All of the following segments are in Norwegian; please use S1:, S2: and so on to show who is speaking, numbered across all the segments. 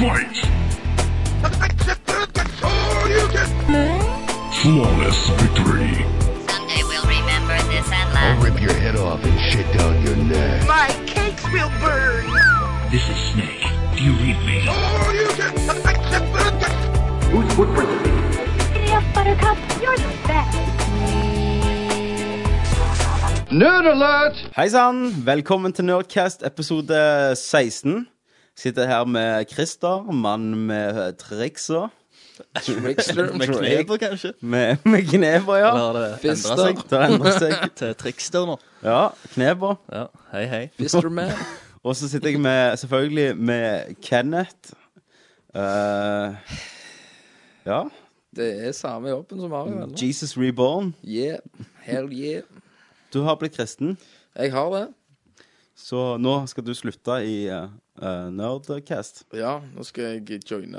S1: Fight! Flawless victory!
S2: Someday we'll remember this and laugh.
S3: I'll rip your head off and shit down your neck.
S4: My cakes will burn.
S1: This is Snake. Do you read me?
S5: Buttercup, you're the best.
S3: Nerd alert!
S6: Hei sann, velkommen til Nerdcast episode 16. Sitter her med Christer, mann med triksa.
S7: Trickster
S6: Med
S7: Drake.
S6: knever, Med, med knever, ja.
S7: Eller har det endra
S6: Det
S7: seg
S6: har endret seg.
S7: til Trickster nå?
S6: Ja, knever.
S7: Ja, hei, hei. Fisterman.
S6: Og så sitter jeg med, selvfølgelig med Kenneth. Eh, ja.
S8: Det er samme jobben som Mario. Eller?
S6: Jesus Reborn.
S7: Mm.
S8: Yeah. Hell yeah.
S6: Du har blitt kristen,
S8: Jeg har det.
S6: så nå skal du slutte i eh, eh, Nerdcast.
S8: Ja, nå skal jeg joine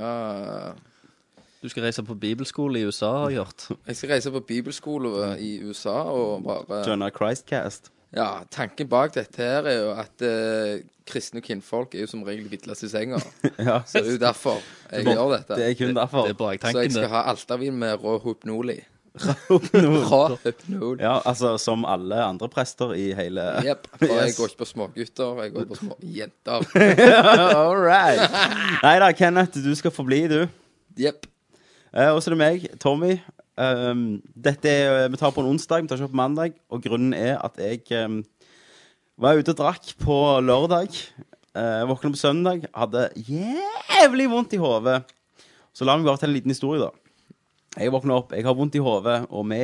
S7: Du skal reise på bibelskole i USA, har jeg hørt.
S8: Jeg skal reise på bibelskole eh, i USA og bare
S6: Joiner Christcast.
S8: Ja, tanken bak dette her er jo at eh, kristne kvinnfolk er jo som regel vidlest i senga.
S6: Ja.
S8: Så det er jo derfor jeg gjør dette.
S6: Det er kun derfor.
S7: Det er
S8: Så jeg
S7: baktanken,
S8: skal
S7: det.
S8: ha altervin med rå hypnoli.
S6: Nå-
S8: Rå hypnoli.
S6: Ja, altså som alle andre prester i hele
S8: Jepp. For jeg
S6: Yes.
S8: går ikke på smågutter, jeg går på småjenter.
S6: All right. Nei da, Kenneth, du skal forbli, du.
S8: Jepp.
S6: Eh, og så er det meg, Tommy. Um, dette er, Vi tar på en onsdag, vi tar ikke på mandag. Og grunnen er at jeg um, var ute og drakk på lørdag. Uh, Våkna på søndag, hadde jævlig vondt i hodet. Så la meg bare til en liten historie, da. Jeg våkner opp, jeg har vondt i hodet, og vi,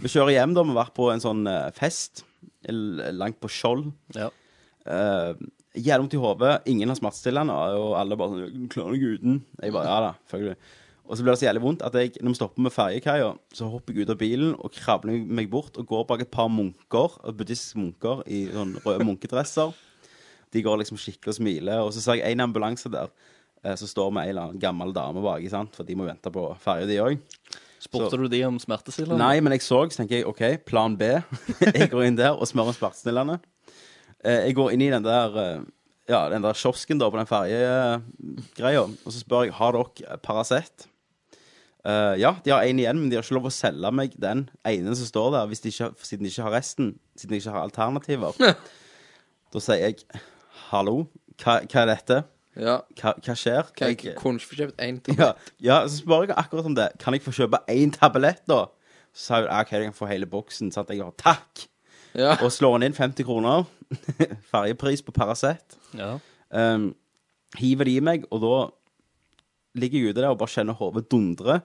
S6: vi kjører hjem. da, Vi har vært på en sånn eh, fest l- langt på Skjold.
S7: Ja.
S6: Uh, Jævlig vondt i hodet. Ingen har smertestillende. Og alle bare sånn 'Klarer deg uten?' Jeg bare 'Ja da, følgelig'. Og så blir det så jævlig vondt at jeg, når vi stopper med ferjekaia, så hopper jeg ut av bilen og kravler meg bort og går bak et par munker, buddhistiske munker i sånn røde munkedresser. De går liksom skikkelig og smiler. Og så ser jeg en ambulanse der. eh, Så står med en eller annen gammel dame baki, sant? for de må vente på ferja, de òg.
S7: Spurte du de om smertestillende?
S6: Nei, men jeg så, så tenker jeg OK, plan B. jeg går inn der og smører en smertestillende. Eh, Jeg går inn i den der eh, Ja, den der kiosken da på den ferjegreia, og så spør jeg har dere Paracet. Eh, ja, de har én igjen, men de har ikke lov å selge meg den ene som står der, hvis de ikke, siden de ikke har resten. Siden jeg ikke har alternativer. da sier jeg hallo, hva, hva er dette?
S8: Ja.
S6: Hva, hva skjer?
S8: Kan jeg kunne ikke få kjøpt én til?
S6: Ja, ja, så spør jeg akkurat om det. Kan jeg få kjøpe én tablett, da? Så sa hun «Ja, OK, du kan få hele boksen. Sant? Jeg gjør takk.
S8: Ja.
S6: Og slår den inn 50 kroner. Ferjepris på Paracet.
S7: Ja.
S6: Um, hiver det i meg, og da ligger jeg ute der og bare kjenner hodet dundre.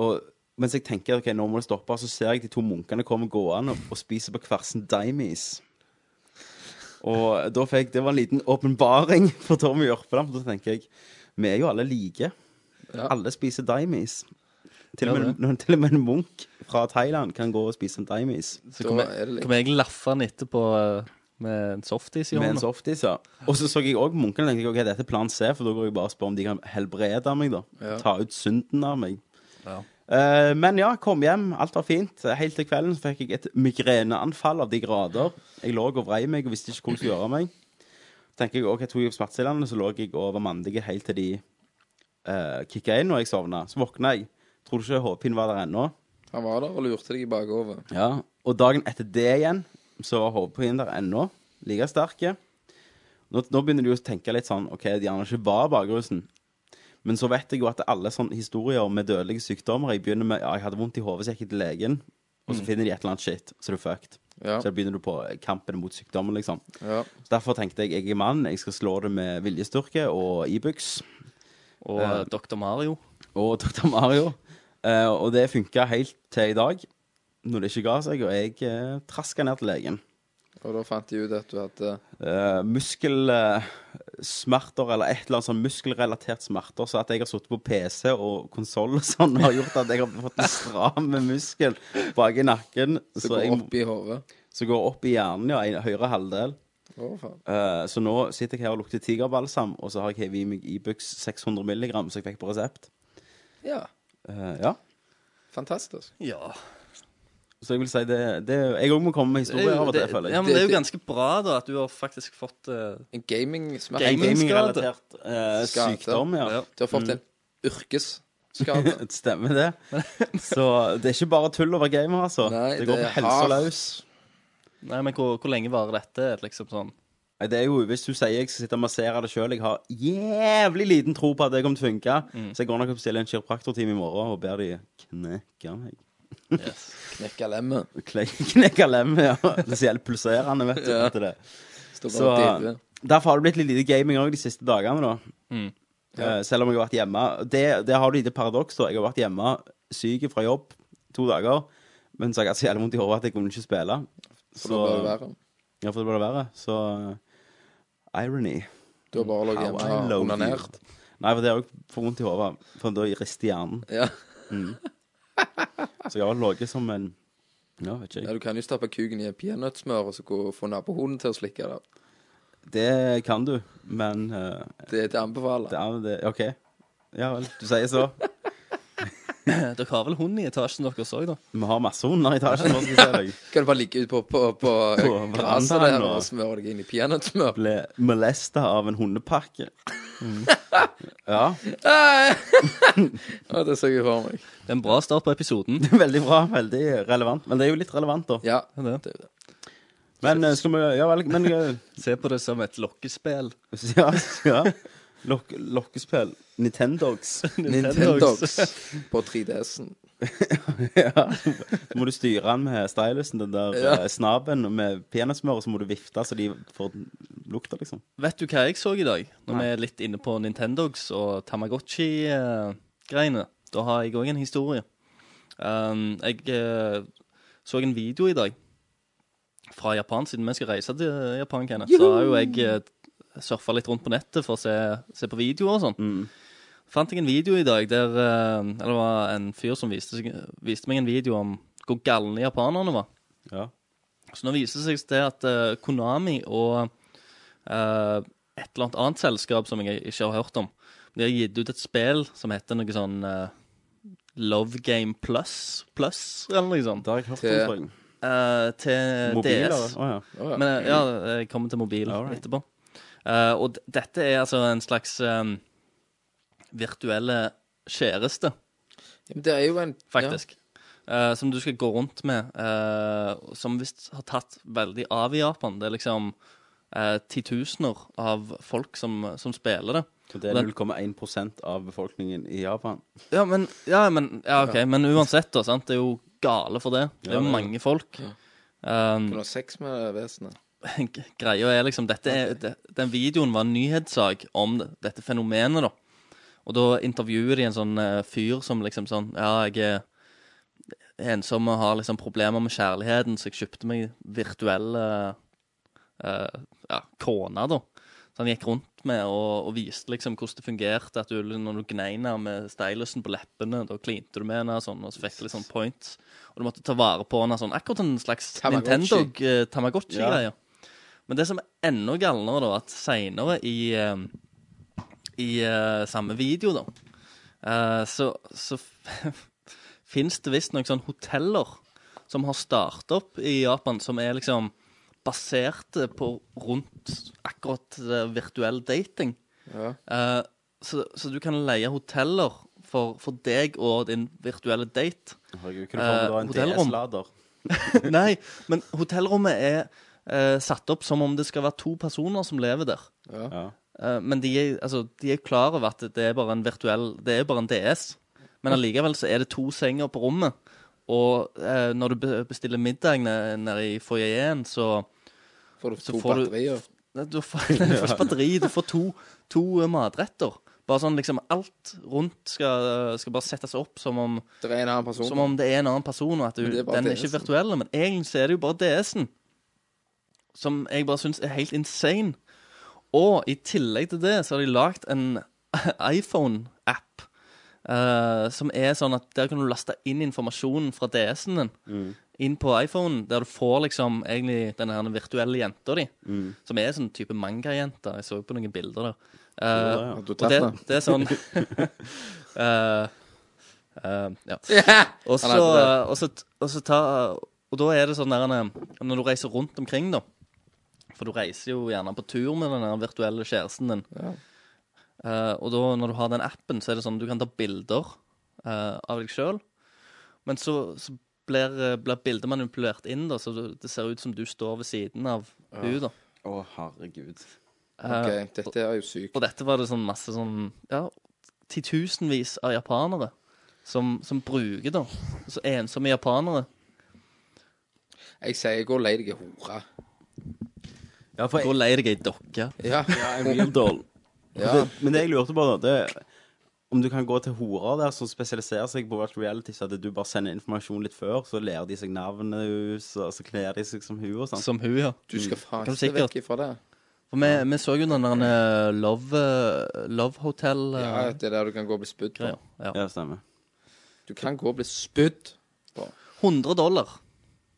S6: Og mens jeg tenker ok, nå må det stoppe, så ser jeg de to munkene komme gående og, og spiser på hver sin daimis. Og da fikk Det var en liten åpenbaring for Tommy Jørpeland. for Da tenker jeg Vi er jo alle like. Alle spiser daimis. Til og,
S7: Ja,
S6: med, når- til og med en munk fra Thailand kan gå og spise en daimis.
S7: Så
S8: Da
S7: kom jeg,
S8: er det litt
S7: kom jeg laffe han etterpå eh, med en softis i
S6: Med en
S7: hånda?
S6: softis, ja. Og så så jeg òg munkene. tenkte jeg, ok, dette er plan C, for da går jeg bare og spør om de kan helbrede meg. da. Ta ut synden av meg.
S7: Ja.
S6: Eh, men ja, kom hjem. Alt var fint. Helt til kvelden så fikk jeg et migreneanfall av de grader. Jeg lå og vrei meg og visste ikke hvor jeg skulle gjøre av meg. Så tenker jeg, ok, jeg tok jeg smertestillende, så lå jeg og var mandig helt til de uh, kicka inn, og jeg sovna. Så våkna jeg. Tror du ikke hodepinen var der ennå?
S8: Han var der og lurte deg i bakhodet.
S6: Ja, og dagen etter det igjen, så var hodepinen der ennå. Like sterke. Nå, nå begynner du å tenke litt sånn OK, de gjerne ikke var bakrusen. Men så vet jeg jo at alle sånne historier med dødelige sykdommer Jeg begynner med ja, jeg hadde vondt i hodet, så jeg gikk til legen. Og så finner de et eller annet shit, så er du fucked.
S8: Ja.
S6: Så da begynner du på kampen mot sykdommen, liksom.
S8: Ja.
S6: Så derfor tenkte jeg jeg er mann, jeg skal slå det med viljestyrke og Ibux.
S7: Og eh, Dr. Mario?
S6: og Dr. Mario. Eh, og det funka helt til i dag, når det ikke ga seg, og jeg uh, traska ned til legen.
S8: Og da fant de ut at du hadde
S6: Eh, Muskelsmerter eller et eller annet sånn muskelrelatert smerter. Så at jeg har sittet på PC og konsoll og sånn, har gjort at jeg har fått en stram muskel bak i nakken.
S8: Det
S6: Så
S8: går
S6: jeg,
S8: opp i hodet.
S6: så går opp i hjernen, ja, i høyre halvdel.
S8: Å, faen.
S6: Eh, så nå sitter jeg her og lukter tigerbalsam, og så har jeg hevet i meg Ibux 600 milligram, som jeg fikk på resept.
S8: Ja.
S6: Eh, ja.
S8: Fantastisk.
S7: Ja.
S6: Så jeg vil si det, det Jeg òg må komme med historier av og til, føler
S7: ja,
S6: jeg.
S7: men det er
S8: Det-
S7: jo ganske bra, da, at du har faktisk fått eh,
S8: En gaming-smerte.
S7: Gaming-
S6: Gamingrelatert eh,
S8: Skade.
S6: sykdom, ja. Mm.
S7: Ja.
S8: Du har fått en yrkesskade.
S6: Stemmer det. Så det er ikke bare tull å være gamer, altså.
S8: Nei,
S6: det går
S8: det
S6: på
S8: er
S6: helsa
S8: hardt.
S6: løs.
S7: Nei, men hvor, hvor lenge varer dette? Liksom sånn
S6: Nei, Det er jo, Hvis du sier jeg skal sitte og massere det sjøl Jeg har jævlig liten tro på at det kommer til å funke.
S8: Mm.
S6: Så jeg går nok og bestiller en kiropraktortime i morgen og ber de knekke meg.
S8: Knekka lemmet.
S6: Kle- Knekke lemmet, ja. Det er så jævlig pulserende, vet du.
S8: Ja.
S6: etter det.
S8: Står
S6: Så
S8: bare og dirrer.
S6: derfor har det blitt litt lite gaming òg de siste dagene, da.
S7: Mm.
S6: Eh, selv om jeg har vært hjemme. Det, det har du lite paradoks, da. Jeg har vært hjemme syk fra jobb to dager. Men så har jeg hatt så jævlig vondt i hodet at jeg kunne ikke spille.
S8: For det bør jo være.
S6: Ja, for det ble det verre. Så eh, irony.
S8: Du har bare ligget
S6: How I
S8: hjemme og
S6: love
S8: onanert.
S6: you. Nei, for det er òg for vondt i hodet. For da rister hjernen.
S8: Ja.
S6: Så jeg har ligget som en Ja, vet ikke
S8: ja,
S6: jeg.
S8: du kan jo stappe kuken i et peanøttsmør og så gå og få nabohunden til å slikke det.
S6: Det kan du, men eh,
S8: Det er til å anbefale.
S6: det er det OK. Ja vel, du sier så.
S7: Dere har vel hund i etasjen deres òg, da?
S6: Vi har masse hunder i etasjen. nå, skal jeg si deg.
S8: Kan du bare ligge ut på, på, på
S6: verandaen
S8: gresset der
S6: og-
S8: og smøre deg inn i peanøttsmør?
S6: ble molesta av en hundepakke. Mm. Ja,
S8: Ja, det så jeg for meg.
S7: Det er en bra start på episoden.
S6: veldig bra. Veldig relevant. Men det er jo litt relevant, da.
S8: Ja,
S7: Ja, det.
S8: det er det.
S6: Men eh, skal vi Ja vel, men eh,
S7: Se på det som et lokkespill.
S6: Ja. ja. Lok lokkespill. Nintendogs.
S8: Nintendogs på 3DS-en.
S6: ja. Så må du styre den med stylusen, den der
S8: Ja.
S6: eh, snaben med peanøttsmør, og så må du vifte så de får lukta, liksom.
S7: Vet du hva jeg så i dag? Når vi er litt inne på Nintendogs og Tamagotchi-greiene. Da har jeg òg en historie. Um, jeg eh, så en video i dag fra Japan, siden vi skal reise til Japan, Kenneth. Så har jo jeg uh, surfa litt rundt på nettet for å se, se på videoer og sånn. Fant jeg en video i dag der eh, Eller det var en fyr som viste, seg- viste meg en video om hvor galne japanerne var.
S6: Ja.
S7: Så nå viser det seg det at eh, Konami og eh, et eller annet annet selskap som jeg ikke har hørt om, de har gitt ut et spill som heter noe sånn eh, Love Game Plus, Plus eller noe sånt,
S6: Det har jeg hørt om,
S8: Til-
S6: tror jeg.
S7: eh, til
S6: Mobiler.
S7: DS.
S6: Å ja.
S8: Å, ja.
S7: Men eh, ja, jeg kommer til mobil
S6: Alright.
S7: etterpå. Eh, og d- dette er altså en slags eh, virtuelle kjæreste
S8: Ja, men det er jo en
S7: faktisk. Eh, som du skal gå rundt med. eh, som visst har tatt veldig av i Japan. Det er liksom eh, titusener av folk som, som spiller det.
S6: Så det er 0,1 av befolkningen i Japan.
S7: Ja, men, ja, men, ja, ok, men uansett, da. Sant? Det er jo gale for det. Det er jo
S6: det er-
S7: mange folk. Um,
S8: Ja. Du har sex med vesenet.
S7: greia er liksom dette er, de, Den videoen var en nyhetssak om det, dette fenomenet, da. Og da intervjuer de en sånn eh, fyr som liksom sånn Ja, jeg er ensom og har liksom problemer med kjærligheten, så jeg kjøpte meg virtuell eh, eh, ja, kone, da. Så han gikk rundt med og, og viste liksom hvordan det fungerte. At du, når du gnei henne med stylusen på leppene, da klinte du med henne sånn, og så fikk du litt sånn points. Og du måtte ta vare på henne sånn. Akkurat en slags
S8: Tamagotchi.
S7: Nintendo-Tamagotchi-greie. Men det som er enda galnere, da, at seinere i, eh, i eh, samme video, da, eh, så, så fins det visstnok sånn hoteller som har startet opp i Japan, som er liksom baserte på rundt akkurat eh, virtuell dating.
S8: Ja.
S7: Eh, så, så du kan leie hoteller for, for deg og din virtuelle date.
S6: Herregud, kunne du fått da en
S7: Eh, hotellrom.
S6: DS-lader?
S7: Nei, men hotellrommet er eh, satt opp som om det skal være to personer som lever der.
S6: Ja.
S7: Eh, men de er, altså, de er klar over at det er bare en virtuell Det er bare en DS. Men allikevel så er det to senger på rommet. Og eh, når du be- bestiller middag nede nede i foajeen, så
S8: Får du
S7: Så
S8: to
S7: får du-
S8: batterier.
S7: Nei, Du får, nei, du får ikke batteri, du får to, to eh, matretter. Bare sånn liksom Alt rundt skal, eh, skal bare settes opp som om,
S8: Det er en annen person.
S7: som om det er en annen person, og at du,
S8: Men det er bare
S7: den er ikke
S8: DS-en.
S7: virtuell. Men egentlig så er det jo bare DS-en, som jeg bare syns er helt insane. Og i tillegg til det så har de lagd en iPhone-app. eh, som er sånn at Der kan du laste inn informasjonen fra DS-en din
S8: Mm.
S7: inn på iPhonen, der du får liksom egentlig den her virtuelle jenta di,
S8: Mm.
S7: som er sånn type mangajente. Jeg så jo på noen bilder der. Eh,
S6: ja.
S8: Har du
S7: og det,
S8: tatt
S7: det er sånn eh, eh, Ja.
S8: Ja!
S7: Og
S8: Han
S7: så,
S8: heter det.
S7: og så, og så ta, Og da er det sånn der, eh, når du reiser rundt omkring, da For du reiser jo gjerne på tur med den der virtuelle kjæresten din. Eh, og da når du har den appen, så er det sånn du kan ta bilder eh, av deg sjøl. Men så, så blir, eh, blir bildet manipulert inn, da, så du- det ser ut som du står ved siden av hun da.
S6: Å, herregud.
S7: Eh,
S8: Ok, dette er jo sykt.
S7: og dette var det sånn masse sånn Ja, titusenvis av japanere som, som bruker, da. Så ensomme japanere.
S8: Jeg sier jeg går lei deg i hora.
S6: Ja, for
S7: Gå
S6: jeg,
S7: lei deg ei dokke.
S8: Ja. ja.
S6: det, men det jeg lurte på, da, det er om du kan gå til horer der som spesialiserer seg på virtual reality, så at du bare sender informasjon litt før, så lærer de seg navnet hennes, og så kler de seg som hun og sånn.
S7: Som hun, ja.
S8: Du skal
S7: Kan du
S8: faen ikke
S7: sikkert-
S8: vekk ifra det.
S7: For vi, vi så jo den der eh, Love, eh, love Hotel eh,
S8: Ja, det er der du kan gå og bli spydd på.
S7: greia. Ja.
S6: Ja, stemmer.
S8: Du kan gå og bli spydd på.
S7: 100 dollar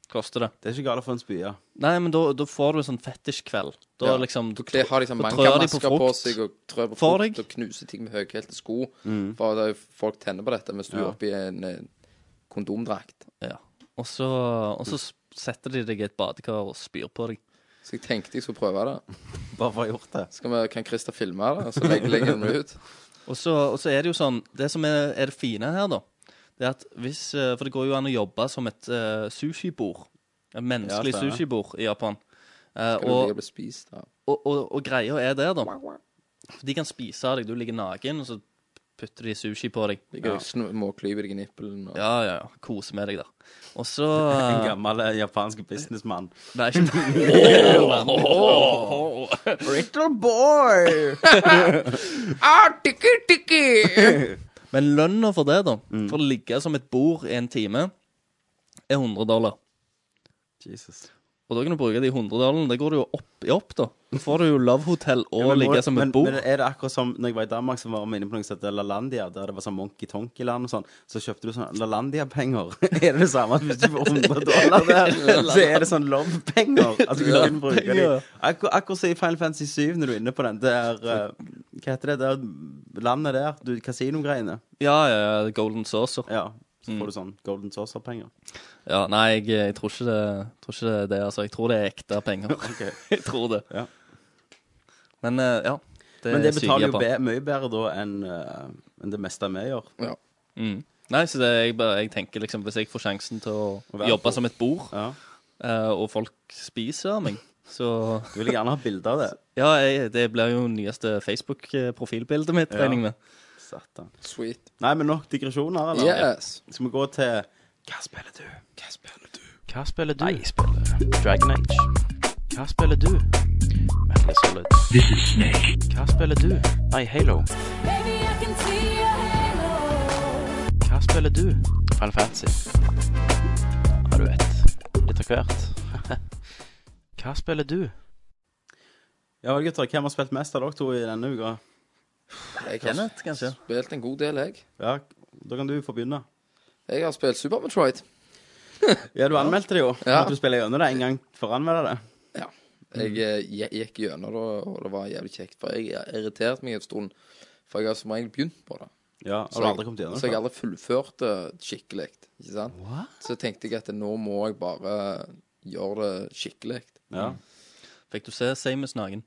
S7: koster det.
S6: Det er ikke galt å få en spya.
S7: Nei, men da da får du en sånn fetisjkveld. Da
S8: Ja.
S7: liksom
S8: Du kler, har liksom
S7: da trør de
S8: mankamasker på, seg og trør på
S7: For deg.
S8: frukt
S7: Mm.
S8: og knuser ting med høyhælte sko. For det er jo folk tenner på dette mens du er oppe i en eh, kondomdrakt.
S7: Ja. Og så, og så s- setter de deg i et badekar og spyr på deg.
S8: Så jeg tenkte jeg skulle prøve det.
S6: Bare for å ha gjort det.
S8: Skal vi, kan Christer filme det, og så legger legger vi det ut?
S7: Og så, og så er det jo sånn Det som er, er det fine her, da, det er at hvis eh, For det går jo an å jobbe som et eh, sushibord. Et menneskelig
S6: Ja, stemmer.
S7: sushibord i Japan. Eh,
S8: Kan du
S7: og,
S8: ligge og bli spist av?
S7: og, og, og greia er det, da. For de kan spise av deg. Du ligger naken, og så putter de sushi på deg.
S8: Ligger og snu- måklyver deg i nippelen og
S7: Ja, ja, ja. Kose med deg der. Og så
S6: En gammel eh, japansk businessmann.
S7: Nei, ikke
S6: Little boy! Ah,
S7: Men lønna for det, da,
S6: Mm.
S7: for å ligge som et bord i en time, er 100 dollar.
S6: Jesus.
S7: Og da kan du bruke de 100 dollarene. Det går det jo opp i opp, da. Da får du jo Love Hotel og
S6: Men må-
S7: ligge som
S6: men,
S7: et bord.
S6: Men er det akkurat som når jeg var i Danmark, så var vi inne på noe som heter Lalandia, der det var sånn Monkey Tonky-land og sånn, så kjøpte du sånn Lalandia-penger. er det det samme at hvis du får 100 dollar der, så er det sånn Love-penger? At du kan bruke de.
S7: Love-penger.
S6: Akkur akkurat som i Final Fantasy 7, når du er inne på den der eh, Hva heter det der landet der? Du, Kasinogreiene.
S7: Ja, ja, ja, Golden Saucer.
S6: Ja. Så
S7: Mm.
S6: får du sånn Golden Saucer-penger.
S7: Ja, nei, jeg, eh, jeg tror ikke det tror ikke det er det. Altså, jeg tror det er ekte penger.
S6: Ok.
S7: jeg tror det.
S6: Ja.
S7: Men eh, ja. Det
S6: Men det
S7: er syke
S6: betaler jo
S7: Japan.
S6: be mye bedre da enn eh, enn det meste vi gjør.
S8: ja.
S7: Mm. Nei, så det, er- jeg, bare, jeg tenker liksom Hvis jeg får sjansen til å
S6: være
S7: jobbe
S6: på-
S7: som et bord,
S6: Ja.
S7: eh, og folk spiser av meg, så
S6: Du vil gjerne ha bilde av det.
S7: Ja, jeg, det blir jo nyeste Facebook-profilbildet mitt, regner jeg med.
S6: Satan.
S8: Sweet.
S6: Nei, men nok digresjoner, eller?
S8: Yes.
S6: Skal vi gå til Hva spiller du?
S9: Hva spiller du? jeg spiller Dragon Age. Hva spiller du? Metal Solid.
S1: This is Snake.
S9: Hva spiller du? Nei, Halo. Hva spiller du? Final Fantasy. Ja, du vet. Litt av hvert. Hva spiller du?
S6: Ja, vel, gutter, hvem har spilt mest av dere to i denne uka?
S8: Jeg har
S7: Kenneth, kanskje?
S8: spilt en god del, jeg.
S6: Ja, da kan du få begynne.
S8: Jeg har spilt Super Metroid.
S6: Ja, du anmeldte det jo.
S8: Ja.
S6: At du spiller gjennom det en gang for å anmelde det.
S8: Ja. Jeg eh, gje- gikk gjennom det, og det var jævlig kjekt. For jeg irriterte meg en stund. For jeg har som regel begynt på det.
S6: Ja, har du aldri kommet gjennom
S8: så jeg
S6: det? før?
S8: aldri fullførte skikkelig. Ikke sant? Så tenkte jeg at nå må jeg bare gjøre det skikkelig.
S6: Ja.
S7: Fikk du se Samus naken?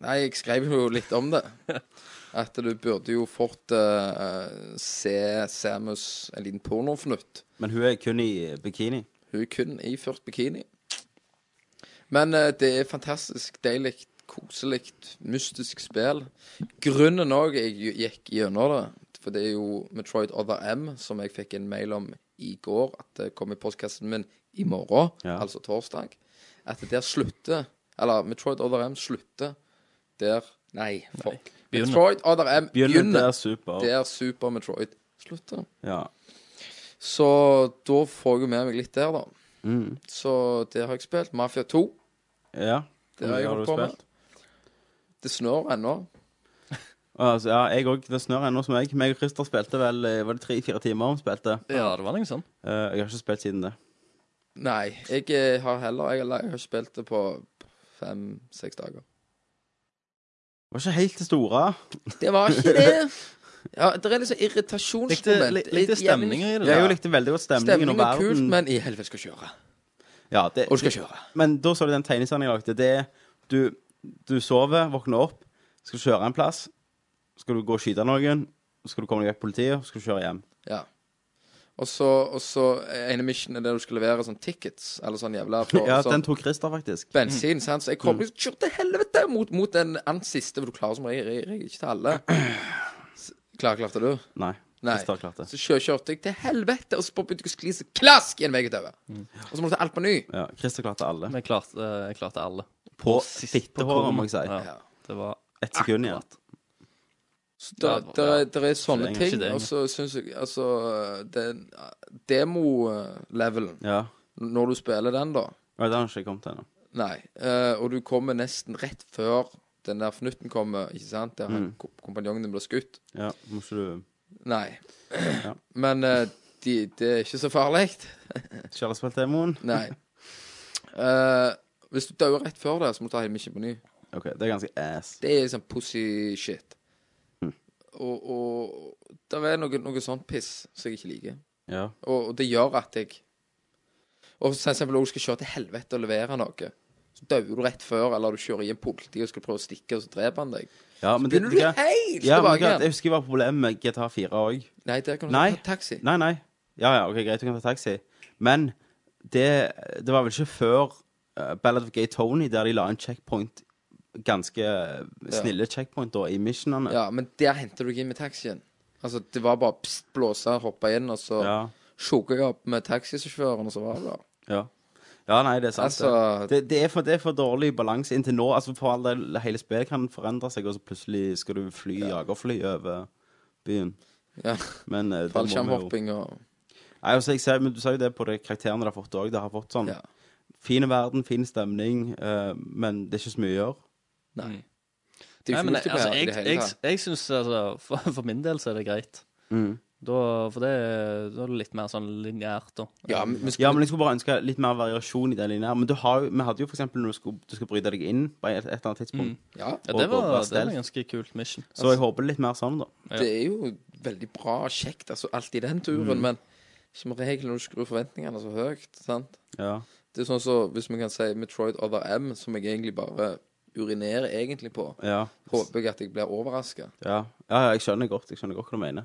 S8: Nei, jeg skrev jo litt om det. At du burde jo fort eh, se Samus en liten pornofnutt.
S6: Men hun er kun i bikini.
S8: Hun er kun iført bikini. Men eh, det er fantastisk deilig, koselig, mystisk spill. Grunnen òg jeg gikk gjennom det, for det er jo Metroid Other M, som jeg fikk en mail om i går, at det kom i postkassen min i morgen,
S6: Ja.
S8: altså torsdag. At det der slutter Eller Metroid Other M slutter der Nei, fuck.
S7: begynner.
S8: Metroid Other M
S6: Begynner
S8: begynner
S6: der super.
S8: der Super Metroid slutter.
S6: Ja.
S8: Så da får jeg jo med meg litt der, da.
S6: Mm.
S8: Så det har jeg spilt. Mafia 2.
S6: ja.
S8: Det har jeg holdt på med. Det snør ennå.
S6: Altså, ja, jeg òg. Det snør ennå som jeg. Meg og Christer spilte vel eh, Var det tre-fire timer vi spilte?
S7: Ja, det var noe sånn.
S6: Eh, jeg har ikke spilt siden det.
S8: Nei, jeg eh, har heller Jeg, har- jeg har spilt det på fem-seks dager.
S6: Var ikke helt det store.
S8: Det var ikke det! Ja, det er liksom
S6: eh,
S7: Likte,
S8: irritasjonsmoment.
S7: li- likte stemninga i
S6: Jeg
S7: det. da.
S6: jo likte veldig godt stemningen og
S8: Stemningen er kult,
S6: verden.
S8: men i helvete skal kjøre.
S6: Ja, det,
S8: Og du skal kjøre.
S6: Men da så du den tegneserien jeg lagde. Det er du, du sover, våkner opp, skal kjøre en plass. Skal du gå og skyte noen, så skal du komme deg vekk politiet, så skal du kjøre hjem.
S8: Ja. Og så, og så eh, ene mission er det du skal levere sånn tickets, eller sånn jævla på
S6: Ja,
S8: sånn
S6: Den tok Christer, faktisk.
S7: Mhm.
S8: bensin, sant. Så jeg
S7: Mm.
S8: kom liksom kjør til helvete mot, mot den annen siste, for du klarer som regel regel ikke til alle. S- Klar, klarte du?
S6: Nei.
S8: Nei.
S6: Christer klarte det.
S8: Så kjør, kjørte jeg til helvete, og så begynte jeg å skli så klask i en vegg utover.
S7: Mm.
S8: Og så måtte jeg ta alt på ny.
S6: Ja, Christer klarte alle.
S7: Men jeg klarte, eh, jeg klarte alle.
S6: På
S7: Sist
S6: fittehåret,
S7: kornet.
S6: må jeg si.
S7: Ja,
S8: Ja.
S7: det var
S6: Ett sekund igjen.
S8: Så der,
S7: Ja,
S8: der,
S7: ja.
S8: er- der er sånne
S7: Ikke det,
S8: ting,
S7: egentlig.
S8: og så syns jeg Altså, den demo-levelen,
S6: Ja.
S8: når du spiller den, da
S6: Nei, Den har ikke jeg kommet til ennå.
S8: Nei. eh, og du kommer nesten rett før den der fnutten kommer, ikke sant? Der
S7: Mm.
S8: han- kom- kompanjongen din blir skutt.
S6: Ja, må ikke du
S8: Nei. Men eh, de, det er ikke så farlig.
S6: Ikke alle spilt demoen?
S8: Nei. Eh, hvis du dør rett før det, så må du ta hele missionen på ny.
S6: OK, det er ganske ass.
S8: Det er sånn pussy shit.
S6: Mm.
S8: Og, og det er noe, noe sånn piss som jeg ikke liker.
S6: Ja.
S8: Og, og det gjør at jeg Og for eksempel når du skal kjøre til helvete og levere noe, så dør du rett før, eller du kjører i en politi og skal prøve å stikke, og så dreper han deg.
S6: ja men det,
S8: Begynner du
S6: det,
S8: helt
S6: ja, men
S8: tilbake
S6: jeg, jeg
S8: igjen?
S6: husker det var problemet med GTA 4 òg.
S8: Nei, der kan du
S6: Nei.
S8: ta taxi.
S6: Nei, nei. Ja, ja, ok, greit, du kan ta taxi. Men det, det var vel ikke før eh, Ballad of Gay Tony der de la en checkpoint Ganske eh, snille checkpoint da i missionene.
S8: Ja, men der henter du ikke inn med taxien. Altså, det var bare pst, blåse, hoppe inn, og så
S6: Ja.
S8: sjoka jeg opp med taxisjåføren, og så var det der.
S6: Ja. ja, nei, det er sant.
S8: Altså-
S6: det. Det, det, er for, det er for dårlig balanse inntil nå. Altså for all del, Hele spillet kan forandre seg, og så plutselig skal du fly jagerfly over byen.
S8: Ja.
S6: Men eh, det må vi jo
S8: Fallskjermhopping og
S6: Nei, altså, jeg ser, men Du sa jo det på de karakterene de har fått òg. De har fått sånn
S8: Ja.
S6: fin verden, fin stemning, eh, men det er ikke så mye å gjøre.
S8: Nei. Det
S7: Nei,
S8: er jo
S7: men
S8: ikke
S7: jeg,
S8: multiplayer
S7: altså,
S8: i
S7: jeg,
S8: det hele
S7: jeg,
S8: tatt.
S7: jeg syns altså, for, for min del så er det greit.
S8: Mm.
S7: Da, for det, da er det litt mer sånn lineært, da.
S8: Ja, men, men,
S6: Ja, men jeg skulle bare ønske litt mer variasjon i den linja. her. Men du har, jo- vi hadde jo for eksempel når du skulle, du skulle bryte deg inn på et, et eller annet tidspunkt.
S8: ja,
S7: Mm. Ja, det
S6: Og- og
S7: var,
S6: bare
S7: det var
S6: stealth.
S7: en ganske kult mission.
S6: Så jeg håper litt mer sånn, da.
S8: det er jo veldig bra og kjekt, altså alt i den turen, men som regel når du skrur forventningene så høyt, sant
S6: Ja.
S8: Det er sånn så, hvis vi kan si Metroid Other M, som jeg egentlig bare urinerer egentlig på,
S6: Ja.
S8: håper jeg at jeg blir overraska.
S6: Ja. ja, ja, jeg skjønner godt Jeg skjønner godt hva du mener.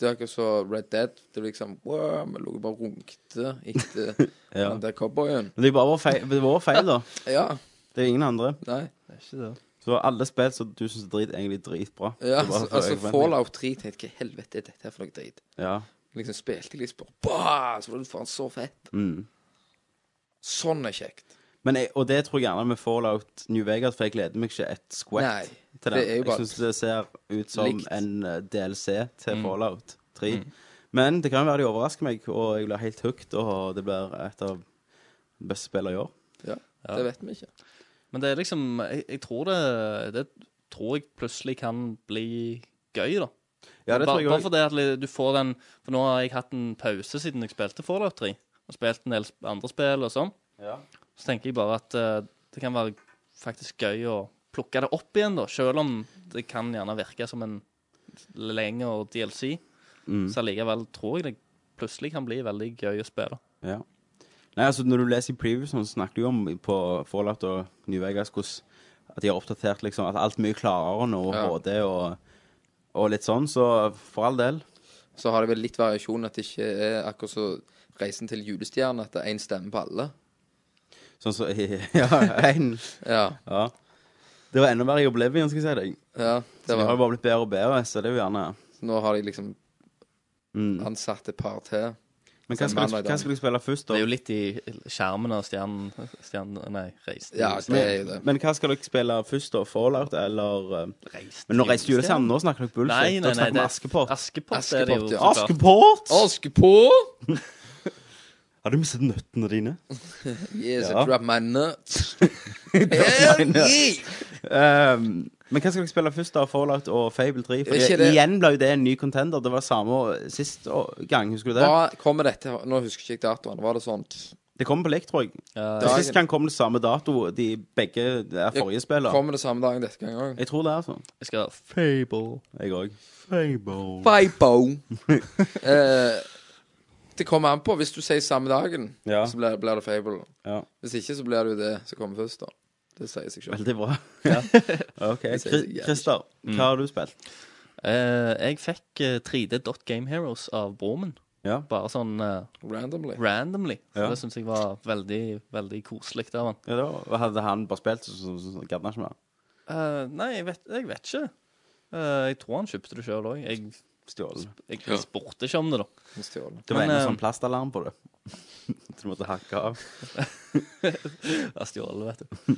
S8: Det er ikke så Red Dead. Det er liksom wow, Vi lå bare og runkte etter den der cowboyen.
S6: Men det er bare vår feil, det er vår feil da.
S8: Ja.
S6: Det er ingen andre.
S8: Nei.
S7: Det er Altså, ikke det.
S6: Så alle spill som du syns er drit, egentlig er dritbra.
S8: Ja,
S6: Det er bare
S8: altså,
S6: for
S8: altså
S6: øye forventninger.
S8: Fallout 3 tenkte hva i helvete er dette her for noe drit?
S6: Ja.
S8: Liksom spilte jeg liksom bare bah, Så var det faen så fett. Sånn er kjekt.
S6: Men jeg, og det tror jeg gjerne med Fallout New Vegas, for jeg gleder meg ikke et skvett
S8: Nei,
S6: til
S8: det
S6: den.
S8: er jo bare-
S6: Jeg syns det ser ut som
S8: Likt. Mm.
S6: en eh, DLC til Fallout 3. Men det kan jo være de overrasker meg, og jeg blir helt hooked, og det blir et av de beste spillene i år.
S8: Ja, Det vet vi ikke.
S7: Men det er liksom Jeg, jeg tror det Det tror jeg plutselig kan bli gøy, da.
S6: Ja, det
S7: bare,
S6: tror jeg
S7: bare
S6: også.
S7: fordi at li- du får den For nå har jeg hatt en pause siden jeg spilte Fallout 3. Og spilt en del sp- andre spill og sånn. Så tenker jeg bare at eh, det kan være faktisk gøy å plukke det opp igjen, da. Selv om det kan gjerne virke som en lengre DLC.
S6: Mm.
S7: Så allikevel tror jeg det plutselig kan bli veldig gøy å spille.
S6: Ja. Nei, altså Når du leser i previewsene, så snakker du jo om på Fallout og New Vegas hvordan at de har oppdatert liksom, at alt er mye klarere nå,
S8: Ja.
S6: HD og, og litt sånn. Så for all del.
S8: Så har det vel litt variasjon at det ikke er akkurat så Reisen til julestjernen, at det er én stemme på alle.
S6: Sånn som Ja, en,
S8: Ja.
S6: ja. Det var enda verre i Oblivion, skal jeg si deg.
S8: ja
S6: Det
S8: det
S6: har jo
S8: var.
S6: bare blitt bedre og bedre, så det er jo gjerne
S8: Nå har de liksom ansatt et par til.
S6: Men hva skal, du, hva skal du spille først,
S7: Det er
S6: da?
S7: jo litt i skjermen av stjernen, stjernen Nei, reisen.
S8: Ja, det er jo det.
S6: Men hva skal dere spille først, da? Fallout eller eh,
S7: Reisen
S6: Men nå reiser du det sammen, nå snakker dere bullshit.
S7: Nei, nei,
S6: dere
S7: nei.
S6: snakker
S7: Det,
S6: om Askepott.
S7: Askepott, er det jo. så
S8: Askepott, ja.
S7: klart.
S6: Askepott!
S8: Aske på!
S6: Har du mistet nøttene dine?
S8: Yes,
S6: Ja.
S8: I drop my nuts. Hell yeah!
S6: Ehm, men hva skal dere spille først, da? Fallout og Fable 3? For det...
S8: Ikke det-
S6: igjen ble jo det en ny contender. Det var samme sist å- gang, husker du det?
S8: Ah, Hva kommer dette Nå husker ikke jeg datoen. Var det sånn
S6: Det kommer på lek, tror jeg.
S7: Ja,
S8: Da-
S6: Sist gang kom det samme dato, de begge de der forrige spillene.
S8: Kommer det samme dagen dette gang òg?
S6: Jeg tror det er sånn.
S7: jeg skal Fable.
S6: Jeg òg.
S7: Oh.
S8: Fibo. eh, det kommer an på. Hvis du sier samme dagen,
S6: Ja.
S8: så blir, blir det Fable.
S6: Ja.
S8: Hvis ikke, så blir det jo det som kommer først, da. Det sier seg sjøl.
S6: Veldig bra. Ja. OK.
S8: Det sier jeg
S6: Kri- Christer, hva har du spilt?
S7: Eh, jeg fikk eh, 3D Dot Game Heroes av broren min.
S6: Ja.
S7: Bare sånn eh,
S8: Randomly.
S7: randomly. Så
S6: Ja.
S7: Det syns jeg var veldig, veldig koselig av han.
S6: Ja, det var, hadde han bare spilt, så, så, så, så gadd han ikke mer?
S7: Eh, nei, jeg vet, jeg vet ikke. Eh, jeg tror han kjøpte det sjøl òg. Jeg,
S6: Stjålet.
S7: jeg
S8: Ja.
S7: spurte ikke om det, da.
S8: Stjålet.
S6: Det var
S7: Men,
S6: en
S7: eh,
S6: sånn plastalarm på det. Så du måtte hakke av.
S7: Jeg stjålet, vet du.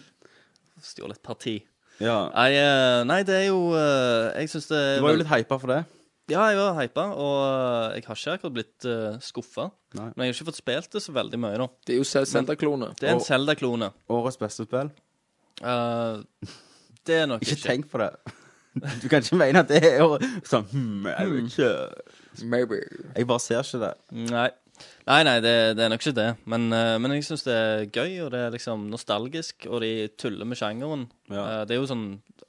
S7: Stjålet et parti.
S6: Ja.
S7: Nei, eh, nei, det er jo eh, Jeg syns det
S6: Du var jo litt hypa for det.
S7: Ja, jeg var hypa, og eh, jeg har ikke akkurat blitt uh, skuffa.
S6: Nei.
S7: Men jeg har ikke fått spilt det så veldig mye, da.
S8: Det er jo selv Senterklone.
S7: Det er
S6: Og-
S7: en Zelda-klone.
S6: Årets beste spill.
S7: Eh, det er nok
S6: Ikke
S7: ikke.
S6: tenk på det. Du kan ikke mene at det er å- sånn hmm, jeg, vet ikke.
S8: Maybe.
S6: jeg bare ser ikke det.
S7: Nei, nei, nei det, det er nok ikke det. Men, eh, men jeg syns det er gøy, og det er liksom nostalgisk, og de tuller med sjangeren.
S6: Ja.
S7: Eh, det er jo sånn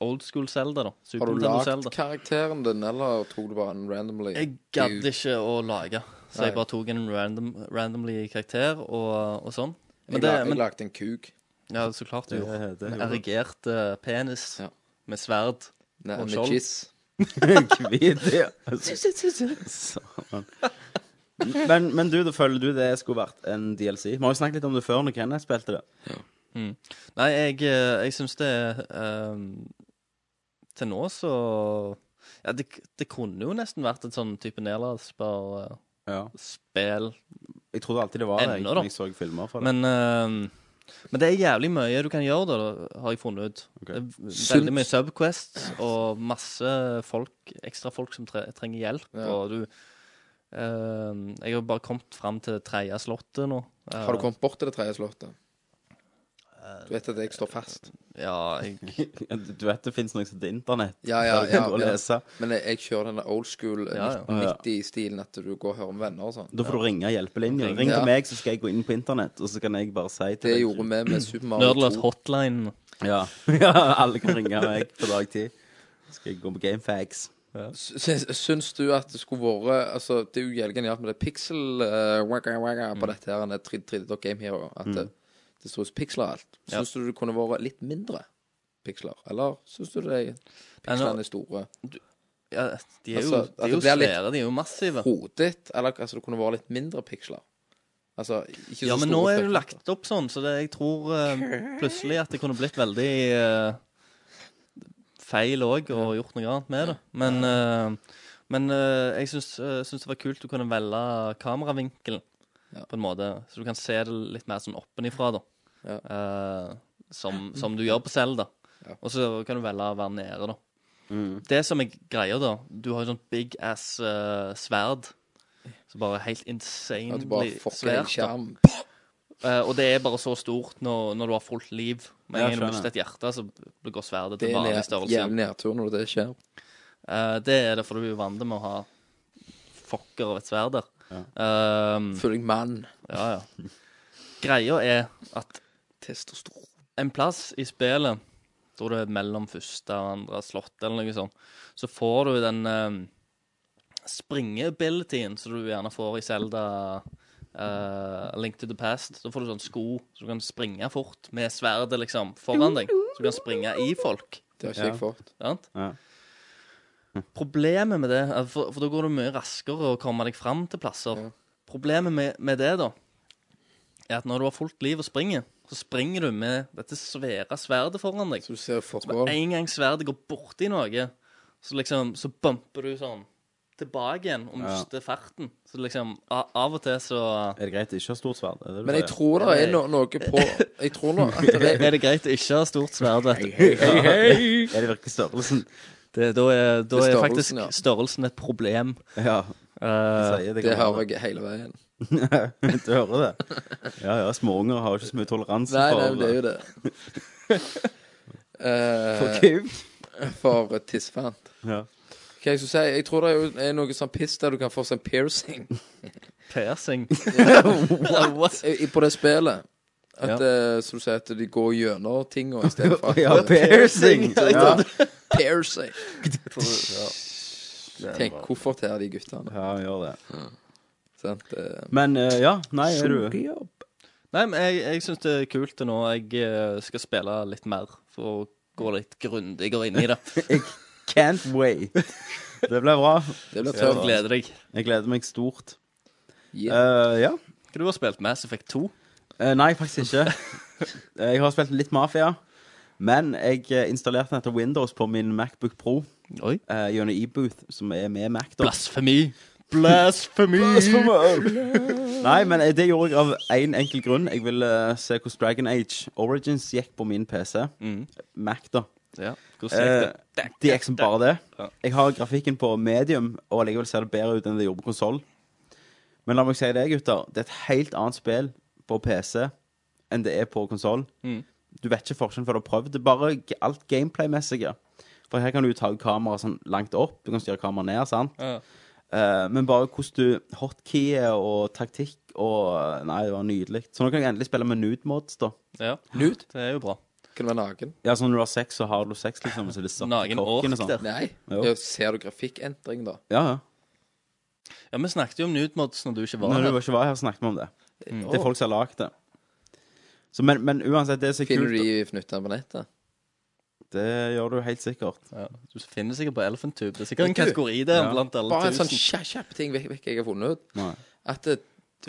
S7: old school Zelda, da. Super
S8: Har du
S7: Nintendo
S8: lagd
S7: Zelda.
S8: karakteren din, eller tok du bare en randomly?
S7: Jeg gadd ikke å lage, så jeg
S8: Nei.
S7: bare tok en random, randomly karakter og, og sånn. Men
S8: Jeg
S7: det,
S8: la- Jeg
S7: men,
S8: lagde en kuk.
S7: ja, så klart du gjorde.
S6: det,
S7: En erigert eh, penis
S8: Ja.
S7: med sverd.
S8: Nei,
S7: Og
S8: med
S7: skjold.
S8: kiss.
S6: Kvitt, ja. Satan. Sånn. Men, men du, det føler du det skulle vært en DLC? Vi har jo snakket litt om det før når Kenneth spilte det.
S7: Nei, jeg, eh, jeg syns det ehm, Til nå så Ja, det, det kunne jo nesten vært et sånn type eh, nedlastbar-spill.
S6: Ja. Jeg trodde alltid det var det jeg,
S7: Ennå, da.
S6: når jeg så filmer fra det.
S7: Men, ehm, men det er jævlig mye du kan gjøre, da, har jeg funnet ut.
S6: Ok.
S7: Det er
S8: Syns-
S7: veldig mye Subquests og masse folk, ekstra folk som tre trenger hjelp.
S8: Ja.
S7: Og du ehm, Jeg har bare kommet fram til det tredje slottet nå. Eh,
S8: Har du kommet bort til det tredje slottet? Du vet at jeg står fast.
S7: Ja, jeg,
S6: Du vet det fins noe som heter internett?
S8: Ja, ja,
S6: der du kan
S8: ja,
S6: gå og
S8: ja.
S6: lese.
S8: Men jeg, jeg kjører den der old school eh,
S7: Ja, ja.
S8: 1990-stilen at du går og hører om venner og sånn.
S6: Da får du ringe hjelpelinjen.
S7: Ring,
S6: Ring
S8: ja.
S6: til meg, så skal jeg gå inn på internett, og så kan jeg bare si til
S8: Det
S6: deg-
S8: gjorde vi med Super Mario
S7: Nerdlert
S8: 2.
S7: hotline.
S6: Ja. ja, alle kan ringe meg på dagtid. Skal jeg gå på Gamefax.
S8: Syns, syns du at det skulle vært Altså, det er jo jævlig genialt med det pixel eh, wagga, wagga,
S7: Mm.
S8: på dette her, det 3D Game Hero. At det, det står piksler og alt.
S7: Ja.
S8: Syns du det kunne vært litt mindre piksler? Eller syns du det
S7: nå-
S8: pikslene er store?
S7: Ja, de er jo,
S8: Altså, at
S7: de er jo
S8: det blir
S7: svære,
S8: litt-
S7: de er jo massive.
S8: Hodet ditt? Eller altså, det kunne vært litt mindre piksler? Altså, ikke så
S7: Ja, men
S8: store
S7: nå er det jo
S8: piksler.
S7: lagt opp sånn, så det, jeg tror eh, plutselig at det kunne blitt veldig eh, feil òg, og gjort noe annet med det. Men, eh, men eh, jeg syns, eh, syns det var kult du kunne velge kameravinkelen,
S8: Ja.
S7: på en måte. Så du kan se det litt mer sånn oppenifra, da.
S8: Ja.
S7: Eh, som, som du gjør på Zelda.
S8: Ja. Mm.
S7: Og så kan du velge å være nede, da. Det som er greia, da Du har jo sånn big ass eh, sverd. Så bare helt
S8: At
S7: insanely
S8: du bare fucker
S7: svært.
S8: en
S7: da.
S8: skjerm.
S7: Eh, og det er bare så stort når, når du har fullt liv. Med
S6: Ja,
S7: en gang du
S6: skjønner.
S7: mister et hjerte, så går sverdet
S8: Det
S7: til
S8: er
S7: vanlig
S8: ned-
S7: størrelse.
S8: jævlig nedtur når det skjer.
S7: Eh, det er det fordi du er vant med å ha fokker av et sverd der. Ehm,
S8: Føler jeg mann.
S7: ja, ja. Greia er at
S8: Testosteron.
S7: en plass i spillet, tror det er mellom første og andre slott eller noe sånt, så får du den um, springe-abilityen som du gjerne får i Zelda eh, A Link to the Past. Da får du sånn sko så du kan springe fort med sverdet liksom foran deg. Så du kan springe i folk.
S8: Det har ikke jeg fått.
S7: Sant?
S6: Ja.
S7: Problemet med det er- for, for da går det mye raskere å komme deg fram til plasser.
S8: Ja.
S7: Problemet med, med det, da, er at når du har fullt liv og springer, så springer du med dette svære sverdet foran deg.
S8: Så du ser
S7: Med
S8: forhold.
S7: en gang sverdet går borti noe, så liksom Så bumper du sånn tilbake igjen og
S6: Ja.
S7: mister farten. Så liksom a- Av og til så
S6: Er det greit å ikke ha stort sverd? Er det
S8: Men
S6: det?
S8: jeg tror det er no noe på Jeg tror nå at det er
S7: eh, er det greit å ikke ha stort sverd, vet du.
S6: Er det virkelig størrelsen?
S7: Det, da er, da
S8: Det er
S7: er
S8: størrelsen,
S7: faktisk
S8: ja.
S7: størrelsen et problem.
S6: Ja,
S7: Eh,
S6: sier det.
S8: Det hører jeg hele veien.
S6: jeg. Du hører det? Ja ja, småunger har jo ikke så mye toleranse
S8: Nei, nei,
S6: for
S8: det er jo det.
S6: for
S8: Eh,
S6: kuk.
S8: for tissefant.
S6: Ja.
S8: Hva jeg skulle si? Jeg tror det er jo- er noe sånn piss der du kan få seg en sånn piercing.
S7: Persing.
S8: I- På det spillet. At, eh, så du sier at de går gjennom tinga i stedet for
S6: Ja, piercing! Ja.
S8: piercing. Tenk koffert her, de guttene.
S6: ja, gjør det.
S8: Sant? Eh,
S6: Men eh, ja, nei, er du
S7: Nei, men jeg, jeg syns det er kult det nå. Jeg eh, skal spille litt mer for å gå litt grundigere inn i det.
S6: Can't wait. Det ble bra.
S8: Det blir
S7: Så
S8: tøft.
S7: gleder deg.
S6: Jeg gleder meg stort.
S8: Yeah.
S6: Eh, ja.
S7: Hva du har spilt Mass Effect 2?
S6: Eh, nei, faktisk ikke. Eh, jeg har spilt litt Mafia. Men jeg eh, installerte den etter Windows på min Macbook Pro
S7: Oi.
S6: eh, gjennom eBooth, som er med Mac. da.
S7: Blasfemi. Blasfemi.
S6: Nei, men eh, det gjorde jeg av én en enkel grunn. Jeg ville eh, se hvordan Dragon Age Origins gikk på min PC. Mac, da.
S7: Ja, hvordan gikk det?
S6: Eh, det gikk som bare det. Jeg har grafikken på medium, og likevel ser det bedre ut enn det gjorde på konsoll. Men la meg si det, gutter. Det er et helt annet spill på PC enn det er på konsoll.
S7: Mm.
S6: Du vet ikke forskjellen før du har prøvd. Det er bare g- alt gameplay-messige. For her kan du ta kameraet sånn langt opp, du kan styre kameraet ned, sant?
S7: Ja.
S6: Eh, men bare hvordan du hotkeyer og taktikk og Nei, det var nydelig. Så nå kan jeg endelig spille med nude mods, da.
S7: Ja.
S8: Nude?
S7: Det er jo bra.
S8: Kan du være naken?
S6: Ja, så når du har sex, så har du sex, liksom. Så det er
S7: Nagen ork der.
S8: Nei.
S6: Jo.
S8: Ja, ser du grafikkendring, da?
S6: sånn. Ja, ja.
S7: Ja, Vi snakket jo om nudemods når du ikke var
S6: Når du
S7: her.
S6: ikke var her, snakket vi om det.
S8: Mm.
S6: Det er folk som har lagd det. Så, men, men uansett, det er så
S8: Finner du
S6: kult.
S8: de fnuttene på nettet?
S6: Det gjør du helt sikkert.
S7: Ja. Du finner sikkert på Elephant Tube. Det er sikkert en
S8: Men du,
S7: kategori der
S6: ja.
S7: blant alle
S8: Bare en sånn
S7: tusen.
S8: kja- kjapp ting vekk, vekk jeg har funnet ut.
S6: Nei.
S8: At det,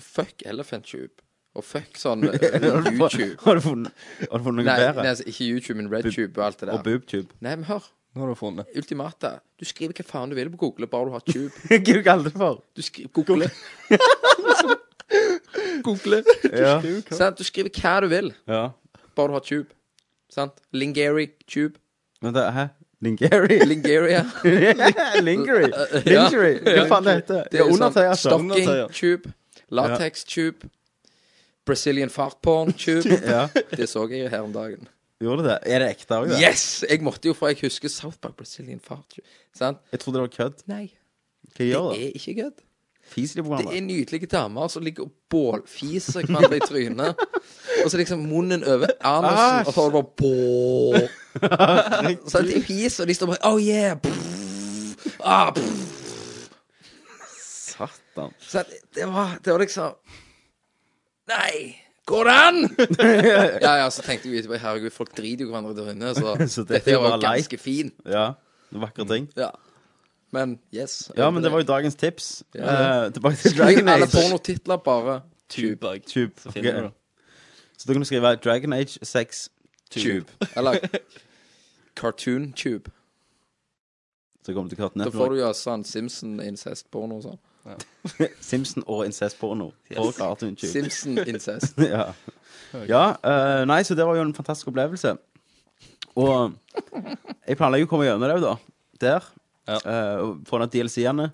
S8: fuck Elephant Tube. Og fuck sånn eh, YouTube.
S6: Har du funnet, har du funnet noe
S8: Nei, nei
S6: bedre?
S8: altså, ikke YouTube, men RedTube og alt det
S6: Og
S8: der.
S6: boobtube.
S8: Nei, men hør.
S7: Nå har du funnet.
S8: Ultimata. Du skriver hva faen du vil på Google, bare du har tube.
S6: Hva du kaller det for?
S8: Du skriver Google. Google.
S6: Ja.
S8: Sant? Du skriver hva du vil,
S6: ja.
S8: bare du har tube. Sant? Lingeri tube.
S6: Men det, hæ? Lingeri?
S8: Lingeria.
S6: Lingeri? Lingeri? Hva faen det heter det?
S8: Det er jo sånn
S6: Undertøy, altså.
S8: stocking tube. Latex tube. Brazilian fartporn tube.
S6: Ja.
S8: Det så jeg her om dagen.
S6: Gjorde det? Er det ekte òg, det?
S8: Yes! Jeg måtte jo, for jeg husker South Park Brazilian fart tube. Sant?
S6: Jeg trodde det var kødd.
S8: Nei,
S6: Hva
S8: det
S6: gjør det?
S8: er ikke kødd.
S6: Fis i
S8: Det er
S6: programmet.
S8: nydelige damer som ligger og bålfiser hverandre i trynet. Og så liksom munnen over anusen, og så er det bare bål. Så de fiser, og de står bare Oh yeah! brrr, Ah, brrr.
S6: Satan.
S8: så det- det var, det var liksom Nei! Går det an?! Ja, ja, så tenkte jeg etterpå Herregud, folk driter jo hverandre i trynet, så,
S6: Så dette
S8: dette
S6: er
S8: var
S6: bare leit.
S8: ganske fint.
S6: Ja. Vakre ting.
S8: Ja. Men yes.
S6: Ja, men det var jo dagens tips.
S8: Ja.
S6: Eh, tilbake til Dragon
S8: Alle
S6: Age.
S8: pornotitler bare
S7: Tubag.
S6: Tube.
S7: Så finner du
S6: Ok.
S7: det.
S6: Så da kan du skrive Dragon Age 6 Tube.
S8: Tube. Eller Cartoon Tube.
S6: Så kommer du til
S8: Da får
S6: kartene.
S8: du jo sånn Simpson-incest-porno og sånn.
S6: Simpson og incestporno. Og Cartoon Tube.
S8: Simpson-incest.
S6: ja. ja eh, nei, så det var jo en fantastisk opplevelse. Og jeg planlegger å komme gjennom det, da. Der.
S7: Ja.
S6: Eh, og få noen DLC-ene.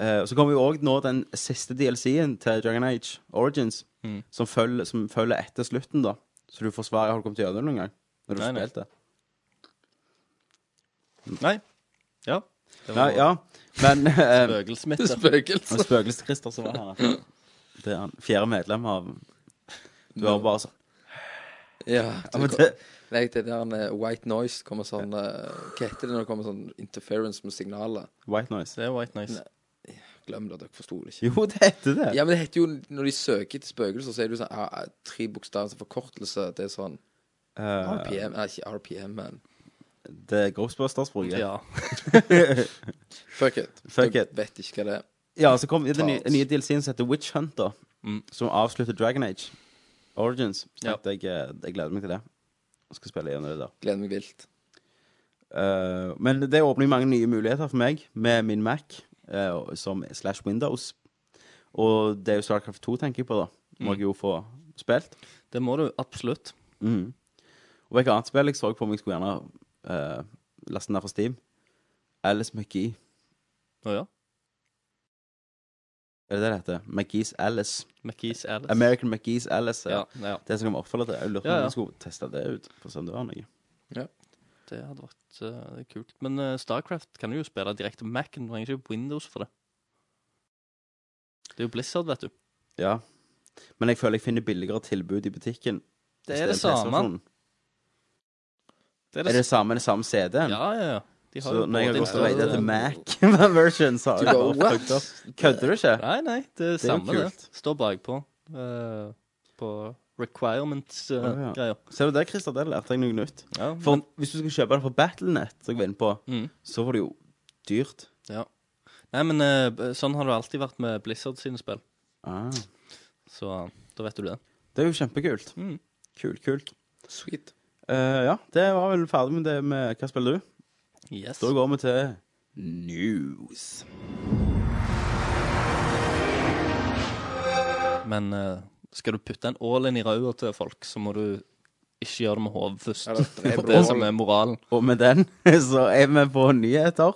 S6: Eh, og så kommer jo òg nå den siste DLC-en til Dragon Age Origins,
S7: Mm.
S6: som, følger, som følger etter slutten, da. Så du får svar. Har du kommet gjennom det noen gang? Når du
S7: Nei,
S6: har
S7: nei.
S6: spilt det?
S7: Nei. Ja. Det
S6: Nei, ja. Men eh,
S7: Spøkelsesmitte.
S6: Det
S8: Spøkelse.
S6: var Spøkelseskrister som var her. Det er han fjerde medlem av Du hører bare sånn
S8: Ja.
S6: Ja, men det,
S8: Nei, det der eh, white noise kommer sånn eh, Hva heter det når det kommer sånn interference med signalet?
S6: White noise.
S7: Det er white nice.
S8: Glem det, dere forsto det ikke.
S6: Jo, det heter det.
S8: Ja, men det heter jo Når de søker etter spøkelser, så er det jo sånn ah, ah, tre bokstaver som forkortelse. Det er sånn
S6: Eh,
S8: RPM Nei, ikke RPM, men
S6: det er Ghostbusters-bruket. Ja.
S7: Ja.
S8: Fuck it.
S6: Fuck
S8: Jeg
S6: it.
S8: Vet ikke hva det er.
S6: så kom den nye, nye DLC-en som heter Witch Hunter, som avslutter Dragon Age Origins. Så
S7: Ja.
S6: tenkte jeg, eh, jeg gleder meg til det. Jeg skal spille gjennom det der.
S8: Gleder meg vilt.
S6: Eh, men det åpner jo mange nye muligheter for meg med min Mac eh, og- som slash Windows. Og det er jo Starcraft 2 tenker jeg på, da.
S7: Mm.
S6: Må jeg jo få spilt.
S7: Det må du absolutt.
S6: Mm. Og hvilket annet spill jeg så på om jeg skulle gjerne eh, laste den ned fra Steam? Alice McGee.
S7: Å ja.
S6: Er det det det heter? McGee's Alice.
S7: McKees Alice.
S6: American McGee's Alice.
S7: Ja,
S6: Ja.
S7: ja.
S6: Det som kommer oppfølger til. Jeg lurte på
S7: Ja,
S6: om
S7: ja.
S6: jeg skulle teste det ut. For sånn det var noe.
S7: Det hadde vært eh, kult. Men eh, Starcraft kan du jo spille direkte på Mac-en. Du trenger ikke Windows for det. Det er jo Blizzard, vet du.
S6: Ja. Men jeg føler jeg finner billigere tilbud i butikken.
S7: Det
S6: hvis
S7: er det
S6: en
S7: samme.
S6: PlayStation.
S7: Det
S6: Er det samme, det samme CD-en?
S7: Ja, ja, ja. De har
S6: Så
S7: jo
S6: når jeg har
S7: både
S6: gått og leid
S7: installert
S6: etter
S7: den.
S6: Mac-version, så har
S8: Du
S6: jeg
S8: bare,
S6: bare
S8: what?
S6: fucked opp. Kødder du ikke?
S7: Nei, nei, det
S6: er
S7: er det
S6: jo
S7: samme, det.
S6: kult.
S7: Står bakpå. eh, på
S6: Å, ja.
S7: requirements-greier.
S6: Ser du det, Christer? Det lærte jeg noe nytt.
S7: ja.
S6: For Hvis du skal kjøpe det fra Battlenet, som jeg var inne på,
S7: Mm.
S6: så var det jo dyrt.
S7: ja. Nei, men eh, sånn har det alltid vært med Blizzard sine spill.
S6: Ah.
S7: Så eh, da vet du det.
S6: Det er jo kjempekult.
S7: Mm.
S6: Kult, kult.
S8: Sweet.
S6: Eh, ja, det var vel ferdig med det med Hva spiller du?
S7: Yes.
S6: Da går vi til news.
S7: Men eh, skal du putte en ål inn i ræva til folk, så må du ikke gjøre det med hodet først.
S8: Eller
S7: Det
S8: tre
S7: er det
S8: blå-
S7: som er moralen.
S6: Og med den så er vi på nyheter.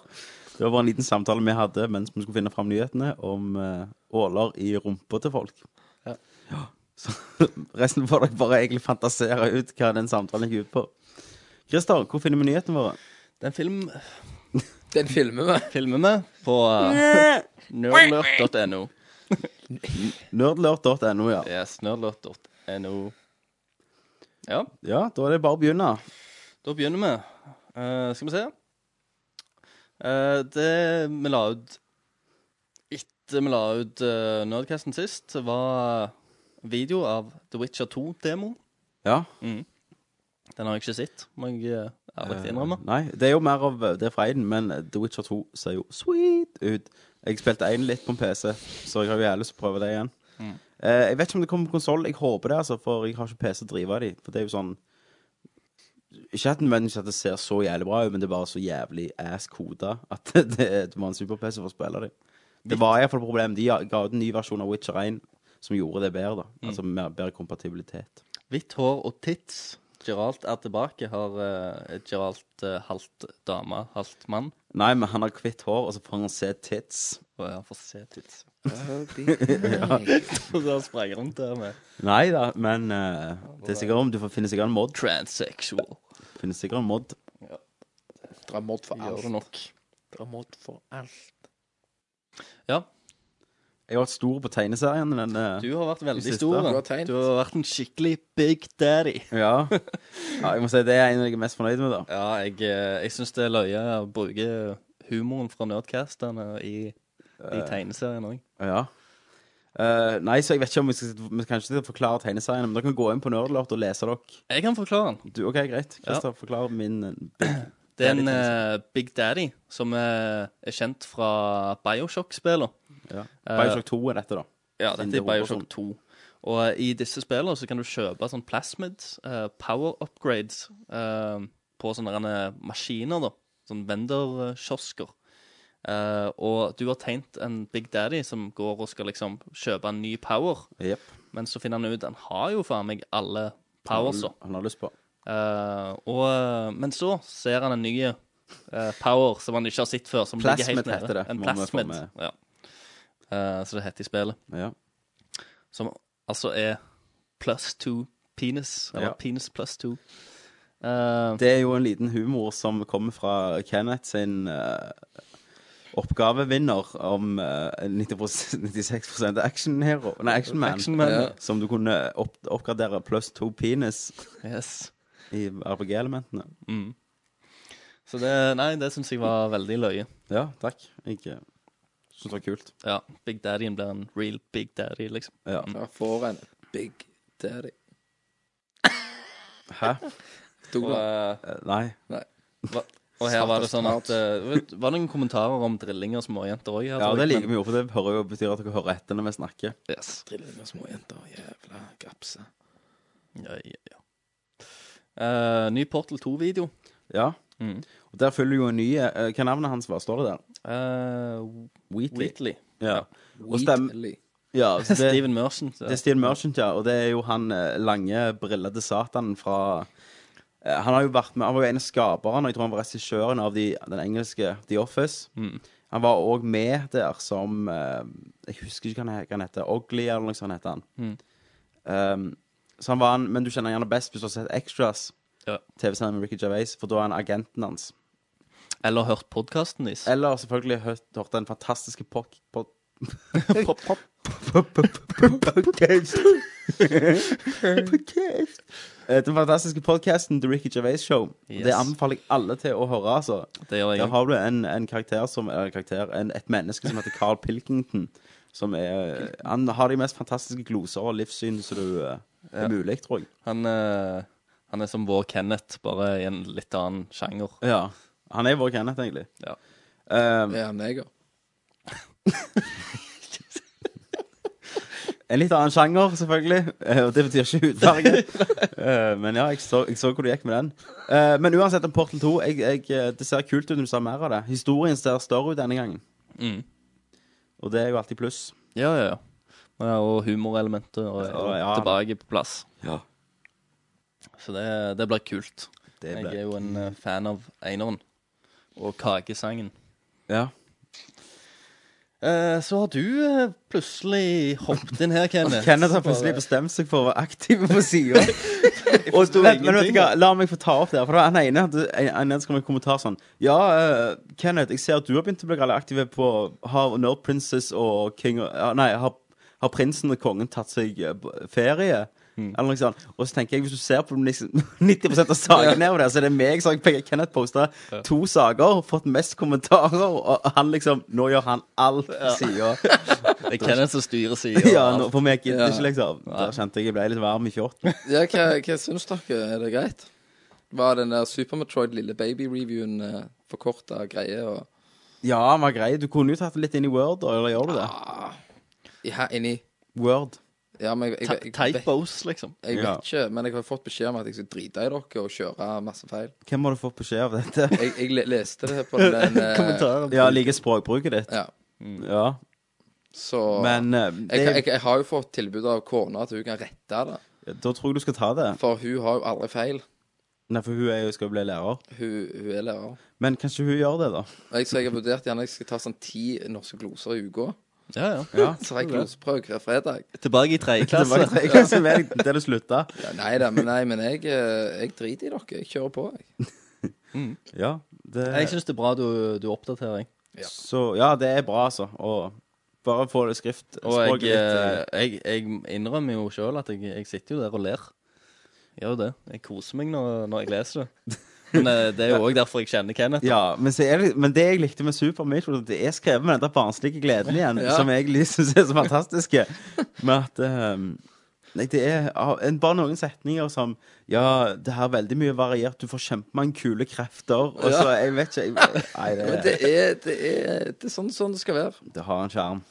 S6: Det var bare en liten samtale vi hadde mens vi skulle finne fram nyhetene, om eh, åler i rumpa til folk.
S7: Ja.
S6: Så resten får dere bare egentlig fantasere ut hva den samtalen gikk ut på. Christer, hvor finner vi nyhetene våre?
S7: Den film
S8: Den filmer vi.
S7: filmer vi på eh, nerdlurt.no.
S6: Nerdlurt.no, ja.
S7: Yes, nerdlurt.no. Ja,
S6: Ja, da er det bare å begynne.
S7: da begynner vi. Eh, skal vi se. Eh, det vi la ut etter vi la ut uh, Nerdcasten sist, var video av The Witcher 2-demoen.
S6: Ja.
S7: Den har jeg ikke sett, må jeg eh, ærlig innrømme.
S6: Nei, det er jo mer av det fra Aiden, men The Witcher 2 ser jo sweet ut. Jeg spilte én litt på en PC, så jeg har jo jævlig lyst til å prøve det igjen. Eh, jeg vet ikke om det kommer på konsoll. Jeg håper det, altså, for jeg har ikke PC å drive av de. For det er jo sånn Ikke at nødvendigvis at det ser så jævlig bra ut, men det er bare så jævlig ass koda at det, du må ha en super-PC for å spille det. Det var iallfall problemet. De ga ut en ny versjon av Witcher 1 som gjorde det bedre. da Altså mer, bedre kompatibilitet.
S7: Hvitt hår og tits. Geralt er tilbake. Har eh, Geralt eh, halvt dame, halvt mann?
S6: Nei, men han har hvitt hår, og så får han se tits.
S7: Og jeg får se tits.
S8: Ja.
S7: Og så sprenger han til med
S6: Nei da, men eh, det er sikkert om du får finne sikkert en mod.
S7: transsexual.
S6: Finnes sikkert en mod.
S8: Dra mod for
S7: Gjør det
S8: alt.
S7: nok.
S8: Dra mod for alt.
S6: Jeg har vært stor på tegneserien. Den, eh,
S7: Du har vært
S6: siste.
S7: veldig stor.
S8: Du har
S7: da.
S8: tegnet.
S7: Du har vært en skikkelig big daddy.
S6: ja. ja, jeg må si det er en av de jeg er mest fornøyd med, da.
S7: Ja, jeg, eh, jeg syns det er løye å bruke humoren fra Nerdcasterne i, i tegneserien òg.
S6: Ja. Eh, nei, så jeg vet ikke om vi skal sitte- vi kan ikke sitte og forklare tegneseriene, men dere kan gå inn på Nerdlort og lese dere.
S7: Jeg kan forklare den.
S6: Du, OK, greit. Christer, forklar min eh,
S7: Det er en
S6: Daddy-tegneserie.
S7: eh, Big Daddy som er, er kjent fra Bioshock-spillene.
S6: ja.
S7: Eh,
S6: Bioshock 2 er dette, da.
S7: Ja, dette er
S6: Siden det er
S7: Bioshock 2. Og eh, i disse spillene så kan du kjøpe sånn plasmids, eh, power upgrades, eh, på sånne derne maskiner, da. Sånn vendorkiosker. Eh, og du har tegnet en Big Daddy som går og skal liksom kjøpe en ny power,
S6: sånn. Jep.
S7: men så finner han ut han har jo faen meg alle powersa.
S6: Han har lyst på.
S7: Eh, og, eh, men så ser han en ny eh, power som han ikke har sett før. Som ligger helt
S6: Plasmid
S7: nede.
S6: heter det,
S7: En
S6: må vi få
S7: plasmid.
S6: med.
S7: Ja. Eh, så det heter i spillet.
S6: Ja.
S7: Som altså er plus two penis. Eller
S6: Ja.
S7: penis plus two. Eh,
S6: Det er jo en liten humor som kommer fra Kenneth sin eh, oppgavevinner om eh, 90%, 96 action hero Nei, action man. eh,
S7: Action Man, ja.
S6: Som du kunne opp, oppgradere pluss to penis
S7: yes.
S6: i RPG-elementene.
S7: Så det, nei, det syns jeg var veldig løye.
S6: Ja, takk. Jeg eh, syns det var kult.
S7: Ja, Big Daddy-en blir en real Big Daddy, liksom.
S6: Ja.
S8: Her får en Big Daddy.
S6: Hæ?
S8: Tok
S7: Og,
S8: den.
S7: eh,
S6: Eh, Nei.
S7: og her var det sånn at eh, vet, Var det noen kommentarer om drillinger og småjenter òg?
S6: Ja, det liker vi jo, for det hører jo, betyr at dere hører etter når vi snakker.
S7: Yes.
S8: Drillende små jenter. Jævla gapse.
S7: Ja, ja, ja. Eh, ny Portal 2-video.
S6: Ja.
S7: Mm.
S6: Og der følger jo en ny eh, Hva navnet hans var? Står det der?
S7: Uh,
S6: Wheatley.
S7: Wheatley.
S6: Ja. Og
S8: Weed
S6: stem-
S8: Ellie.
S6: ja så det,
S7: Steven Merchant.
S6: Det er Steel Merchant, ja. Og det er jo han eh, lange, brillete satanen fra eh, Han har jo vært med, han var jo en av skaperne, og jeg tror han var regissøren av de, den engelske The Office. Han var òg med der som eh, Jeg husker ikke hva han he- hva han heter. Ogley, eller noe sånt heter han. Um, så han var han, Men du kjenner han gjerne best hvis du har sett Extras.
S7: Ja.
S6: TV-serien med Ricky Gervais, for da er han agenten hans.
S7: Eller hørt podkasten deres.
S6: Eller selvfølgelig hørt, hørt den fantastiske pop... pop Eh, Den fantastiske podcasten The Ricky Gervais Show.
S7: Yes.
S6: Det anbefaler jeg alle til å høre. altså.
S7: Det gjør jeg
S6: Der
S7: òg.
S6: har du en, en karakter som eller en karakter, en, et menneske som heter Carl Pilkington. Som er, han har de mest fantastiske gloser og livssyn som du eh, er mulig, tror jeg.
S7: Han, eh, han er som vår Kenneth, bare i en litt annen sjanger.
S6: Ja. Han er vår Kenneth, egentlig.
S7: Ja.
S6: Eh,
S8: Er han neger?
S6: en litt annen sjanger, selvfølgelig. eh, Og det betyr ikke hudfarge. Eh, men ja, jeg så, jeg så hvor det gikk med den. Eh, men uansett om Portal 2 jeg, jeg, eh, Det ser kult ut når du ser mer av det. Historien ser større ut denne gangen.
S7: Mm.
S6: Og det er jo alltid pluss.
S7: Ja, ja, ja. Ja, og humorelementet og, og
S6: Ja, ja.
S7: tilbake på plass.
S6: Ja.
S7: Så det, det blir kult.
S6: Det
S7: Jeg
S6: ble,
S7: er jo en eh, fan av Eineren og Kakesangen.
S6: ja.
S7: Eh, så har du eh, plutselig hoppet inn her, Kenneth.
S6: Kenneth har plutselig bestemt seg for å være aktiv på sida. Og du, men, men vet du hva, la meg få ta opp det. her, For det var en ene hadde- en- en ene skrev en kommentar sånn Ja, eh, Kenneth, jeg ser at du har begynt å bli veldig aktiv på Har Nerd Princess og King of- ja, Nei, har, har prinsen og kongen tatt seg eh, b- ferie?
S7: Hmm.
S6: Eller noe sånt. Og så tenker jeg, hvis du ser på liksom 90 av sakene her, og der, så er det meg som har- Kenneth posta to saker, fått mest kommentarer, og han liksom Nå gjør han alt på sida.
S7: Det er Kenneth som styrer siden.
S6: Ja, nå, for meg gidder
S8: Ja.
S6: ikke, liksom. Da kjente jeg jeg ble litt varm i kjorten.
S8: Ja, hva, hva syns dere? Er det greit? Var den der Super Metroid lille baby-reviewen eh, forkorta greie og
S6: Ja, den var grei. Du kunne jo tatt det litt inn i Word, da, eller gjør du det?
S8: Ja, inni
S6: Word.
S8: Ja, men jeg, jeg, jeg, jeg, vet,
S7: Typos, liksom.
S8: jeg
S6: Ja.
S8: vet ikke, men jeg har fått beskjed om at jeg skal drite i dere og kjøre masse feil.
S6: Hvem har du fått beskjed av dette?
S8: Jeg, jeg le- leste det på den eh,
S6: Ja, jeg liker språkbruket ditt.
S8: Ja,
S6: Ja.
S8: så
S6: Men eh, det,
S8: jeg, jeg, jeg har jo fått tilbud av kona at hun kan rette det,
S6: da tror jeg du skal ta det.
S8: for hun har jo aldri feil.
S6: Nei, for hun er jo skal bli lærer.
S8: Hun, hun er lærer.
S6: Men kanskje hun gjør det, da?
S8: Og jeg, så jeg har vurdert gjerne jeg skal ta sånn ti norske gloser i uka.
S7: Ja, ja.
S6: Ja.
S8: Så har jeg gloseprøve hver fredag.
S7: Tilbake i tredje
S6: Det var
S7: klasse.
S6: i tredje klasse med deg der det slutta.
S8: Ja, nei da, men, nei, men jeg, eh, jeg driter i dere. Jeg kjører på, jeg.
S6: Ja, det
S7: Jeg syns det er bra du, du oppdaterer. jeg.
S6: Så ja, det er bra, altså. Og bare få det skrift
S7: Og
S6: språket
S7: jeg, eh,
S6: ditt,
S7: jeg, jeg innrømmer jo sjøl at jeg, jeg sitter jo der og ler. Jeg gjør jo det. Jeg koser meg når, når jeg leser det. Men eh, det er jo òg derfor jeg kjenner Kenneth.
S6: Ja, men, så er det, men det jeg likte med Super Metroid, at det er skrevet med den der barnslige gleden igjen,
S8: Ja.
S6: som jeg syns er så fantastiske. Med at ehm, Nei, det er ah, en, bare noen setninger som Ja, det her er veldig mye variert. Du får kjempemange kule krefter. Og så, jeg vet ikke jeg, Nei,
S8: Men
S6: det,
S8: det er, det er, det er sånn, sånn det skal være.
S6: det har en sjarm.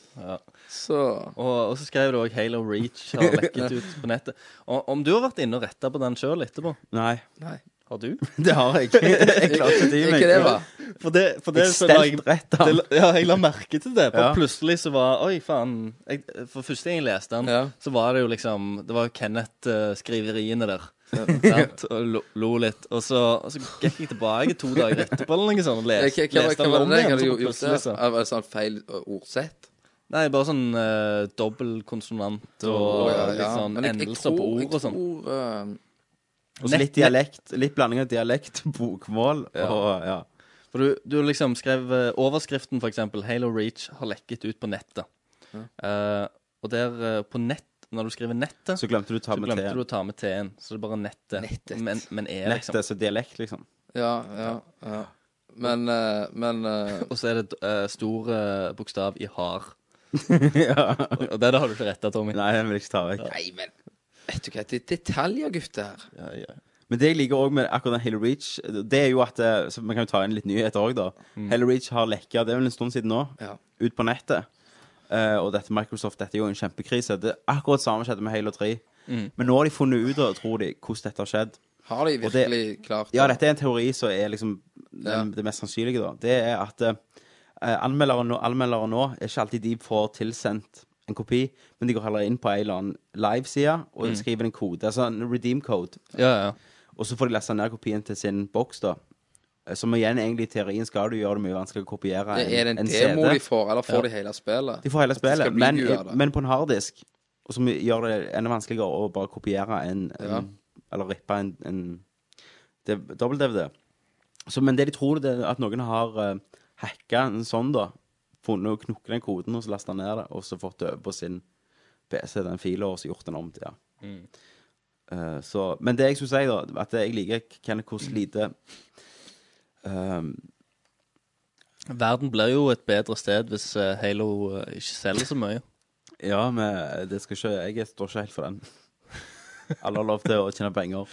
S8: Så
S7: Og, og så skrev du òg Halo Reach har lekket ut på nettet. Og, om du har vært inne og retta på den sjøl etterpå?
S6: Nei,
S8: Nei.
S7: Har du?
S6: det har jeg ikke. Jeg klarte ikke å dy
S8: Er
S6: meg.
S8: ikke det, hva?
S7: For det, for det
S6: Jeg
S7: så la jeg,
S6: stelte rett av.
S7: det la- Ja, jeg la merke til det. For
S6: Ja.
S7: plutselig så var Oi, faen. Jeg, for første gang jeg leste den,
S8: Ja.
S7: så var det jo liksom Det var jo Kenneth-skriveriene der. Sant? Og lo, lo litt. Og så, og så gikk jeg tilbake to dager etterpå eller noe sånt og
S8: Hva,
S7: leste,
S8: hva, hva,
S7: leste
S8: hva var
S7: den om
S8: det jeg
S7: igjen.
S8: hadde
S7: Så
S8: jo-
S7: bare
S8: gjort
S7: plutselig
S8: der?
S7: så
S8: Er det sånn feil ø, ordsett?
S7: Nei, bare sånn uh, dobbel konsonant og litt sånn
S8: Men jeg- jeg
S7: endelser på
S8: tror-
S7: ord og sånn.
S8: Jeg tror ø,
S6: Og så litt dialekt. Litt blanding av dialekt, bokmål og ja.
S7: For du, du liksom skrev eh, overskriften, for eksempel, 'Halo Reach har lekket ut på nettet'. Eh, og der eh, på nett, når du skriver 'nettet',
S6: Så glemte du å ta
S7: så
S6: med
S7: glemte
S6: T-en.
S7: du å ta med T-en. Så det er bare nettet.
S8: Nettet.
S7: Men, men E, liksom.
S6: Nettet, så dialekt, liksom.
S8: Ja, ja. ja. Men, ø, men ø,
S7: Og så er det eh, stor eh, bokstav i har.
S6: ja.
S7: Og og det har du ikke retta, Tommy.
S6: Nei, den vil jeg ikke ta vekk.
S8: Nei, men Vet du hva, det er detaljer, gutter. her.
S7: Ja, ja.
S6: Men det jeg liker også med akkurat den Halo Reach, det er jo at eh, så Man kan jo ta inn litt nyheter òg, da. Halo Reach har lekka, det er vel en stund siden nå,
S8: Ja.
S6: ut på nettet. Eh, og dette Microsoft dette er jo en kjempekrise. Det er akkurat samme skjedde med Halo 3. Men nå har de funnet ut, da, tror de, hvordan dette har skjedd.
S8: Har de
S6: Og det-
S8: virkelig klart
S6: Ja, dette er en teori som er liksom den,
S8: Ja.
S6: det mest sannsynlige, da. Det er at eh, anmeldere, nå, anmeldere nå er ikke alltid de får tilsendt en kopi, men de går heller inn på ei eller annen liveside og skriver en kode. Altså en redeem code.
S7: ja, ja.
S6: Og så får de lese ned kopien til sin boks, da. Eh, Som igjen egentlig i teorien skal du gjøre det mye vanskeligere å kopiere
S8: Er er det
S6: en,
S8: en
S6: en
S8: demo
S6: CD.
S8: de får, eller får de hele spillet?
S6: De får hele
S8: At det skal
S6: spillet,
S8: bli
S6: men,
S8: gøy av det.
S6: men på en harddisk. Og som gjør det enda vanskeligere å bare kopiere en, en Eller rippe en, en dev- dobbelt-DVD. Så, Men det de tror, det er at noen har uh, hacka en sånn, da. Funnet og knukket den koden, og så lasta ned det, og så fått det over på sin PC, den fila, og så gjort den om til ja.
S8: Mm.
S6: Eh, så, men det jeg skulle si, da, at jeg liker Kenneth hvordan lite ehm,
S7: Verden blir jo et bedre sted hvis eh, Halo eh, ikke selger så mye.
S6: Ja, men det skal ikke Jeg står ikke helt for den. Alle har lov til å tjene penger.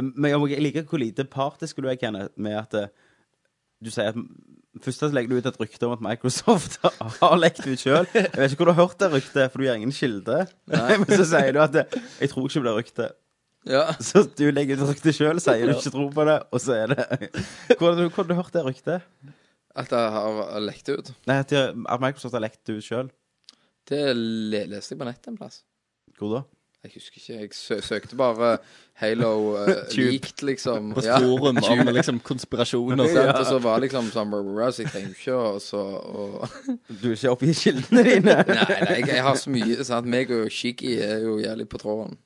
S6: Men jeg må- jeg liker hvor lite partisk du er, Kenneth, med at eh, du sier at Først så legger du ut et rykte om at Microsoft har lekt ut sjøl. Jeg vet ikke hvor du har hørt det ryktet, for du gir ingen kilde. Men så sier du at det, 'jeg tror ikke på det ryktet'.
S8: Ja.
S6: Så du legger ut et rykte sjøl, sier du ikke tror på det, og så er det Hvor har du, hvor har du hørt det ryktet?
S8: At det har lekt ut.
S6: Nei, at de- at Microsoft har lekt ut sjøl.
S8: Det le leste jeg på nettet en plass.
S6: Hvor da?
S8: Jeg husker ikke. Jeg sø søkte bare Halo eh,
S6: Tube.
S8: leaked, liksom.
S7: På et
S8: Ja.
S7: forum om liksom, konspirasjoner.
S8: Sant? Og så var det liksom sånn brr, brr, brr, Så jeg trenger ikke å så, og...
S6: Du er ikke oppgi kildene dine?
S8: Nei, nei, jeg, jeg har så mye. sant? Meg og Shigi er jo jævlig på tråden.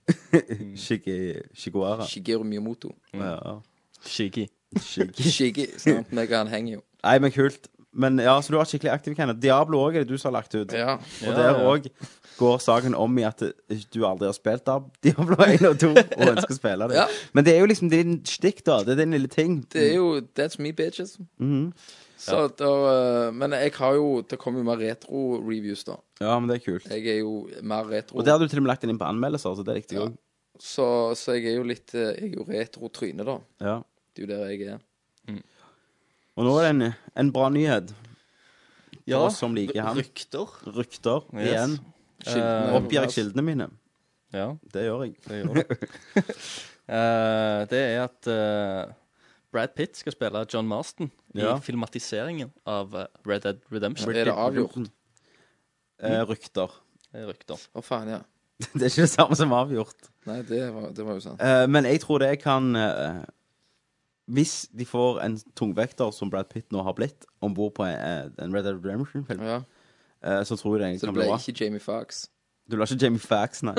S6: Shiki, Shiguara.
S8: Shigeru Miyamoto.
S6: Ja.
S7: Shiki.
S8: Shigi. sant? Meg og han henger jo.
S6: Nei, men kult. Men ja, Så du har vært skikkelig aktiv, Kenneth. Diablo òg er det du som har lagt ut.
S8: Ja.
S6: Og der òg går saken om i at du aldri har spilt av Diablo 1 og 2 og ønsker å spille det.
S8: Ja.
S6: Men det er jo liksom din stikk, da. Det er din lille ting.
S8: Det er jo That's me, bitches.
S6: Mm-hmm.
S8: Så da, eh, men jeg har jo Det kommer jo mer retro-reviews, da.
S6: Ja, men det er kult.
S8: Jeg er jo mer retro.
S6: Og der har du til og med lagt den inn på anmeldelser, så det likte jeg òg.
S8: Så, så jeg er jo litt eh, Jeg er jo retro-tryne, da.
S6: Ja.
S8: Det er jo der jeg er.
S6: Og nå er det en, en bra nyhet for
S7: Ja.
S6: oss som liker han.
S7: Rykter.
S6: Rykter
S7: Yes. Eh,
S6: igjen.
S8: Skiltene.
S6: Oppgir jeg kildene mine?
S7: Ja.
S6: Det gjør jeg.
S7: Det gjør det. Eh, det er at eh, Brad Pitt skal spille John Marston
S6: Ja.
S7: i filmatiseringen av eh, Red Dead Redemption.
S8: Er det avgjort?
S6: Eh, rykter.
S7: Det er rykter.
S8: Å, faen, ja.
S6: Det er ikke det samme som avgjort.
S8: Nei, det var, det var jo sant.
S6: Eh, men jeg tror det kan eh, Hvis de får en tungvekter som Brad Pitt nå har blitt, om bord på en, en Red Dead Redemption-film,
S8: Ja.
S6: eh, så tror jeg det egentlig
S8: Så det
S6: kan bli
S8: ble
S6: bra.
S8: ikke Jamie Fox.
S6: Du lar ikke Jamie Fax, nei.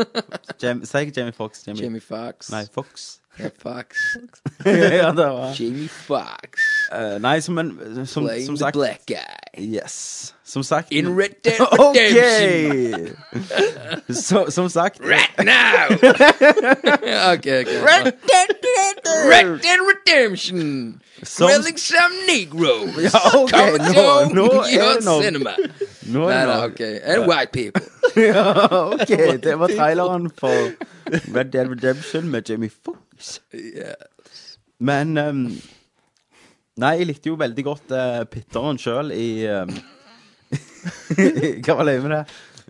S6: Jam, si ikke Jamie Fox. Jamie,
S8: Jamie Fox.
S6: Nei, Fox.
S8: Ja, Fox.
S6: ja, det var
S8: Jamie Fox.
S6: Eh, Nei, som en Som,
S8: Playing
S6: som
S8: the
S6: sagt
S8: black guy.
S6: Yes. Som sagt
S8: In Red Dead Redemption.
S6: OK! Så, som sagt
S8: Now! ok, ok. Red Dead Redemption.
S6: som,
S8: Grilling some negro.
S6: Ja, OK, nå, nå er
S8: eh,
S6: det noe.
S8: cinema.
S6: Nå
S8: Nei,
S6: er det
S8: nei,
S6: noe.
S8: ok. And white people.
S6: Ja, ok, det var traileren for Red Dead Redemption med Jamie Foxx.
S8: Yeah.
S6: Men ehm, Nei, jeg likte jo veldig godt eh, Pitteren sjøl i ehm, Hva var løye med det?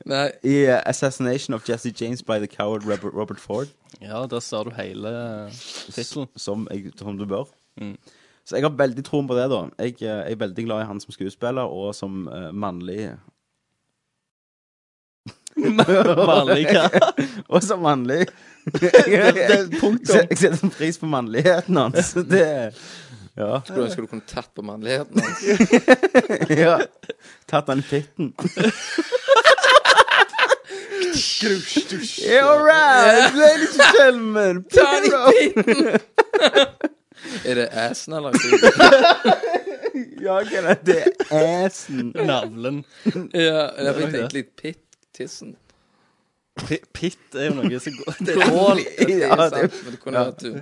S8: Nei,
S6: I eh, 'Assassination of Jesse James by the Coward Robert, Robert Ford',
S7: Ja, der sa du hele eh, tittelen.
S6: som, jeg, som du bør.
S7: Mm.
S6: Så jeg har veldig troen på det, da. Jeg eh, er veldig glad i han som skuespiller, og som eh, mannlig
S7: Vanlig hva?
S6: Og som mannlig.
S7: punktum.
S6: Jeg setter en pris på mannligheten hans. Det Ja.
S8: du ønsker du kunne tatt på mannligheten hans.
S6: ja. Tatt han i pitten. Yeah, all right, ladies and gentlemen.
S8: Er det assen, eller? ja,
S6: Ja, hva er det? Det er assen.
S7: Navlen.
S8: jeg fikk tenkt litt pitt. Tissen.
S7: P- Pitt er jo noe som går
S8: Det er dårlig. Det
S6: Ja,
S8: er
S6: det-
S8: sant, men det kunne vært du.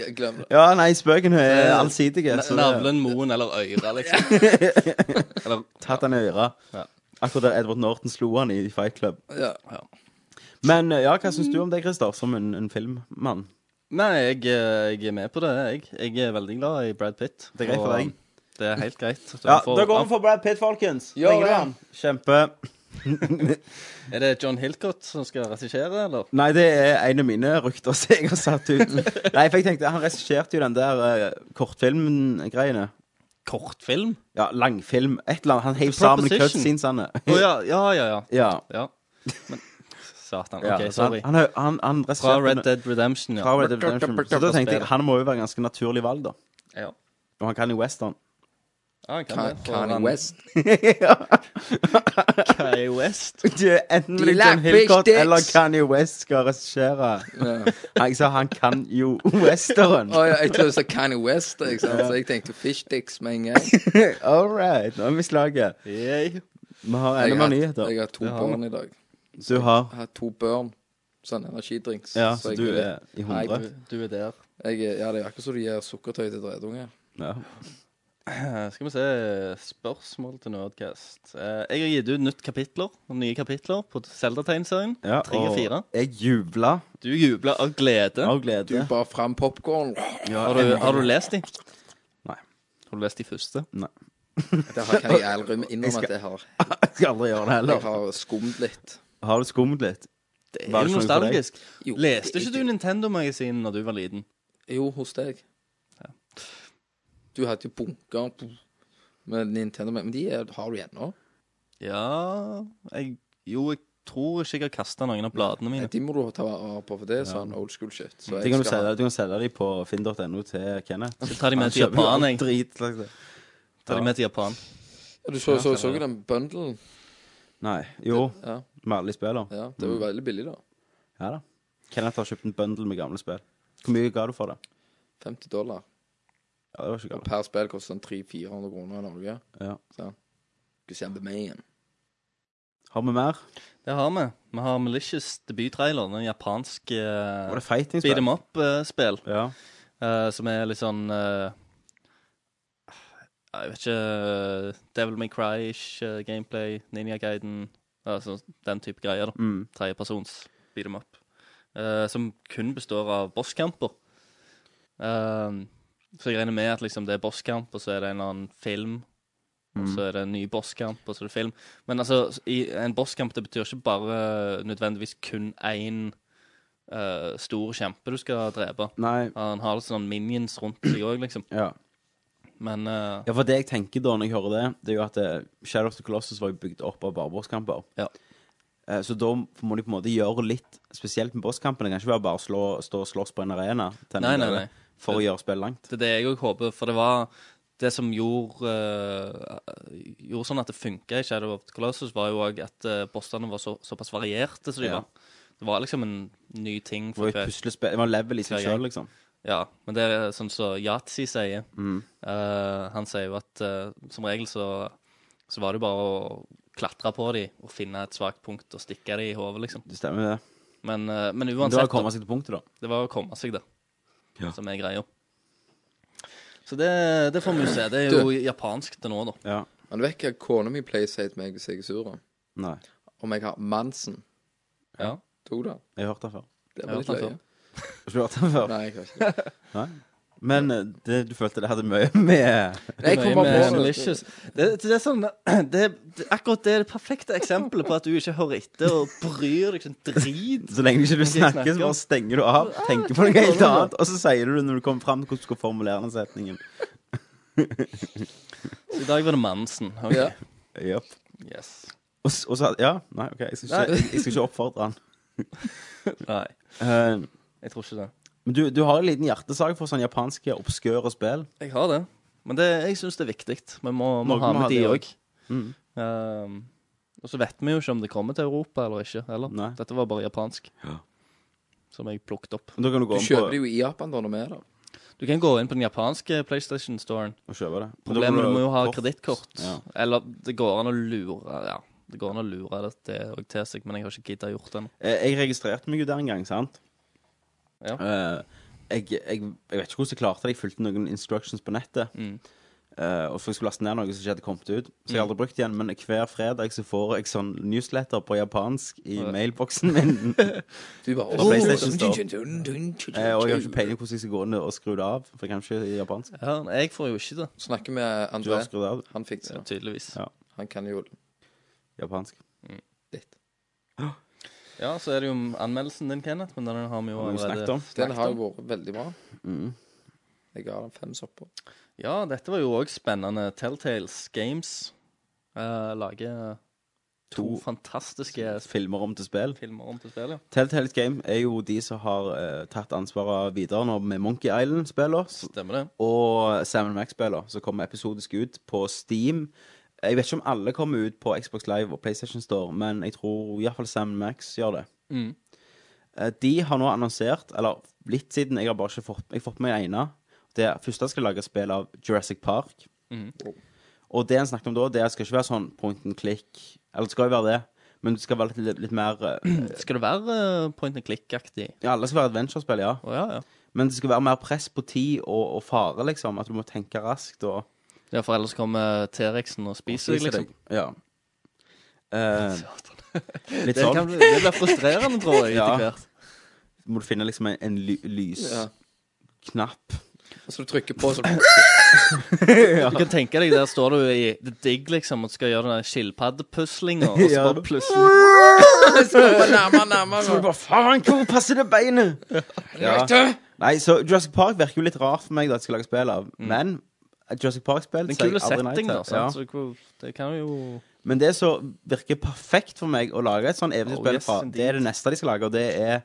S8: Ja, Glem det.
S6: Ja, nei, spøken er allsidig. så det-
S7: Eh, Navlen, moen eller øret, liksom. Eller
S6: Tatt han i øret.
S7: Ja.
S6: Akkurat der Edward Norton slo han i Fight Club.
S8: Ja.
S6: Men eh, ja, hva syns du om det, Christer, som en, en filmmann?
S7: Nei, jeg, eh, jeg er med på det, jeg. Jeg er veldig glad i Brad Pitt.
S6: Det er greit for
S7: og
S6: deg.
S7: Det er helt greit. Så
S6: Ja,
S7: han får-
S6: da går vi for Brad Pitt, folkens.
S8: Gjør
S6: Ringer
S8: det.
S6: du han? Kjempe.
S7: Er det John Hilcott som skal regissere, eller?
S6: Nei, det er en av mine rykter som jeg har satt ut. Nei, for jeg tenkte, Han regisserte jo den der uh, kortfilmgreiene.
S7: Kortfilm?
S6: Ja, langfilm. Et eller annet. Han heiv sammen
S7: Proposition.
S6: cutscenesene.
S7: Å ja, ja, ja. ja.
S6: ja.
S7: ja. Men Satan.
S6: ja,
S7: OK,
S6: så
S7: sorry.
S6: Han, han, han, han
S7: Fra
S6: regisserte
S7: Red Dead Redemption, ja.
S6: Fra Red Dead Redemption. Så da tenkte jeg han må jo være ganske naturlig valg, da.
S7: ja.
S6: Og han kan jo western.
S7: Ja, han kan det, for
S8: Kanye
S7: han-
S8: West.
S6: ja.
S7: Kanye West.
S6: Du, enten vil
S8: De
S6: John
S8: lack
S6: Hillcott
S8: big dicks.
S6: eller Kanye West skal regissere. Jeg sa han kan jo western.
S8: Å ja, jeg trodde du sa Kanye West, ikke sant? så jeg tenkte fish dicks med en gang.
S6: All right. Nå er vi i slaget.
S7: Yay.
S6: Vi har
S8: Jeg
S6: enda
S8: har,
S6: nyheter.
S8: jeg har to barn i dag.
S6: Så du har
S8: Jeg har to børn. Sånn energidrinks.
S6: Ja,
S8: så
S6: så
S8: jeg-
S6: du er i
S8: Nei,
S7: Du,
S6: 100.
S7: du er der.
S8: Jeg, ja, det er akkurat som du gir sukkertøy til dredunger.
S6: Ja.
S7: Eh, Skal vi se Spørsmål til Nerdcast. Eh, Jeg har gitt ut nytt kapitler, nye kapitler på Zelda-tegneserien.
S6: Ja,
S7: Tre og fire.
S6: jeg jubla
S7: Du jubler av glede.
S6: av
S8: Du
S6: glede.
S8: bare fram popkorn.
S7: Har du, har du lest de?
S6: Nei.
S7: Har du lest de første?
S8: Det har, kan jeg aldri innrømme
S6: skal-
S8: at jeg har.
S6: Jeg skal aldri gjøre det
S8: Jeg
S6: heller.
S8: har skumt litt.
S6: Har du skummet litt?
S7: Det
S6: Var
S7: er
S6: det
S7: jo
S6: sånn for deg?
S7: nostalgisk.
S8: Jo,
S7: Leste
S8: det-
S7: ikke du Nintendo-magasinet når du var liten?
S8: Jo, hos deg. Du hadde jo bunker på- med Nintendo, men de er, har du ennå.
S7: Ja jeg, Jo, jeg tror ikke jeg har kasta noen av bladene mine.
S8: De må du ta vare på, for det er sånn old school shit. Så
S6: Det kan du,
S8: skal ha-
S6: selge, du kan selge dem på finn.no til Kenneth.
S7: Jeg tar de med til
S6: Han kjøper jo alt
S7: Japan, jeg.
S6: Drit,
S8: liksom.
S6: slags det.
S7: Tar de med til Japan.
S8: Ja, Du så jo så,
S6: skal
S8: så
S6: jeg.
S8: den bundlen.
S6: Nei. Jo,
S8: Ja,
S6: med alle spillene.
S8: ja, det var jo veldig billig, da.
S6: Ja da. Kenneth har kjøpt en bundle med gamle spill. Hvor mye ga du for det?
S8: 50 dollar.
S6: Ja, det var ikke galt.
S8: Per spill koster sånn 300-400 kroner i Norge.
S6: Ja.
S8: Skal se om det er meg igjen.
S6: Har vi mer?
S7: Det har vi. Vi har Malicious debuttrailer, en japansk uh,
S6: Var det fighting-spill?
S7: beat em up-spill.
S6: Ja.
S7: Eh, som er litt sånn eh, Jeg vet ikke eh, Devil May Cry-ish eh, gameplay, Ninja Gaiden Altså den type greier. da
S6: Mm.
S7: Tredjepersons beat em up. eh, som kun består av bosskamper. Eh, så jeg regner med at liksom, det er bosskamp, og så er det en eller annen film. Og så er det en ny bosskamp, og så er det film. Men altså, i en bosskamp det betyr ikke bare nødvendigvis kun én eh, stor kjempe du skal drepe.
S6: Nei.
S7: Han har litt sånn minions rundt seg òg, liksom.
S6: Ja.
S7: Men eh,
S6: Ja, for det jeg tenker da når jeg hører det, det er jo at eh, Shadow of the Colossus var jo bygd opp av bare bosskamper.
S7: Ja.
S6: Eh, Så da må de på en måte gjøre litt spesielt med bosskampene. Det kan ikke være bare slå, stå og slåss på en arena til en
S7: Nei, nei,
S6: del,
S7: nei.
S6: for å gjøre spillet langt.
S7: det er det jeg òg håper, for det var det som gjorde, eh, gjorde sånn at det funka i Shadow of the Colossus, var jo òg at eh, bossene var så, såpass varierte som de
S6: Ja.
S7: var. Det var liksom en ny ting.
S6: Det var
S7: For
S6: jo et
S7: hver-
S6: puslespill. Det var level i seg
S7: Hver gang.
S6: sjøl, liksom.
S7: Ja, men det er sånn som Yatzy sier.
S6: Mm.
S7: Eh, han sier jo at eh, som regel så, så var det jo bare å klatre på dem og finne et svakt punkt og stikke dem i hodet, liksom.
S6: Det stemmer, det.
S7: Men, eh, men
S6: Men det
S7: uansett
S6: var å komme seg til punktet, da.
S7: Det var å komme seg der,
S6: Ja.
S7: som er greia. Så det, det får vi jo se. Det er jo
S8: Du.
S7: japansk til nå, da.
S6: Ja.
S8: Men du vet hva kona mi pleier å si til meg hvis jeg er sur? da?
S6: Nei.
S8: Om jeg har Mansen.
S7: Ja.
S8: Tok det?
S6: Jeg har hørt det før.
S8: Det
S7: Ja,
S8: var litt
S7: sant,
S8: løye.
S7: sant.
S6: Har du hørt det før?
S8: Nei, jeg har ikke det.
S6: Men eh, det, du følte det hadde mye med
S8: Nei, Jeg
S7: Nøye
S8: kom bare
S7: med
S8: på det.
S7: malicious. Det, det er sånn det, det, Akkurat det er det perfekte eksempelet på at du ikke hører etter og bryr deg ikke en drit.
S6: Så lenge ikke du
S7: Ikke
S6: snakker, så
S7: snakker.
S6: bare stenger du av, tenker på noe helt annet, og så sier du det når du kommer fram til hvordan du skal formulere den setningen.
S7: Så I dag var det Mansen. ok.
S8: Ja.
S6: Yep.
S7: Yes.
S6: Og, s- og så Ja, nei, OK. Jeg skal ikke,
S7: Nei.
S6: jeg, jeg skal ikke oppfordre han.
S7: Nei,
S6: Eh,
S7: jeg tror ikke det.
S6: men du, du har en liten hjertesak for sånne japanske obskøre spill.
S7: Jeg har det. Men det, jeg syns det er viktig. Vi må, må
S6: Norge
S7: ha
S6: må ha
S7: med de
S6: det Mm.
S7: òg. og så vet vi jo ikke om det kommer til Europa eller ikke. Eller?
S6: Nei.
S7: Dette var bare japansk.
S6: Ja.
S7: Som jeg plukket opp.
S6: Men Da kan du gå
S8: Du
S6: inn på
S8: kjøper det jo i Japan da når vi er der.
S7: Du kan gå inn på den japanske PlayStation-storen.
S6: og kjøpe det. Men da
S7: Problemet er du må jo ha
S6: kort.
S7: kredittkort.
S6: Ja.
S7: Eller det går an å lure Ja, det går an å lure det til- og til seg, men jeg har ikke giddet å gjort det ennå.
S6: Eh, Jeg registrerte meg jo der en gang, sant?
S7: Ja.
S6: Eh, jeg, jeg, jeg vet ikke hvordan jeg klarte det. Jeg fulgte noen instructions på nettet.
S7: Mm.
S6: Eh, og så jeg skulle laste ned noe som ikke hadde kommet ut. Så jeg har aldri brukt det igjen. Men hver fredag så får jeg sånn newsletter på japansk i mailboksen min.
S8: Du bare
S6: På PlayStation Store. Eh, og jeg har ikke
S8: Store.
S6: peiling på hvordan jeg skal gå ned og skru det av. For jeg kan ikke japansk.
S7: Ja, jeg får jo ikke det,
S8: Snakker med
S6: Du har
S8: André.
S6: skrudd av
S8: Han fikser det.
S7: tydeligvis.
S6: Ja.
S7: Ja.
S8: Han kan jo
S6: japansk.
S8: litt.
S7: så er det jo anmeldelsen din, Kenneth, men den har vi jo
S6: Har vi snakket
S7: allerede
S6: om?
S8: Den har jo vært veldig bra.
S6: Mm.
S8: Jeg ga den fem sopper.
S7: Ja, dette var jo òg spennende. Telltales Games eh, lager to,
S6: To.
S7: fantastiske sp-
S6: Filmer om til spill.
S7: filmer om til spill, ja.
S6: Telltale Game er jo de som har eh, tatt ansvaret videre nå med Monkey Island-spiller.
S7: Stemmer det?
S6: og Sam Max-spiller som kommer episodisk ut på Steam. Jeg vet ikke om alle kommer ut på Xbox Live og PlayStation Store, men jeg tror iallfall Sam Max gjør det.
S7: Mm.
S6: Eh, De har nå annonsert, eller litt siden, jeg har bare ikke fått, jeg har fått med ene Det er- første jeg skal lage spill av Jurassic Park. Og det en snakket om da, det skal ikke være sånn point and click. Eller det skal jo være det, Men det skal være litt, litt mer eh,
S7: Skal det være eh, point and click-aktig?
S6: Ja, alle skal være adventure-spill, ja.
S7: Å ja, ja.
S6: Men det skal være mer press på tid og, og fare, liksom. At du må tenke raskt og
S7: Ja, for ellers kommer T-rexen og spiser deg, liksom.
S6: Ja. Eh, litt
S7: Det, kan
S6: sånn.
S7: bli, det blir frustrerende, tror jeg,
S6: Ja.
S7: etter hvert.
S6: Må du finne liksom en, en ly
S8: Ja.
S6: lysknapp.
S8: Og så du trykker på, så
S7: Du kan tenke deg, der står du i The Dig, liksom, og skal gjøre den der skilpaddepuslinga, og så
S6: Ja.
S7: bare plutselig
S8: Nærmere, nærmere.
S6: Du bare Faen, hvor passer det beinet?! Ja.
S8: Tø!
S6: Nei, så Jurassic Park virker jo litt rart for meg da at jeg skal lage spill av, men Jurassic Park-spill
S7: Den
S6: sier
S7: Mm. kule
S6: jeg aldri nei
S7: setting, da.
S6: til.
S7: Sant?
S6: Ja.
S7: Så hvor- det kan jo
S6: Men det som virker perfekt for meg å lage et sånn eventyrspill
S7: Oh, yes,
S6: fra, det er det neste de skal lage, og det er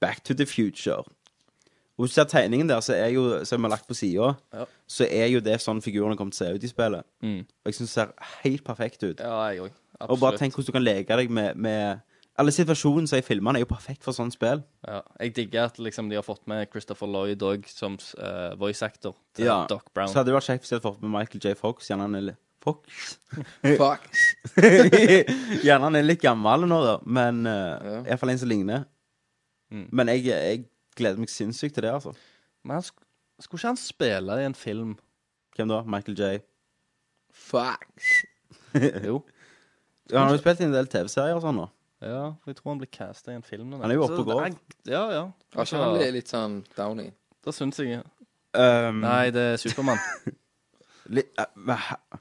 S6: Back to the Future. Og Hvis du ser tegningen der, så er jo, som vi har lagt på sida,
S7: Ja. Mm.
S6: så er jo det sånn figurene kommer til å se ut i spillet. Og jeg syns det ser helt perfekt ut.
S7: Ja, jeg òg.
S6: og bare tenk hvordan du kan leke deg med, med Alle situasjonene som er i filmene, er jo perfekt for sånn spill.
S7: Ja, jeg digger at liksom, de har fått med Christopher Lloyd òg som eh, voice actor til
S6: Ja.
S7: Doc Brown.
S6: Så hadde det vært kjekt hvis jeg hadde fått med Michael J. Fox. Gjerne han er litt Fox.
S8: Fuck.
S6: Gjerne han er litt gammel nå, da, men uh,
S8: Ja.
S6: iallfall en som ligner. Men jeg, jeg gleder meg sinnssykt til det, altså.
S7: Men han sk skulle ikke han spille i en film?
S6: Hvem da? Michael J.
S8: Fuck.
S7: Jo.
S6: Ja, han har jo spilt i en del TV-serier og sånn nå.
S7: Ja, jeg tror han blir casta i en film. nå, da.
S6: Han er jo
S7: Så
S6: oppe og går.
S7: det er- Ja, ja. Altså,
S8: Har ikke han litt- litt sånn downy?
S7: Da syns jeg
S6: Um,
S7: Nei, det er Supermann.
S6: litt, eh, hva-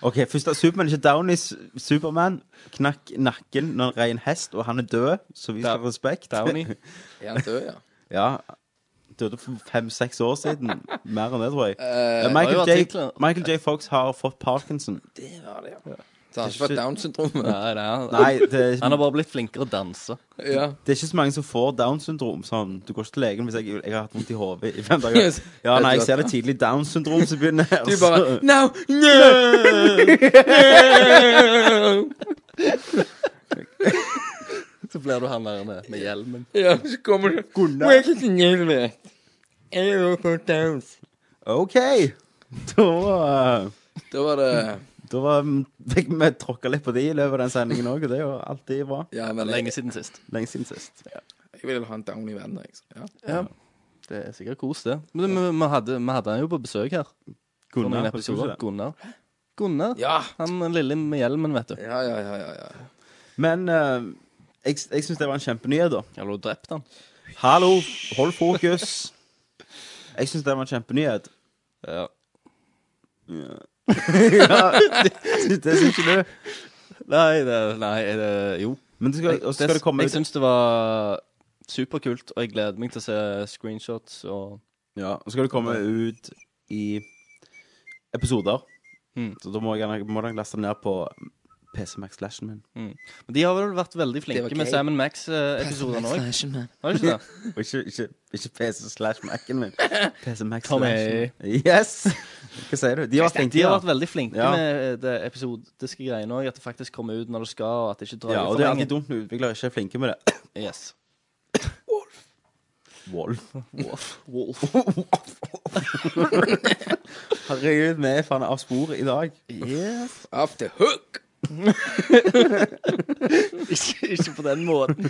S6: OK, først da, Superman er ikke Downey. S- Superman knakk nakken når han rei en hest, og han er død, så vis
S7: Da-
S6: respekt.
S7: Downey.
S8: Er han død, ja?
S6: Ja. Døde for fem-seks år siden. Mer enn det, tror jeg. Eh,
S7: det
S6: Michael,
S7: var jo
S6: J,
S7: artikler.
S6: Michael J. Fox har fått parkinson.
S8: Så han har ikke fått down-syndromet?
S7: Nei, det er,
S6: Nei, det er,
S7: Han har bare blitt flinkere å danse.
S8: Ja.
S6: det er ikke så mange som får Downs syndrom. Sånn. Du går ikke til legen hvis jeg, jeg har hatt vondt i hodet i fem dager.
S8: Yes.
S6: Ja, nei,
S8: Helt
S6: jeg ser det tidlig Downs syndrom som begynner.
S8: Du bare
S6: altså.
S8: No! No!
S7: Så blir du han der med hjelmen.
S8: Ja, så kommer du Gunnar. Jeg er ikke nervøs. Jeg har fått downs.
S6: OK. Da, eh,
S8: Da var det
S6: da var, fikk vi tråkka litt på de i løpet av den sendingen òg, og det er jo alltid bra.
S8: Ja, men jeg,
S7: Lenge siden sist.
S6: Lenge siden sist.
S8: jeg vil ha en downy venn, jeg. så- Ja.
S7: Ja. Det er sikkert kos, det. Men vi, vi, hadde, vi hadde han jo på besøk her. for noen
S6: Gunnar, husker du
S7: episoder.
S6: det?
S7: Gunnar. Gunnar.
S8: Ja.
S7: Han er lille med hjelmen, vet du.
S8: Ja, ja, ja, ja, ja.
S6: Men eh, jeg, jeg syns det var en kjempenyhet, da.
S7: Eller du drepte han.
S6: Hallo, hold fokus. Jeg syns det var en kjempenyhet.
S7: Ja.
S6: Det syns ikke du?
S7: Nei, det, nei det, jo.
S6: Men det skal, og så skal det komme
S7: jeg
S6: ut
S7: syns det var superkult, og jeg gleder meg til å se screenshots og
S6: Ja, og så skal det komme ut i episoder.
S7: Mm.
S6: Så da må jeg gjerne- må dere laste den ned på PC Max-slashen min.
S7: Men de har vel vært veldig
S8: Det
S7: flinke
S8: var
S7: med
S8: gøy.
S7: Sam Max-episodene òg, har de ikke det?
S6: Og ikke, ikke, ikke PC slash Mac-en min. PC
S7: Kom
S6: Max-slashen. Yes! Hva sier du? De har vært flinke.
S7: De har
S6: ja.
S7: vært veldig flinke
S6: Ja.
S7: med eh, det episodiske greiene òg, at det faktisk kommer ut når det skal, og at det ikke drar
S6: Ja,
S7: ut
S6: og
S7: for
S6: det er
S7: lenge.
S6: alltid dumt når utviklere ikke er flinke med det.
S7: Yes.
S6: Wolf.
S7: Wolf. Wolf.
S6: Herregud, vi er faen av sporet i dag.
S7: Yes.
S8: Off the hook!
S7: ikke, ikke på den måten.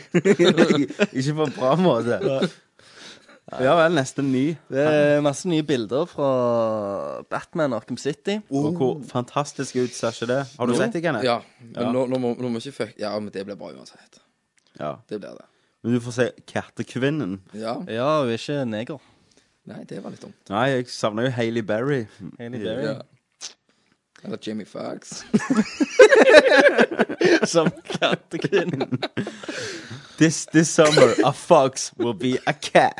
S6: ikke på en bra måte. Ja vel, neste ny.
S7: Det er masse nye bilder fra Batman Arkham City.
S6: Og hvor fantastisk ut ser ikke det? Har du sett det, Kenneth?
S8: Ja, men
S6: Ja.
S8: Nå, nå, må, nå må ikke fuck Ja, men det blir bra uansett.
S6: Ja.
S8: Det blir det.
S6: Men du får se Kattekvinnen.
S8: Ja.
S7: Ja, hun er ikke neger.
S8: Nei, det var litt dumt.
S6: Nei, jeg savner jo Hailey Berry.
S7: Hailey
S6: Ja.
S7: Berry.
S8: Ja. Eller Jimmy Fox.
S7: Som kattekvinnen.
S6: This, this summer, a fox will be a cat.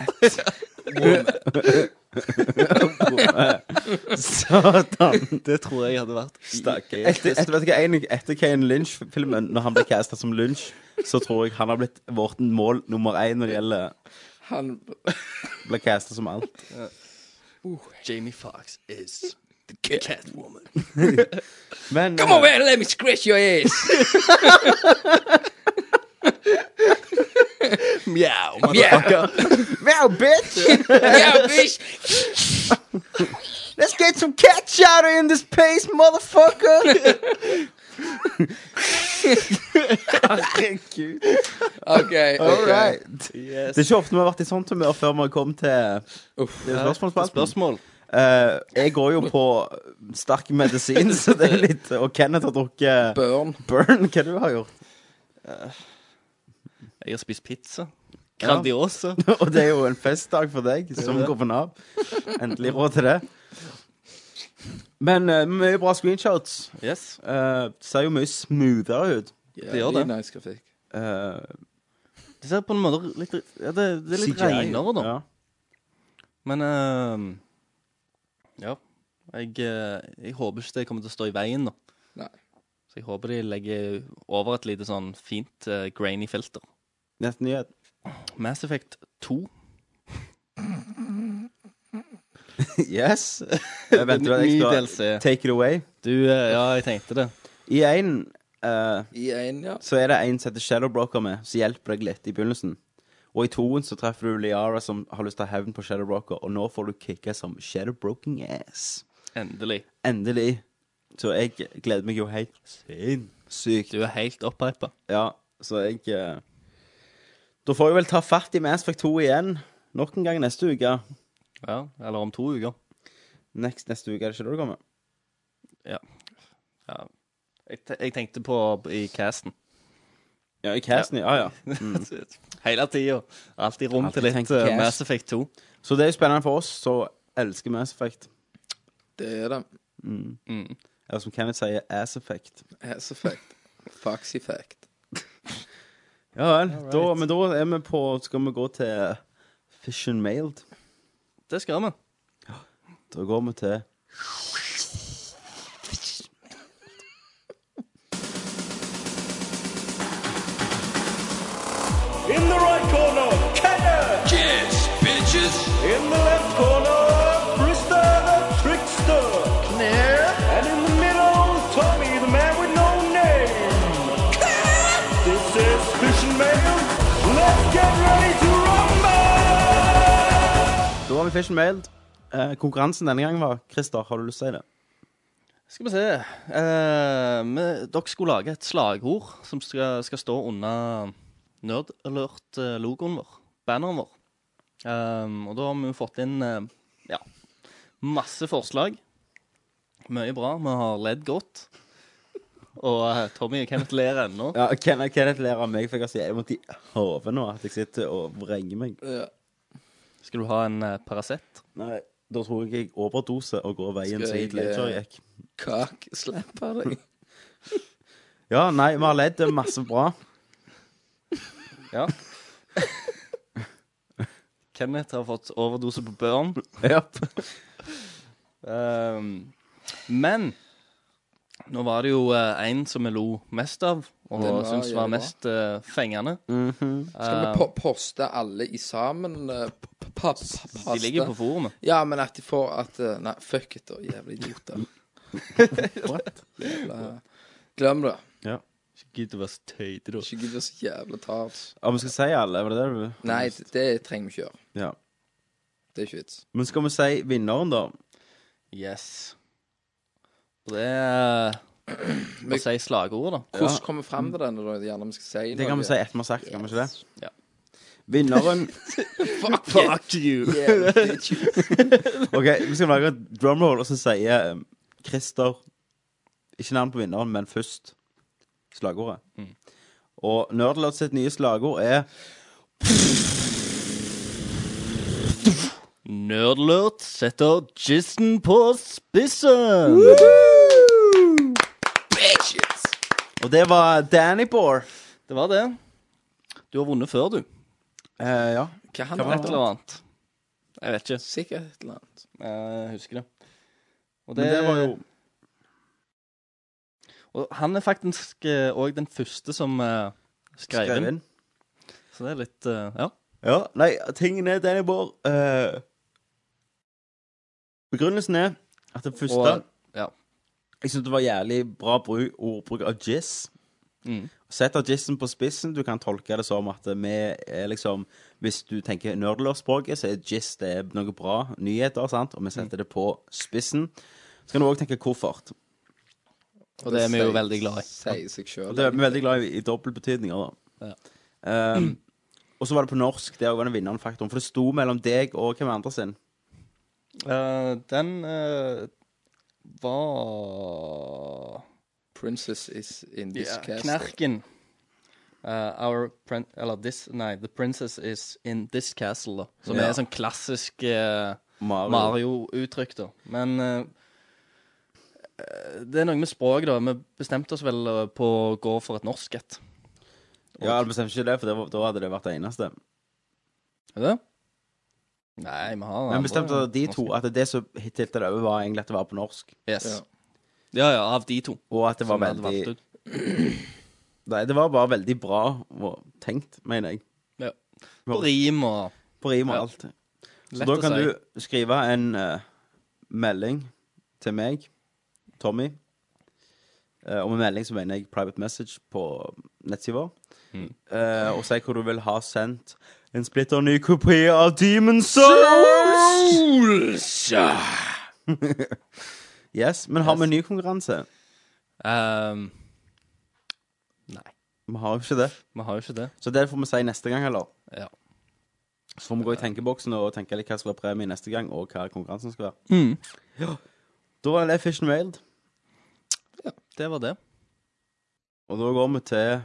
S6: Satan.
S7: Det tror jeg hadde vært
S6: Etter, etter, vet du hva, en- etter Kane Lynch-filmen, når han ble casta som Lynch, så tror jeg han har blitt vårt mål nummer én når det gjelder
S8: Han
S6: å bli casta som alt.
S7: Jamie Fox is the Catwoman.
S6: Men eh,
S8: Come over and let me scratch your ass!
S7: Mjau.
S8: Yeah!
S6: Well, bitch,
S8: yeah, bitch!
S6: let's get some cat chowder in this place, motherfucker!
S8: ok.
S6: Det er ikke ofte vi har vært i sånt humør før vi kom til
S8: Uff.
S6: det er spørsmålsspalten.
S7: Spørsmål?
S6: Eh, jeg går jo på sterk medisin, så det er litt Og Kenneth har drukket
S8: Burn.
S6: Burn. Hva du har gjort?
S7: Jeg har spist pizza. Grandiosa.
S6: Og det er jo en festdag for deg som går på Nav. Endelig råd til det. Men eh, mye bra screenshots.
S7: Yes.
S6: Eh, ser jo mye smoothere ut.
S8: Jævlig
S7: gjør det.
S8: Nice grafikk.
S6: Eh,
S7: Det ser på en måte litt ja, det, det er litt
S6: CGI.
S7: renere, da.
S6: Ja.
S7: Men ehm, Ja. Jeg, eh, jeg håper ikke det kommer til å stå i veien, da.
S8: Nei.
S7: Så jeg håper de legger over et lite sånn fint eh, grainy filter.
S6: Neste nyhet.
S7: Mass Effect 2.
S6: Yes. Jeg venter at jeg
S7: Ny
S6: skal
S7: DLC.
S6: take it away.
S7: Du, eh, ja, jeg tenkte det.
S6: I én eh,
S8: I en, ja.
S6: så er det en som heter Shadowbroker med, som hjelper deg litt i begynnelsen. Og i toen så treffer du Liara som har lyst til å ha hevn på Shadowbroker, og nå får du kicka som Shadowbroking ass.
S7: Endelig.
S6: Endelig. Så jeg gleder meg jo helt sinnssykt.
S7: Du er helt opphypa.
S6: Ja, så jeg eh, Da får jeg vel ta fatt i Mass Effect 2 igjen. Nok en gang neste uke.
S7: Ja, eller om to uker.
S6: Next, neste uke, er det ikke da det kommer?
S7: Ja. Jeg, te jeg tenkte på i casten.
S6: Ja, i casten, ja. ja.
S7: Hele tida. Mm. Alltid rom
S6: Alltid
S7: til litt
S6: tenkt
S7: eh,
S6: cast.
S7: Mass Effect 2.
S6: Så det er jo spennende for oss som elsker Mass Effect.
S8: Det er det.
S6: Eller som Kenneth sier, Ass Effect.
S8: Ass effect. Foxy fact.
S6: Ja vel. Da, men da er vi på Skal vi gå til Fish and Mailed?
S7: Det skal vi.
S6: Da går vi til
S10: In the right corner, Kenneth.
S8: Yes, bitches!
S10: In the left corner, Brister the trickster. And in the middle, Tommy, the man with no name. This is Fish and Mail. Let's get ready to rumble!
S6: Da har vi Fish and Mailed. Eh, konkurransen denne gangen var Christer, har du lyst til å si det?
S7: Skal vi se eh, vi, Dere skulle lage et slagord som skal, skal stå under Nerdalert-logoen vår. Banneren vår. Eh, og da har vi jo fått inn eh, ja, masse forslag. Mye bra. Vi har ledd godt. Og eh, Tommy og Kenneth ler ennå.
S6: Ja, Kenneth, Kenneth ler av meg, for jeg har så jævlig vondt i hodet nå at jeg sitter og vrenger meg.
S8: Ja.
S7: Skal du ha en eh, Paracet?
S6: Nei, da tror jeg jeg overdoser og går veien
S8: Skal
S6: som
S8: jeg,
S6: Heath Ledger
S8: eh,
S6: gikk.
S8: Kak slapper deg.
S6: Ja, nei, vi har ledd det er masse bra.
S7: Ja. Kenneth har fått overdose på børn.
S6: Japp.
S7: Ehm, men nå var det jo én som vi lo mest av, og
S8: Den var
S7: syntes var
S8: jævlig bra.
S7: mest eh, fengende.
S8: Skal
S7: Um,
S8: vi po poste alle i sammen? eh, p- p- pa- pa-
S7: De ligger på
S8: Paste.
S7: forumet.
S8: Ja, men at de får at eh, Nei, fuck it, da. Jævla idioter. Jævla- Glem det.
S7: Gud, hva så tøyte du
S8: Ikke gidd å være så jævla tart.
S6: Ja, vi skal si alle, var det det du
S8: Nei, det, det trenger vi ikke gjøre.
S6: Ja.
S8: Det er ikke vits.
S6: Men skal vi si vinneren, da?
S7: Yes. Og det er Å si slagordet, da.
S8: Hvordan kommer vi frem til den? da? Gjerne vi skal si noe.
S6: Det kan vi si etter vi har sagt, kan vi ikke det?
S7: Ja.
S6: Vinneren
S8: Fuck,
S7: Fuck you!
S8: yeah, bitch.
S6: OK, vi skal lage et drumroll, og så sier um, Christer Ikke navn på vinneren, men først slagordet.
S7: Mm.
S6: Og Nerdlot sitt nye slagord er
S7: Nerdlurt setter gisten på spissen!
S6: Og det var Danny Boar.
S7: Det var det. Du har vunnet før, du.
S6: Eh, ja.
S8: Hva
S7: Et
S8: handler det
S7: eller
S8: om?
S7: annet. Jeg vet ikke.
S8: Sikkert et eller annet.
S7: Jeg husker det. Og
S6: Men det var jo
S7: Og han er faktisk òg den første som eh, skrev,
S6: skrevet
S7: inn.
S6: inn.
S7: Så det er litt eh, Ja.
S6: Ja, nei, tingen er Danny Boar eh, Begrunnelsen er at det første
S7: Og- ja.
S6: Jeg syns det var jævlig bra bru, ordbruk av jizz.
S7: Mm.
S6: Setter jizzen på spissen. Du kan tolke det som at vi er liksom Hvis du tenker nerdlørspråket, så er jizz det er noe bra nyheter, sant? og vi setter det på spissen. Så kan du òg tenke koffert.
S7: Og det er vi jo veldig glad i.
S8: Sier seg
S6: Og
S8: sjøl.
S6: det er vi veldig glad i, i dobbeltbetydninger, da.
S7: Ja.
S6: Ehm, Og så var det på norsk. Der var det vinneren faktoren. For det sto mellom deg og hvem andre sin.
S7: Eh, den eh, var
S8: Princess is in this
S7: Ja,
S8: castle.
S7: Knerken. Eh, our prin Eller this Nei, The Princess is in this castle, da. Som
S6: Ja.
S7: er sånn klassisk eh,
S6: Mario.
S7: Mario-uttrykk, da. Men eh, eh, det er noe med språket, da. Vi bestemte oss vel eh, på å gå for et norsk et.
S6: Ja, jeg bestemte ikke det, for det var, da hadde det vært det eneste.
S7: Er det? Nei, vi har
S6: Men
S7: andre
S6: bestemte de
S7: norske.
S6: to at det som tilte det over, var egentlig at det var på norsk.
S7: Yes. Ja. ja, av de to.
S6: Og at det var
S7: som vi hadde valgt
S6: veldig
S7: ut.
S6: Nei, det var bare veldig bra og tenkt, mener jeg.
S7: Ja. På rim og
S6: På rim og
S7: Ja.
S6: alt. Så
S7: Lett
S6: da
S7: å
S6: kan
S7: si.
S6: du skrive en eh, melding til meg, Tommy. Eh, og med melding så mener jeg private message på nettsida vår.
S7: Hmm.
S6: Eh, og si hvor du vil ha sendt en splitter ny kopi av Demon Souls! yes, men har vi ny konkurranse?
S7: Ehm, Nei,
S6: Vi har jo ikke det.
S7: vi har jo ikke det.
S6: Så det får vi si neste gang, heller.
S7: Ja.
S6: Så får vi gå i tenkeboksen og tenke litt hva som skal være premie neste gang, og hva konkurransen skal være.
S7: Mm.
S6: Ja. Da var det Fish and Wailed,
S7: Det var det.
S6: og da går vi til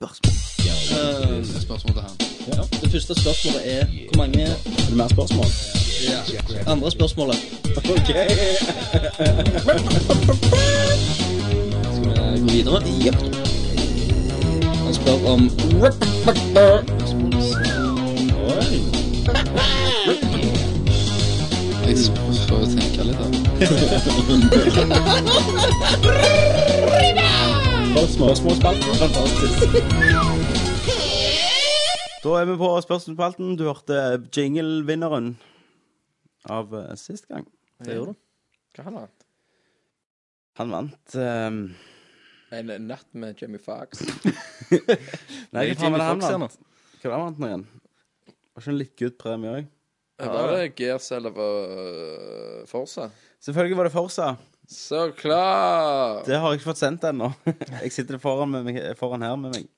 S6: spørsmål.
S7: Det første spørsmålet er hvor mange
S6: Er det mer spørsmål?
S7: andre spørsmålet. Ok. Skal vi gå videre? Jepp. Han spør om
S8: Jeg s- får tenke litt, da.
S6: Da er vi på spørsmålspalten. Du hørte jingle-vinneren av eh, sist gang.
S7: Det gjorde du.
S8: Hva handler det
S6: Han vant eh,
S8: om? En natt med Jamie Foxx.
S6: Nei,
S7: Det er
S6: hva faen var det
S7: Jamie
S6: han
S7: Foxx her nå.
S6: vant? Hva var det han vant nå igjen? Var ikke en litt good premie òg?
S8: Var det Gears eller eh, var Forsa?
S6: Selvfølgelig var det Forsa.
S8: Så klart!
S6: Det har jeg ikke fått sendt ennå. Jeg sitter foran, med meg, foran her med meg.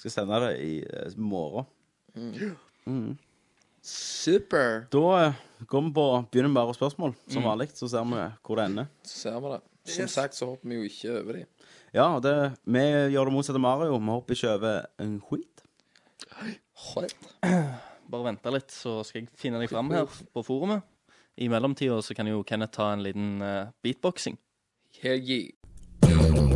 S6: Skal sende det i eh, morgen.
S8: Super!
S6: Da eh, går vi på begynner med bare spørsmål,
S7: Mm.
S6: som vanlig. Så ser vi hvor det ender.
S8: Så ser vi det. Som sagt så hopper vi jo ikke over de.
S6: Ja, det, vi gjør det motsatte av Mario. Vi hopper ikke over en skit.
S7: Bare vente litt, så skal jeg finne deg fram her på forumet. I mellomtida så kan jo Kenneth ta en liten eh, beatboxing.
S8: Hell yeah.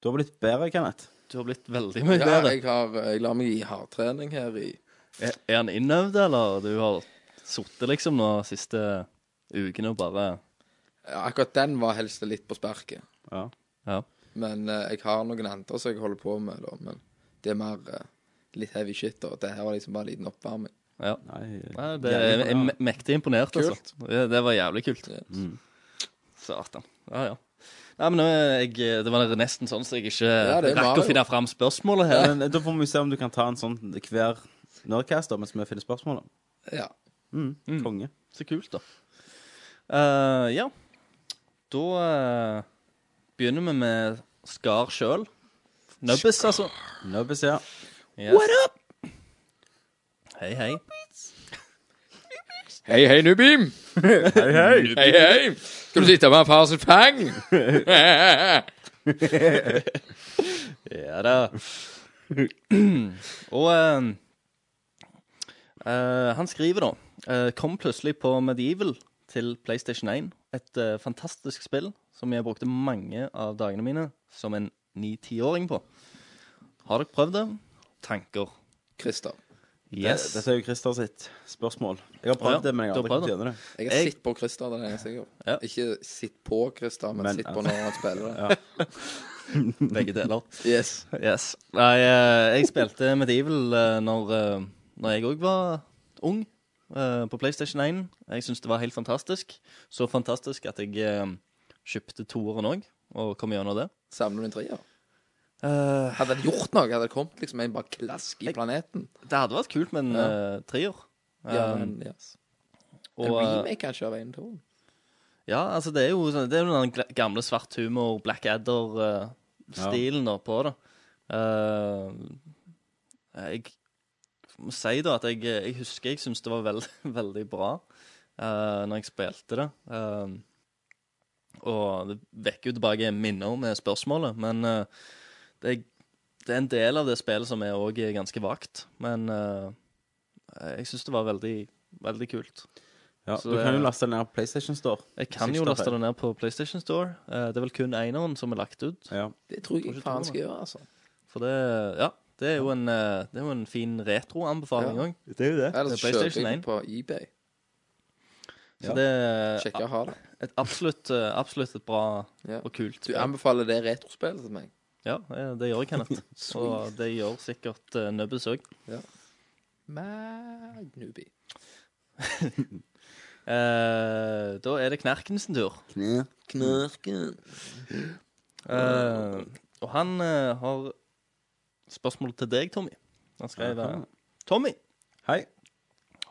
S6: Du har blitt bedre, Kenneth.
S7: Du har blitt veldig mye
S8: Ja,
S7: bedre.
S8: jeg, har, eh, jeg la meg i hardtrening her i
S7: Er er han innøvd, eller? Du har sittet liksom nå siste ukene og bare
S8: Ja, Akkurat den var helst litt på sparket.
S6: Ja.
S7: Ja.
S8: Men eh, jeg har noen andre som jeg holder på med, da. Men det er mer eh, litt heavy shit, da. Det her var liksom bare en liten oppvarming.
S7: ja.
S6: Nei, eh,
S7: Nei, det er, jeg er me- mektig imponert, altså. Det, det var jævlig kult.
S8: Mm.
S7: Satan. Ja, ja. Nei, men nå er jeg, det var nesten sånn så jeg ikke
S8: det er
S7: rakk
S8: Mario.
S7: å finne fram spørsmålet
S6: Ja,
S7: her.
S6: men da får vi se om du kan ta en sånn hver Nerdcast da, mens vi finner spørsmål. da.
S8: Ja.
S6: Mm. Konge.
S7: Så kult, da. Eh, ja. Da eh, begynner vi med Skar sjøl. Nubbes, altså.
S6: Nubbis, ja.
S7: What up? Hei, hei.
S8: Hei, hei, Nubim! hei, hei. hei, hei! Skal du sitte med en far sin fang?
S7: Ja da. Og eh, eh, han skriver da eh, Kom plutselig på Medieval til PlayStation 1. Et eh, fantastisk spill som jeg brukte mange av dagene mine som en ni-tiåring på. Har dere prøvd det? Tanker.
S8: Christer.
S6: Eh,
S7: Yes.
S6: Dette er jo Christer sitt spørsmål. Jeg har prøvd
S7: Ja,
S6: det, men jeg har
S7: du
S6: aldri
S7: har prøvd
S6: kommet
S7: det.
S6: gjennom det.
S8: Jeg har
S7: Jeg-
S8: sett på Christer, det er det eneste jeg gjør.
S7: Ja.
S8: Ikke sitt på Christer, men, altså.
S6: Men-
S8: sitt på når han spiller det.
S7: Begge deler.
S8: Yes.
S7: Yes. Nei, eh, jeg spilte Medieval eh, når, eh, når jeg òg var ung, eh, på PlayStation 1. Jeg syns det var helt fantastisk. Så fantastisk at jeg eh, kjøpte toeren òg, og kom gjennom det.
S8: Savner du en treer?
S7: Eh,
S8: Hadde det gjort noe? Hadde det kommet liksom en bare klask i
S7: Jeg-
S8: planeten?
S7: det hadde vært kult med en
S8: Ja.
S7: eh, trier.
S8: Ja,
S7: Eh,
S8: men, yes.
S7: og,
S8: en
S7: eh,
S8: remake kanskje av en to?
S7: Ja, altså det er jo, sånn- det er jo den gla- gamle svart humor, Black Adder-stilen da på det. Eh, jeg må si da at jeg, jeg husker jeg syntes det var veld, veldig bra uh, når jeg spilte det. Eh, og det vekker jo tilbake minner med spørsmålet, men eh, det, er, det er en del av det spillet som er òg ganske vagt. Men eh, jeg syns det var veldig, veldig kult.
S6: Ja,
S7: Så
S6: du
S7: det-
S6: kan jo laste den ned på PlayStation Store.
S7: Jeg kan jo
S6: Six
S7: laste
S6: Star
S7: det ned på PlayStation Store. Eh, Det er vel kun eneren som er lagt ut.
S6: Ja.
S8: Det tror jeg
S7: Kanskje
S8: ikke faen
S7: to,
S8: skal gjøre, altså.
S7: For det, ja, det er jo en, eh, det er jo en fin retroanbefaling
S8: Ja.
S7: òg. Det er jo det.
S8: Eller så kjøper jeg
S7: PlayStation
S8: den
S7: 1.
S8: på eBay.
S7: Så det er
S8: Sjekker og har det.
S7: et absolutt, eh, absolutt et bra
S8: Ja.
S7: og kult
S8: Du
S7: spill.
S8: anbefaler det retrospillet til meg?
S7: Ja, eh, det gjør jeg, Kenneth. Og det gjør sikkert uh, Nubbes òg.
S8: Magnubi.
S7: Eh, da er det Knerken sin tur.
S8: Knarken.
S7: Eh, og han eh, har spørsmål til deg, Tommy. Han skrev eh,
S6: Aha.
S7: Tommy,
S6: Hei.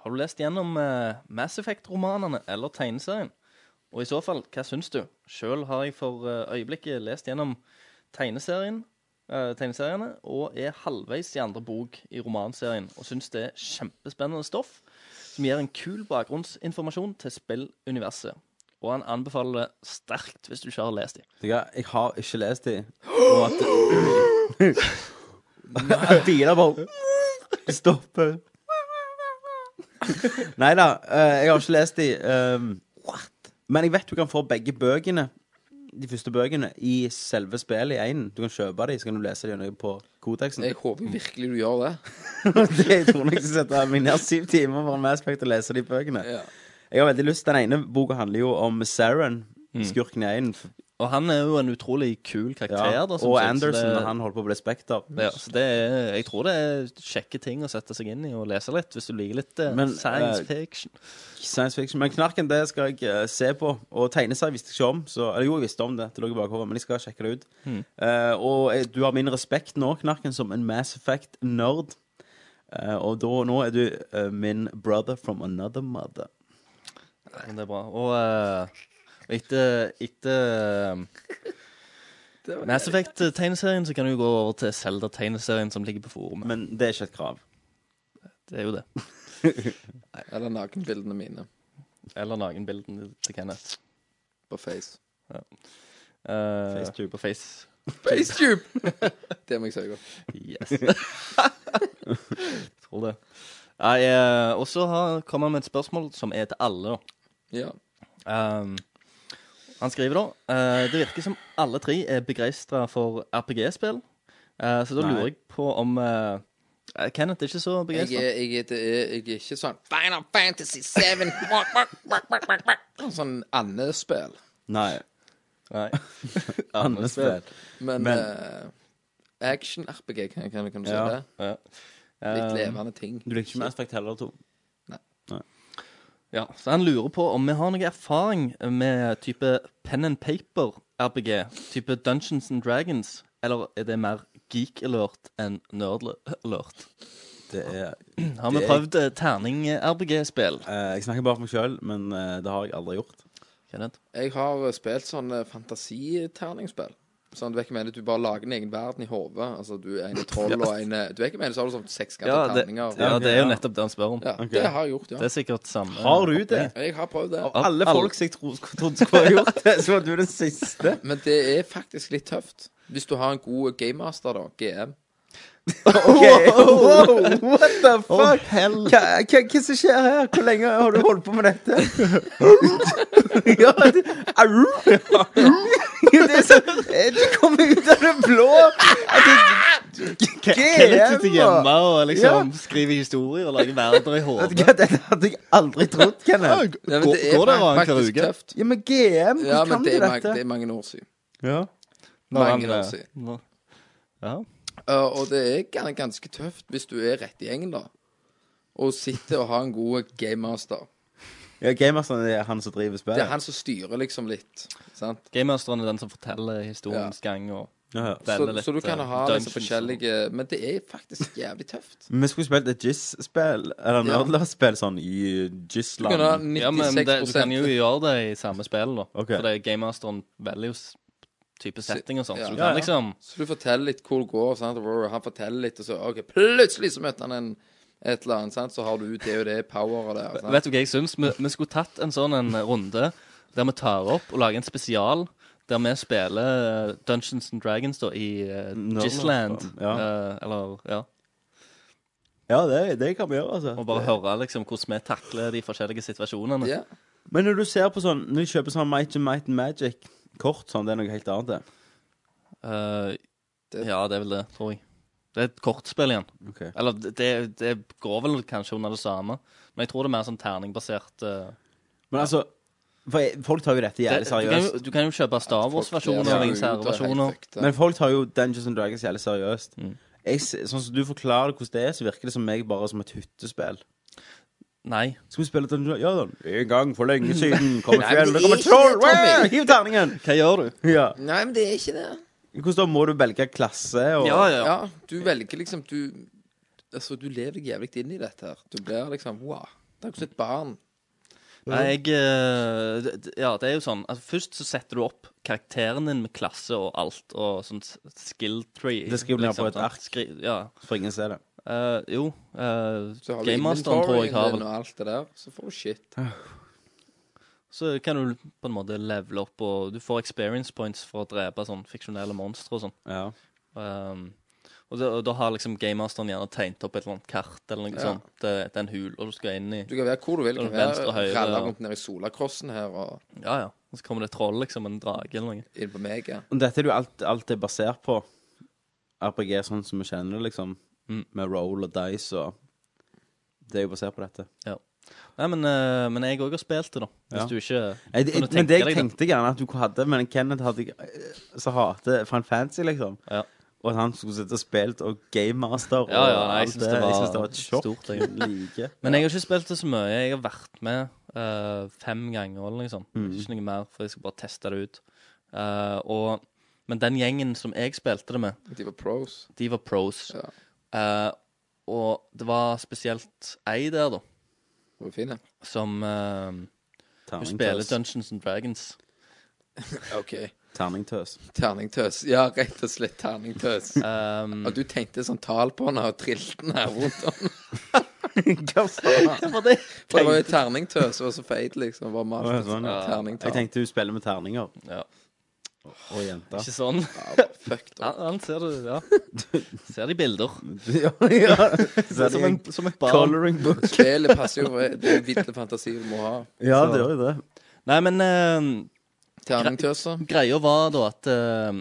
S7: har du lest gjennom eh, Mass Effect-romanene eller tegneserien? Og i så fall, hva syns du? Sjøl har jeg for eh, øyeblikket lest gjennom tegneserien, eh, tegneseriene og er halvveis i andre bok i romanserien og syns det er kjempespennende stoff som gir en kul bakgrunnsinformasjon til spilluniverset. Og han anbefaler det sterkt hvis du ikke har lest dem.
S6: Det er- Jeg har ikke lest de. Og at Biler bare stopper. Nei da, eh, jeg har ikke lest de. ehm, Men jeg vet du kan få begge bøkene, de første bøkene, i selve spillet i én. Du kan kjøpe de, så kan du lese de gjennom på kodeksen.
S8: Jeg håper virkelig du gjør det.
S6: det, jeg tror nok jeg skal sette meg ned syv timer for en Mass Effect og lese de bøkene.
S8: Ja.
S6: Jeg har veldig lyst Den ene boka handler jo om Saren,
S8: Mm.
S6: skurken i én.
S7: Og han er jo en utrolig kul karakter.
S6: Ja,
S7: da, som
S6: og
S7: sagt, så
S6: Anderson,
S7: det-
S6: når han holder på å bli Spekter.
S7: Ja, så det er, jeg tror det er kjekke ting å sette seg inn i og lese litt, hvis du liker litt eh,
S6: Men,
S7: science
S6: eh,
S7: fiction.
S6: Science fiction. Men Knarken det skal jeg eh, se på. Og tegneserier visste jeg ikke om. Så, eller jo, jeg visste om det, det lå i bakhodet, men jeg skal sjekke det ut. Eh, og jeg, du har min respekt nå, Knarken, som en Mass Effect-nerd. Eh, og da, nå er du eh, min brother from another mother.
S7: Men det er bra. Og eh, og etter, etter eh, Mass Effect-tegneserien så kan du gå over til Zelda-tegneserien som ligger på forumet.
S6: Men det er ikke et krav.
S7: Det er jo det.
S8: Eller nakenbildene mine
S7: Eller nakenbildene til Kenneth.
S8: på Face.
S7: Eh,
S6: FaceTube.
S7: På Face.
S8: FaceTube! det må jeg søke opp.
S7: Yes. tror det. Nei, eh, og så har- kommer han med et spørsmål som er til alle, da.
S8: Ja.
S7: Um, han skriver da eh, Det virker som alle tre er begeistra for RPG-spill. Eh, så da
S6: Nei.
S7: lurer jeg på om eh, eh, Kenneth er ikke så
S8: Jeg,
S7: begeistra.
S8: er- jeg, er- det er- jeg er ikke sånn Final Fantasy 7! Wak, wak, wak, wak, wak, wak. Sånn andespill.
S6: Nei.
S7: Nei.
S6: Andre spill.
S8: Men,
S6: Men-
S8: eh, action-RPG, kan, kan, kan du si
S6: Ja.
S8: det?
S7: Ja.
S8: Litt
S7: Eh,
S8: levende ting.
S6: Du liker ikke Mass Effect heller, Tor?
S7: ja, så han lurer på om vi har noe erfaring med type pen and paper-RPG. Type Dungeons and Dragons. Eller er det mer geek-alert enn nerd-alert?
S6: Det er
S7: Har vi
S6: Det-
S7: prøvd eh, terning-RPG-spill?
S6: Eh, Jeg snakker bare for meg sjøl, men eh, det har jeg aldri gjort.
S7: Kenneth?
S8: Jeg har eh, spilt sånn eh, fantasiterningsspill. Sånn, du vet ikke mener, Du bare lager din egen verden i hodet. Altså, du er en troll og en eh, Du vet ikke mener, så har du sånn sekskanta
S7: Ja det,
S8: terninger.
S7: ja, det er jo
S6: Ja.
S7: nettopp det han spør om.
S8: Ja, Det har jeg gjort, ja.
S7: Det er sikkert samme.
S6: Har du det?
S8: Jeg har prøvd det.
S6: Av alle
S7: Alle-
S6: folk som jeg tro- trodde skulle ha gjort det, så var du den siste.
S8: Men det er faktisk litt tøft. Hvis du har en god gamemaster, da. GM.
S6: Okay. Wow, Oh, what the fuck? hva, hva, hva som skjer her? Hvor lenge har du holdt på med dette? ja, det, au! det, er så, det kommer ut av det blå. At det,
S7: Kenneth sitter hjemme
S6: GM,
S7: og liksom skriver historier og lager verdener i
S6: Vet
S7: hodet.
S6: du hva, Dette hadde jeg aldri trodd, Kenneth.
S8: Ja, men
S7: Går-
S8: det er
S7: går det an hver
S8: faktisk
S7: uke?
S8: tøft.
S6: Ja, men GM, hvordan
S8: Ja, men
S6: kan
S8: det
S6: du
S8: er, mange,
S6: dette?
S8: det er mange år siden.
S6: Ja.
S7: Når han,
S8: Mange
S7: eh,
S8: år siden.
S7: når- Ja.
S8: Uh, og det er gan- ganske tøft hvis du er rett i gjengen, da. Og sitter og har en god gamemaster.
S6: Ja, Gamersen er han som driver
S8: Det er
S6: spillet.
S8: han som styrer liksom litt. Sant?
S7: Gamemasteren er den som forteller historiens gang og
S6: Ja, ja.
S8: Så,
S7: velger litt
S8: så du kan
S7: eh,
S8: ha
S7: dungeons
S8: liksom
S7: og-
S8: forskjellige Men det er faktisk jævlig tøft.
S6: Men Vi skulle spilt et Jizz-spill, eller
S8: Ja.
S6: Nerdlast-spill, sånn i
S8: Du kan ha
S6: Jizz-land.
S8: 96
S7: Ja, men det, du kan jo gjøre det i samme spill, da.
S6: Ok.
S7: For det er gamemasteren velger jo s- type setting og sånn.
S8: Ja.
S7: Så du
S8: Ja,
S7: kan
S8: ja.
S7: liksom
S8: Så du forteller litt hvor det går, sant? og han forteller litt, og så ok, plutselig så møter han en et eller annet, sant? så har du det og det poweret der. Sant?
S7: Vet du hva jeg syns? Vi, vi skulle tatt en sånn en runde der vi tar opp og lager en spesial der vi spiller eh, Dungeons and Dragons da i uh,
S6: Nerdland,
S7: Gisland.
S6: ja.
S7: eh, eller ja.
S6: Ja, det, det kan vi gjøre, altså.
S7: Og bare høre liksom hvordan vi takler de forskjellige situasjonene.
S8: Ja.
S6: Men når du ser på sånn Når du kjøper sånn Might and Might and Magic-kort, sånn, det er noe helt annet, det.
S7: Eh,
S8: Det-
S7: Ja, det er vel det, tror jeg. Det er et kortspill igjen.
S6: Ok.
S7: Eller det, det- det går vel kanskje under det samme, men jeg tror det er mer sånn terningbasert. eh,
S6: Men altså for jeg, Folk tar jo dette
S7: det,
S6: jævlig
S7: du, kan jo,
S6: seriøst.
S7: du kan jo kjøpe Star
S8: Folk
S7: Wars-versjoner
S8: der
S7: og Ringens
S8: ser jo ut og er helt
S7: herre-versjoner.
S8: fucked, da.
S6: Men folk tar jo Dungeons and Dragons jævlig seriøst.
S7: Mm.
S6: Jeg, se- sånn som du forklarer hvordan det er, så virker det som meg bare som et hyttespill.
S7: Nei.
S6: Skal vi spille Dungeons and Dragons? Ja, da. En gang for lenge siden kom et
S8: Nei,
S6: fjell,
S8: men
S6: det kom et
S8: det er ikke det,
S6: troll! Wow,
S8: Tommy.
S6: Hiv terningen!
S7: Hva gjør du?
S6: Ja.
S8: Nei, men det er ikke det.
S6: Hvordan da må du velge klasse og
S7: Ja, ja.
S8: Ja, du velger liksom Du altså, du lever deg jævlig inn i dette her. Du blir liksom wow. Det er jo som et barn.
S7: Nei, jeg eh, d- d- Ja, det er jo sånn altså, Først så setter du opp karakteren din med klasse og alt, og sånn s- skill tree.
S6: Det skriver du ned på et
S7: sant?
S6: ark.
S7: Skri, ja.
S6: For ingen ser det.
S7: Eh, jo. eh,
S8: Så har du
S7: Gamemasteren tror jeg
S8: inventoryen
S7: har
S8: din
S7: vel
S8: og alt det der. Så får du shit.
S7: Så kan du på en måte levele opp, og du får experience points for å drepe sånn fiksjonelle monstre og sånn.
S6: Ja.
S7: Um, og, da, og da har liksom gamemasteren gjerne tegnet opp et eller annet kart eller noe
S8: Ja.
S7: sånt. Det, det er en hul, og du skal inn i
S8: Du kan være hvor du vil. Du kan
S7: Venstre,
S8: være
S7: høyre,
S8: ralle
S7: og-
S8: rundt nede i solakrossen her og
S7: Ja, ja. Og så kommer det et troll, liksom. En drage eller noe.
S8: inn på meg. Ja.
S6: Og dette er jo alt, alt er basert på RPG, sånn som vi kjenner det, liksom.
S7: Mm.
S6: Med roll og dice og Det er jo basert på dette.
S7: Nei, men, eh, men jeg òg har spilt det, da. Hvis
S6: Ja.
S7: du ikke
S6: Nei, det,
S7: Kan du
S6: men
S7: tenke
S6: det jeg
S7: deg det?
S6: tenkte gjerne at du hadde Men Kenneth hadde eh, så hater Fan Fancy, liksom.
S7: Ja.
S6: Og at han skulle sitte og spilt og gamemaster og
S7: Ja, ja, nei, jeg
S6: alt
S7: synes det
S6: Jeg
S7: var
S6: synes det var et sjokk.
S7: stort, jeg.
S6: Like.
S7: Men jeg har ikke spilt det så mye. Jeg har vært med eh, fem ganger eller noe sånt. Ikke noe mer, for jeg skal bare teste det ut. Eh, og, men den gjengen som jeg spilte det med,
S8: De var pros.
S7: de var pros.
S8: Ja.
S7: Eh, og det var spesielt ei der, da,
S8: De var fine.
S7: som eh, Hun spiller
S6: Terningtøs.
S7: Dungeons and Dragons.
S8: OK.
S6: Terningtøs.
S8: Terningtøs. Ja, rett og slett terningtøs.
S7: Um,
S8: Og du tenkte sånn tal på henne og trilte den her rundt om.
S6: Hva faen?
S7: det var det.
S8: For det var jo terningtøs, og så feit, liksom. Var malt
S6: Å, ja, sånn, ja. Jeg
S8: terningtall.
S6: tenkte hun spiller med terninger.
S7: Ja.
S6: Og jenter.
S7: Ikke sånn.
S8: Ja, fucked
S7: Han,
S8: up.
S7: han ser du, ja. Ser de bilder.
S6: ja, ja. Så
S7: Som, en, som et barn.
S6: coloring book.
S8: Spillet passer jo for det er ville fantasi du må ha.
S6: Ja,
S7: Så-
S6: det gjør jo det.
S7: Nei, men eh,
S8: Terningtøser.
S7: greia var da at eh,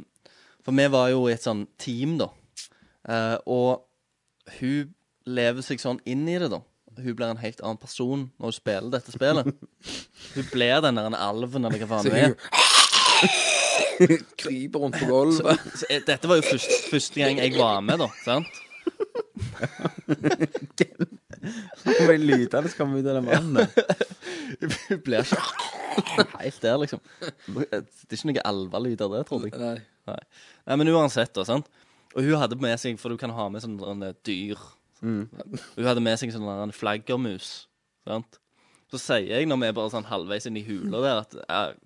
S7: For vi var jo i et sånn team, da. Eh, og hun lever seg sånn inn i det, da. Hun blir en helt annen person når hun spiller dette spillet. Hun blir den der alven, eller hva faen
S8: Så
S7: det er.
S8: hun kryper rundt på gulvet.
S7: Så, eh, dette var jo første, første gang jeg var med, da. sant?
S6: Hvor mye lyder det skal komme ut av den mannen?
S7: Hun blir ikke helt der, liksom. Det er ikke noe alvelyd av det, tror jeg.
S8: Nei.
S7: Nei. Nei, men uansett, da, sant. Og hun hadde med seg, for du kan ha med sånne der, dyr Hun hadde med seg sånn der en flaggermus, sant. Så sier jeg, når vi er bare sånn halvveis inn i hula der, at jeg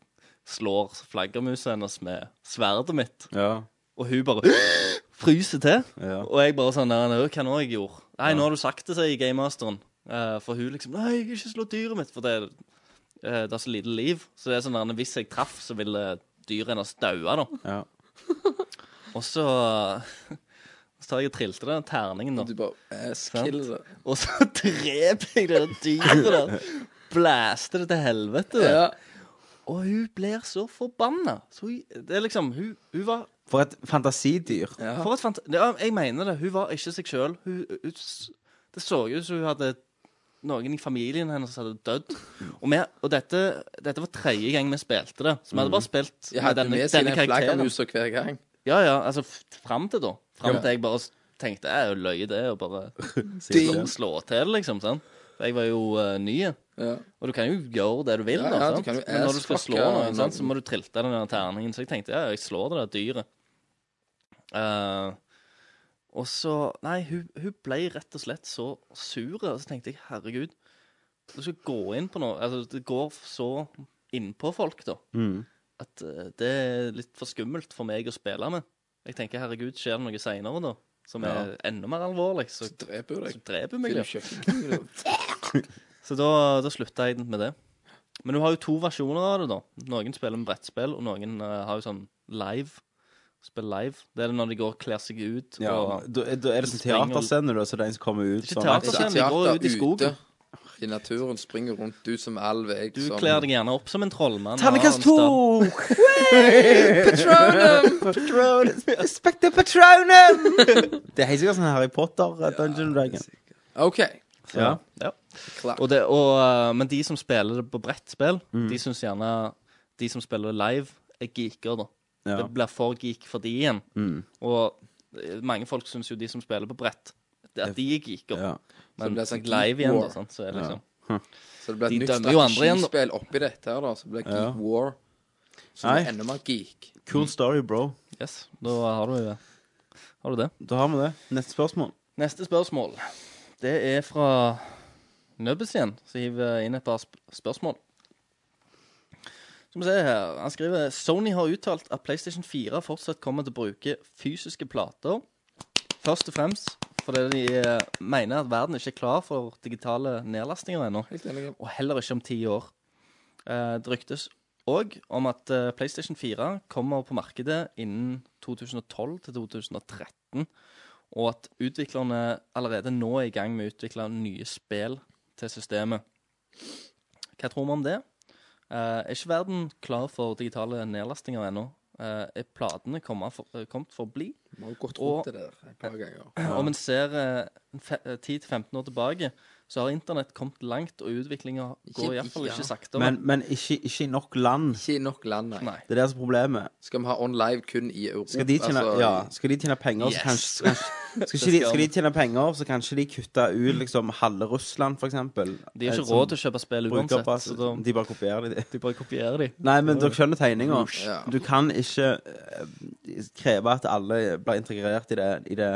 S7: slår flaggermusa hennes med sverdet mitt,
S6: Ja.
S7: og hun bare fryser til.
S6: ja.
S7: Og jeg bare sånn der, «Hva nå jeg gjorde? Nei, nå har du sagt det, sier jeg i gamemasteren. Eh, for hun liksom Nei, jeg vil ikke slå dyret mitt, for det, er- eh, det er så lite liv. Så det er sånn der, hvis jeg traff, så ville dyret hennes daue, da.
S6: ja.
S7: Og så Så tar jeg og trilte den terningen,
S8: Du
S7: da.
S8: bare ass-kill det.
S7: Og så dreper jeg det der dyret der. Blæster det til helvete. det.
S8: Ja.
S7: Og hun blir så forbanna. Så hun, det er liksom Hun, hun var
S6: For et fantasidyr.
S8: Ja.
S7: For et fant... Ja, jeg mener det. Hun var ikke seg sjøl. Hun, hun, s- det så ut som hun hadde noen i familien hennes hadde dødd. Og, vi- og dette,
S8: Mhm.
S7: dette var tredje gang vi spilte det. Så vi hadde bare spilt
S8: Jeg hadde med seg den flaggermusa hver gang.
S7: Ja, ja, altså f- fram til da. Fram
S8: Ja.
S7: til jeg bare s- tenkte jeg løy det, og bare
S6: sier
S7: slå,
S6: det.
S7: slå til, liksom. sant? For jeg var jo uh, ny,
S8: Ja.
S7: og du kan jo gjøre det du vil.
S8: Ja,
S7: da,
S8: ja, du
S7: sant?
S8: kan jo
S7: Men når du skal
S8: ass-fucke
S7: slå noen,
S8: noen.
S7: sant, så må du trilte den der terningen. Så jeg tenkte ja, jeg slår det der dyret. Eh, og så Nei, hun, hun ble rett og slett så sur, og så tenkte jeg herregud Du skal gå inn på noe Altså, det går så innpå folk, da
S6: Mm.
S7: at eh, det er litt for skummelt for meg å spille med. Jeg tenker herregud, skjer det noe seinere da, som er enda mer alvorlig, så,
S8: Så dreper hun
S7: så
S8: deg.
S7: dreper hun meg.
S8: Finner
S7: jo.
S8: kjøkkenkniv, da.
S7: Så da, da slutta jeg med det. Men du har jo to versjoner av det, da. Noen spiller med brettspill, og noen eh, har jo sånn live. Spiller live. Det er det når de går og kler seg ut.
S6: Ja,
S7: og,
S6: da, da er det sånn
S7: Springer-
S6: teaterscene, da, så det er en som kommer ut
S7: Ikke
S6: sånn
S7: teater-
S8: Ikke
S7: Sånn, de går
S8: teater,
S7: ut i skogen.
S8: ute I naturen, springer rundt, du som elv, jeg
S7: du
S8: som
S7: kler deg gjerne opp som en trollmann.
S6: Terningkast
S7: og har en stav.
S6: to!
S8: Patronum!
S6: Spekter Patronum! det er helt sikkert sånn Harry Potter, eh, Dungeon Dragon.
S8: OK.
S6: Ja.
S7: Ja.
S8: Klart.
S7: Og det, og, eh, men de som spiller det på brettspill,
S6: Mm.
S7: de syns gjerne de som spiller det live, er geeker, da.
S6: Ja. Mm.
S7: Det blir for geek for de igjen. Og eh, mange folk syns jo de som spiller på brett, det- at de er geeker.
S6: Ja.
S8: Så det
S7: Men
S8: blir sånn
S7: live igjen,
S8: geek
S7: da, sant? så er det liksom
S8: Så det ble
S7: De
S8: et nytt
S7: dømmer jo andre igjen, da.
S8: strategispill oppi dette her, da. Så det ble Geek
S6: Ja.
S8: War. Så det
S6: Nei.
S8: er enda mer geek.
S6: Cool story, bro.
S7: Yes, da har du, eh, har du det.
S6: Da har vi det. Neste spørsmål.
S7: Neste spørsmål, det er fra Nubbes igjen, som hiver inn et par sp spørsmål. Skal vi se her, han skriver Sony har uttalt at PlayStation 4 fortsatt kommer til å bruke fysiske plater. Først og fremst fordi de eh, mener at verden ikke er klar for digitale nedlastinger ennå.
S8: Helt enig.
S7: og heller ikke om ti år. Eh, det ryktes òg om at eh, PlayStation 4 kommer på markedet innen 2012 til 2013, og at utviklerne allerede nå er i gang med å utvikle nye spill til systemet. Hva tror vi om det? Eh, er ikke verden klar for digitale nedlastinger ennå? Eh, er platene kommet for, eh, kommet for å bli?
S8: Vi har jo gått
S7: Og-
S8: rundt det der et par ganger.
S7: Om en ser eh, en fe- eh, 10-15 år tilbake, så har internett kommet langt, og utviklinga går
S8: Ikke-
S7: iallfall
S8: ja.
S7: ikke saktere.
S6: Men, men ikke, ikke i nok land.
S8: Ikke i nok land, nei.
S7: Nei.
S6: Det er det som er problemet.
S8: Skal vi ha on live kun i Europa?
S6: Skal de tjene,
S8: altså,
S6: ja, skal de tjene penger, så
S7: Yes.
S6: kanskje, kanskje skal,
S7: skal
S6: ikke de, skal
S7: vi.
S6: de tjene penger, så kanskje de kutte ut liksom halve Russland, for eksempel. Eh,
S7: De har ikke råd til å kjøpe spill uansett, så da
S6: De altså, bare kopierer det.
S7: de bare kopierer de.
S6: Nei, men dere skjønner tegninga.
S8: Ja.
S6: Du kan ikke eh, kreve at alle blir integrert i det, i det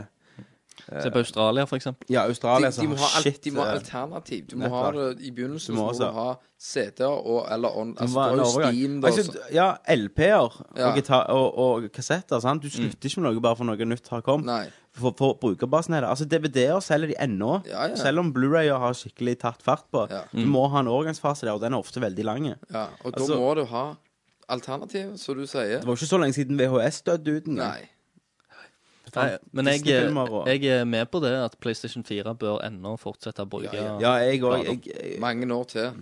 S7: Se på Australia, for eksempel.
S6: Ja, Australia
S8: de, de, må ha alt,
S6: shit
S8: de må ha
S6: eh,
S8: alternativ. Du må ha
S6: nettverk.
S8: det i begynnelsen,
S6: Du må
S8: så må
S6: også-
S8: du ha CD-er og eller on
S6: det
S8: altså,
S6: var
S8: det
S6: en
S8: var jo
S6: overgang.
S8: Steam, da.
S6: Jeg
S8: så-
S6: synes- ja, LP-er
S8: Ja.
S6: og, gitar- og, og kassetter. Sant? Du slutter ikke med noe bare for noe nytt har kommet.
S8: Nei.
S6: For, for brukerbasen er det. Altså, DVD-er selger de ennå.
S8: Ja, ja.
S6: Selv om Blu-rayer har skikkelig tatt fart på.
S8: Ja.
S6: Du må ha en overgangsfase der, og den er ofte veldig lang. Det
S8: Ja, og da
S6: Altså-
S8: må du ha alternativ, som du sier.
S6: var jo ikke så lenge siden VHS døde ut engang.
S8: Nei.
S7: Nei, men jeg, eh,
S6: Disney-filmer og-
S7: jeg er med på det at PlayStation 4 bør ennå fortsette å bruke
S6: Ja, jeg òg. Jeg, jeg,
S8: Mange år til.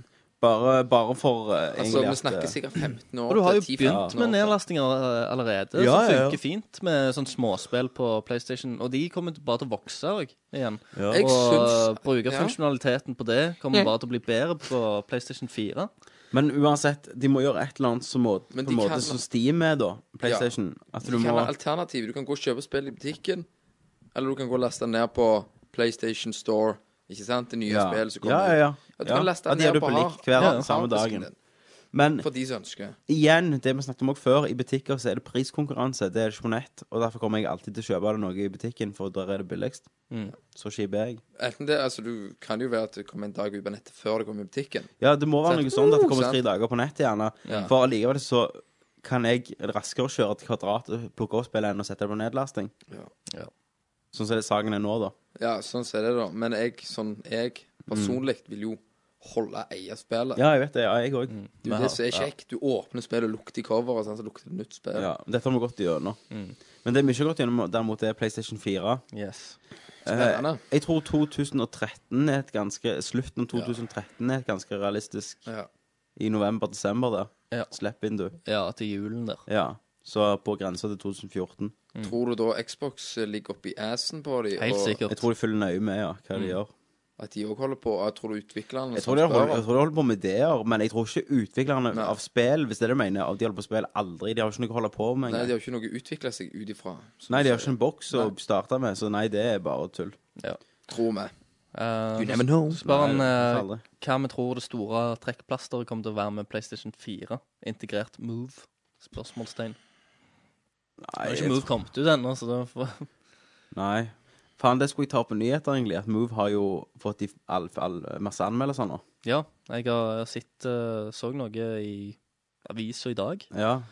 S6: bare, bare for eh,
S8: Altså,
S6: egentlig
S8: vi
S6: at,
S8: snakker
S6: eh,
S8: sikkert 15 år
S7: Og du har jo
S8: til 10-15
S7: begynt
S8: år
S7: med
S8: til.
S7: nedlastinger eh,
S6: Ja,
S7: allerede, som
S6: ja, ja.
S7: funker fint med sånn småspill på PlayStation. Og de kommer til- bare til å vokse òg, igjen.
S8: Jeg
S7: Og
S8: syns-
S7: brukerfunksjonaliteten på det kommer bare til å bli bedre på PlayStation 4.
S6: Men uansett, de må gjøre et eller annet som må, på
S8: Men
S6: en
S8: de
S6: måte
S8: kan-
S6: som Steam er, da. PlayStation. At du
S8: Du kan
S6: må
S8: ha alternativ. Du kan gå og kjøpe spill i butikken, eller du kan gå og laste ned på PlayStation Store. Ikke sant? Det nye
S6: ja.
S8: spill som kommer
S6: ja, ja, ja.
S8: ut. At du kan laste
S6: Ja, de har
S8: ned
S6: du
S8: på
S6: på
S8: har-
S6: likt hver
S7: Ja, ja.
S6: samme dagen.
S8: harddisken din,
S6: Men
S8: For de som ønsker.
S6: igjen, det vi snakket om også før, i butikker så er det priskonkurranse. Det er det ikke på nett. Og derfor kommer jeg alltid til å kjøpe det noe i butikken, for der er det billigst.
S8: Mm.
S6: Så kjip er jeg.
S8: Enten det, altså Du kan jo være at det kommer en dag ut på nettet før det kommer i butikken.
S6: Ja, det må være
S8: Sant. Mm,
S6: noe sånn at det kommer
S8: Sant.
S6: tre dager på nettet, gjerne.
S8: Ja.
S6: For allikevel så kan jeg raskere kjøre til kvadrat og plukke opp spillet enn å sette det på nedlasting.
S8: Ja.
S7: Ja.
S6: Sånn som det saken er nå, da.
S8: Ja, sånn er det, da. Men jeg, sånn jeg personlig, vil jo holde eierspillet.
S6: Mm. Ja, jeg vet det. Ja, jeg òg.
S8: Det er jo det som er kjekt. Du åpner spillet, lukter i coveret, sånn, så lukter det nytt spill.
S6: Ja, dette har vi gått gjennom. Men det er mye godt gjennom derimot det er PlayStation 4.
S7: Yes.
S8: Spennende.
S6: Eh, Jeg tror 2013 er et ganske Slutten av 2013 er et ganske realistisk
S8: Ja.
S6: I november-desember der.
S7: Ja.
S6: Slipp inn, du.
S7: Ja, til julen der.
S6: Ja. Så på grensa til 2014.
S8: Tror du da Xbox ligger oppi assen på dem?
S7: Helt sikkert.
S6: Jeg tror de følger nøye med, ja, hva de gjør.
S8: At de òg holder på? Jeg tror du utvikler den?
S6: Jeg tror de holder, jeg tror de holder på med ideer, men jeg tror ikke utviklerne
S8: sånn Nei.
S6: av spill, hvis det er det du mener, av de holder på med spill aldri. De har ikke noe å holde på med.
S8: Nei,
S6: engang.
S8: de har ikke noe å utvikle seg ut ifra. som
S6: Nei,
S8: du
S6: de har
S8: sier.
S6: ikke en boks å starte med, så nei, det er bare tull.
S8: Tror vi.
S7: Eh,
S8: You never know.
S7: så spør han
S6: Nei,
S7: eh,
S6: aldri.
S7: hva vi tror det store trekkplasteret kommer til å være med PlayStation 4. Integrert Move? Spørsmålstegn.
S6: Nei,
S7: Har
S6: jeg
S7: ikke Move
S6: tror-
S7: kommet ut ennå, så da får
S6: Nei. Faen, det skulle jeg ta på nyheter, egentlig. At Move har jo fått de all, all, masse anmeldelser nå.
S7: Ja, jeg har sett eh, Så noe i avisa i dag,
S6: Ja.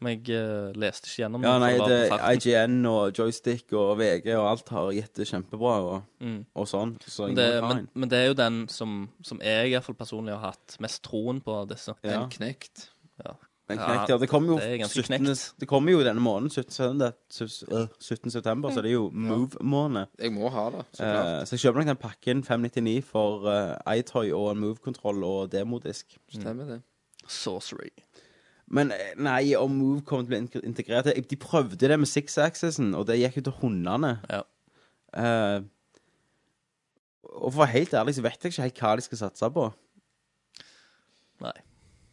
S7: men jeg eh, leste ikke gjennom
S6: ja
S7: for
S6: nei,
S7: var
S6: det,
S7: på farten.
S6: IGN og Joystick og VG og alt har gitt det kjempebra og,
S7: Mm.
S6: og sånn. Så jeg
S7: Men det,
S6: må ta
S7: men,
S6: en.
S7: men det er jo den som, som jeg i hvert fall personlig har hatt mest troen på av disse.
S6: Ja.
S8: En knekt.
S6: Men knekt, ja. Det kommer jo,
S7: det er ganske
S6: 17,
S7: knekt.
S6: det kommer jo denne måneden, 17. september, syv- øh, 17. september så det er jo Move-måned.
S8: Jeg må ha det, så klart.
S6: Eh, så jeg kjøper nok den pakken 599 for eh, iToy og en Move-kontroll og demodisk.
S8: Stemmer det.
S7: Sorcery.
S6: Men eh, nei, om Move kommer til å bli in- integrert jeg- De prøvde det med Six Accesen, og det gikk jo til hundene.
S7: Ja.
S6: Eh, og for å være helt ærlig så vet jeg ikke helt hva de skal satse på.
S7: Nei.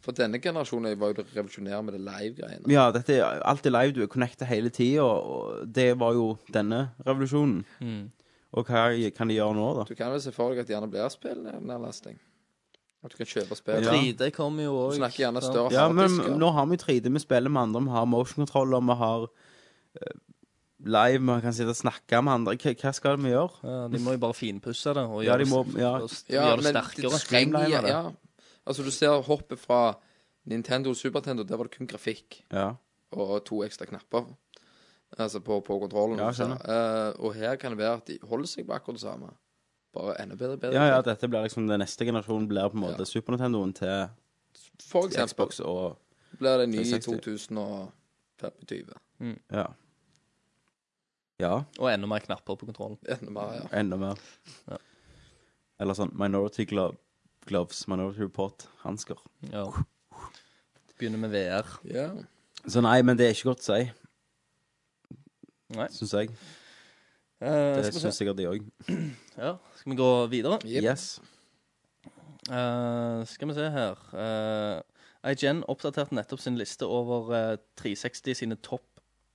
S8: For denne generasjonen var jo det revolusjonære med det live-greiene.
S6: Ja, dette er alltid live, du er connecta hele tida, og det var jo denne revolusjonen.
S7: Mm.
S6: Og hva kan de gjøre nå, da?
S8: Du kan vel se for deg at det gjerne blir spill ned- nedlasting. At du kan kjøpe spill.
S6: Ja.
S7: 3D kommer jo
S8: Du
S7: òg.
S8: snakker gjerne større
S6: Ja, men
S8: harddisker.
S6: nå har vi 3D, vi spiller med andre, vi har motion-kontroller, vi har eh, live, vi kan sitte og snakke med andre. Hva, hva skal vi gjøre?
S7: Ja, de må jo bare finpusse det og
S6: Ja,
S7: gjøre
S6: de må, ja,
S7: det, s-
S8: Ja,
S7: gjøre det
S8: men
S7: sterkere.
S8: det trenger
S6: Streamliner det.
S8: ja. Altså, du ser hoppet fra Nintendo og Super Nintendo, der var det kun grafikk
S6: ja.
S8: og to ekstra knapper. Altså på, på kontrollen.
S6: Ja, skjønner.
S8: Eh, og her kan det være at de holder seg på akkurat det samme. Bare enda bedre. bedre
S6: ja, ja, dette blir liksom den neste generasjonen blir på en måte
S8: Ja.
S6: Super Nintendoen til
S8: For eksempel
S6: Xbox og
S8: blir det ny i
S6: 360.
S8: 2025.
S6: Ja. Ja,
S7: Og enda mer knapper på kontrollen.
S8: Enda mer, ja.
S6: enda mer.
S7: Ja.
S6: Eller sånn Minority Glo Gloves, Minority Report-hansker.
S7: Ja. Begynner med VR.
S8: ja.
S6: Så nei, men det er ikke godt å si,
S7: Nei.
S6: syns jeg.
S7: Eh,
S6: Det
S7: skal, vi
S6: syns
S7: se.
S6: sikkert de òg.
S7: Ja. skal vi gå videre?
S8: Jep.
S6: Yes.
S7: Eh, skal vi se her Eh, IGN oppdaterte nettopp sin liste over eh, 360 sine topp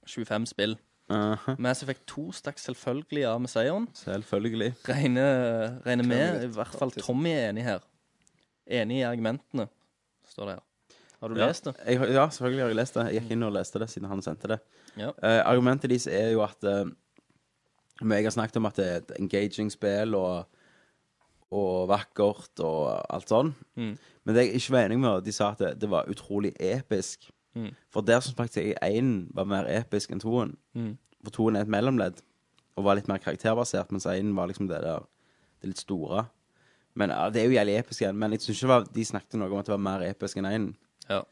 S7: 25 spill.
S6: Aha,
S7: Mass Effect 2 stakk selvfølgelig av med seieren.
S6: Selvfølgelig.
S7: Regner, regner med,
S8: litt,
S7: i hvert fall
S8: faktisk.
S7: Tommy er enig her. Enig i argumentene, står det her. Har du
S6: Ja.
S7: lest det?
S6: Jeg, har- ja, selvfølgelig har jeg lest det. Jeg gikk inn og leste det siden han sendte det.
S7: Ja.
S6: Eh, argumentet deres er jo at eh, men Jeg har snakket om at det er et engaging spill og, og vakkert og alt sånn.
S7: Mm.
S6: Men det jeg ikke var enig med, de sa at det, det var utrolig episk.
S7: Mm.
S6: For der syns faktisk jeg én var mer episk enn toen.
S7: Mm.
S6: For toen er et mellomledd og var litt mer karakterbasert, mens én var liksom det der det litt store. Men ja, Det er jo jævlig episk igjen, men jeg synes ikke det var, de snakket noe om at det var mer episk enn én.
S7: Ja.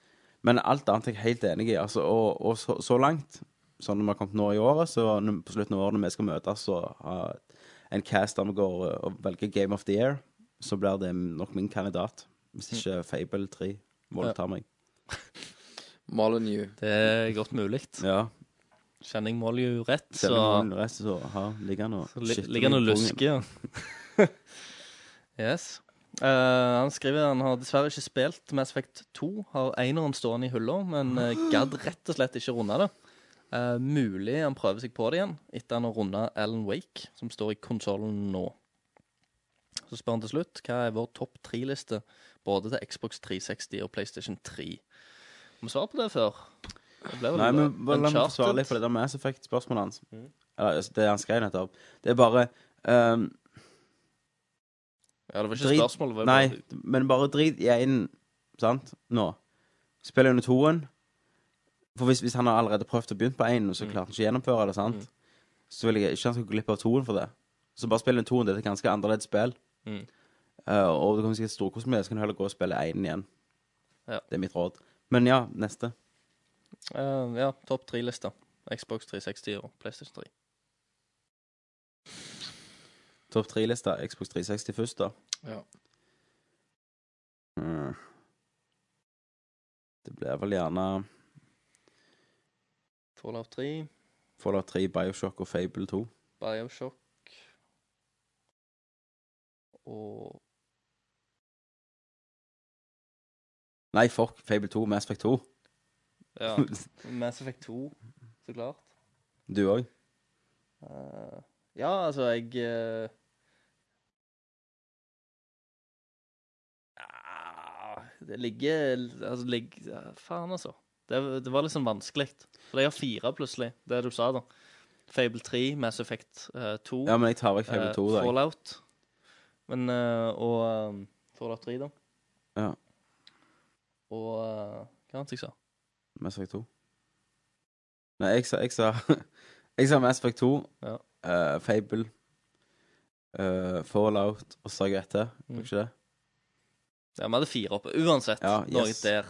S6: Men alt annet er jeg helt enig i. Altså, og og så, så langt, sånn når vi har kommet nå i året, så når, på slutten av året når vi skal møtes og ha en cast der vi går eh, og velger Game of the Year, så blir det nok min kandidat.
S7: Mm.
S6: Hvis ikke Fable 3 voldtar meg.
S8: Molyneux.
S7: Det er godt mulig.
S6: Ja.
S7: Kjenning måler jo rett, så
S6: Selv om hun resten så har, ligger han og
S7: så li-
S6: skitter
S7: ligger han og
S6: meg i pungen.
S7: lusker. Ja. yes. Eh, han skriver han har dessverre ikke spilt Mass Effect 2. Har eneren stående i hylla, men eh, gadd rett og slett ikke runde det. Eh, mulig han prøver seg på det igjen etter han har runda Alan Wake, som står i konsollen nå. Så spør han til slutt hva er vår topp tre-liste både til Xbox 360 og PlayStation 3. Må vi svare på det før? Det ble vel
S6: Nei, men
S7: eh,
S6: bare la meg
S7: Uncharted. Mm.
S6: forsvare litt på det der Mass Effect-spørsmålet hans. Eller altså, det han skrev nettopp. Det er bare ehm,
S7: Ja, det var
S6: Drit-
S7: ikke spørsmål. Det var
S6: Nei,
S7: bare
S6: men bare drit i én, sant, nå. Spiller under toen. For hvis, hvis han har allerede prøvd å begynne på én, og så klarte han ikke å gjennomføre det, sant, så vil jeg ikke han skal gå glipp av toen for det. Så bare spill under toen. Det er et ganske annerledes spill.
S7: Mm.
S6: Eh, og du kommer sikkert storkose med det, så kan du heller gå og spille én igjen.
S7: Ja.
S6: Det er mitt råd. Men ja, neste.
S7: Eh, ja, topp tre-lista. Xbox 360 og PlayStation 3.
S6: Topp tre-lista. Xbox 360 først, da.
S8: Ja.
S6: Mm. Det blir vel gjerne
S7: Fallout 3,
S6: Fallout 3, Bioshock og Fable 2.
S7: Bioshock og
S6: Nei, fuck. Fable 2, Mass Effect 2.
S7: Ja. Mass Effect 2, så klart.
S6: Du òg.
S7: Eh, ja, altså, jeg eh, ah, Det ligger altså, ligg- ja, Faen, altså. Det, det var liksom vanskelig. For jeg har fire, plutselig. Det du sa, da. Fable 3, Mass Effect eh, 2,
S6: Ja, men jeg tar vekk Fable
S7: eh,
S6: 2. Da. jeg.
S7: Fallout men, eh, og eh, Fallout 3, da.
S6: Ja.
S7: Og eh, hva annet jeg sa?
S6: Mass Effect 2. Nei, jeg sa Jeg sa, jeg sa Mass Effect 2,
S7: Ja.
S6: eh, Fable, eh, Fallout og Saga 1. Var
S7: Mm.
S6: det ikke det?
S7: Ja, vi hadde fire oppe. Uansett,
S6: Ja,
S7: noe
S6: yes.
S7: der.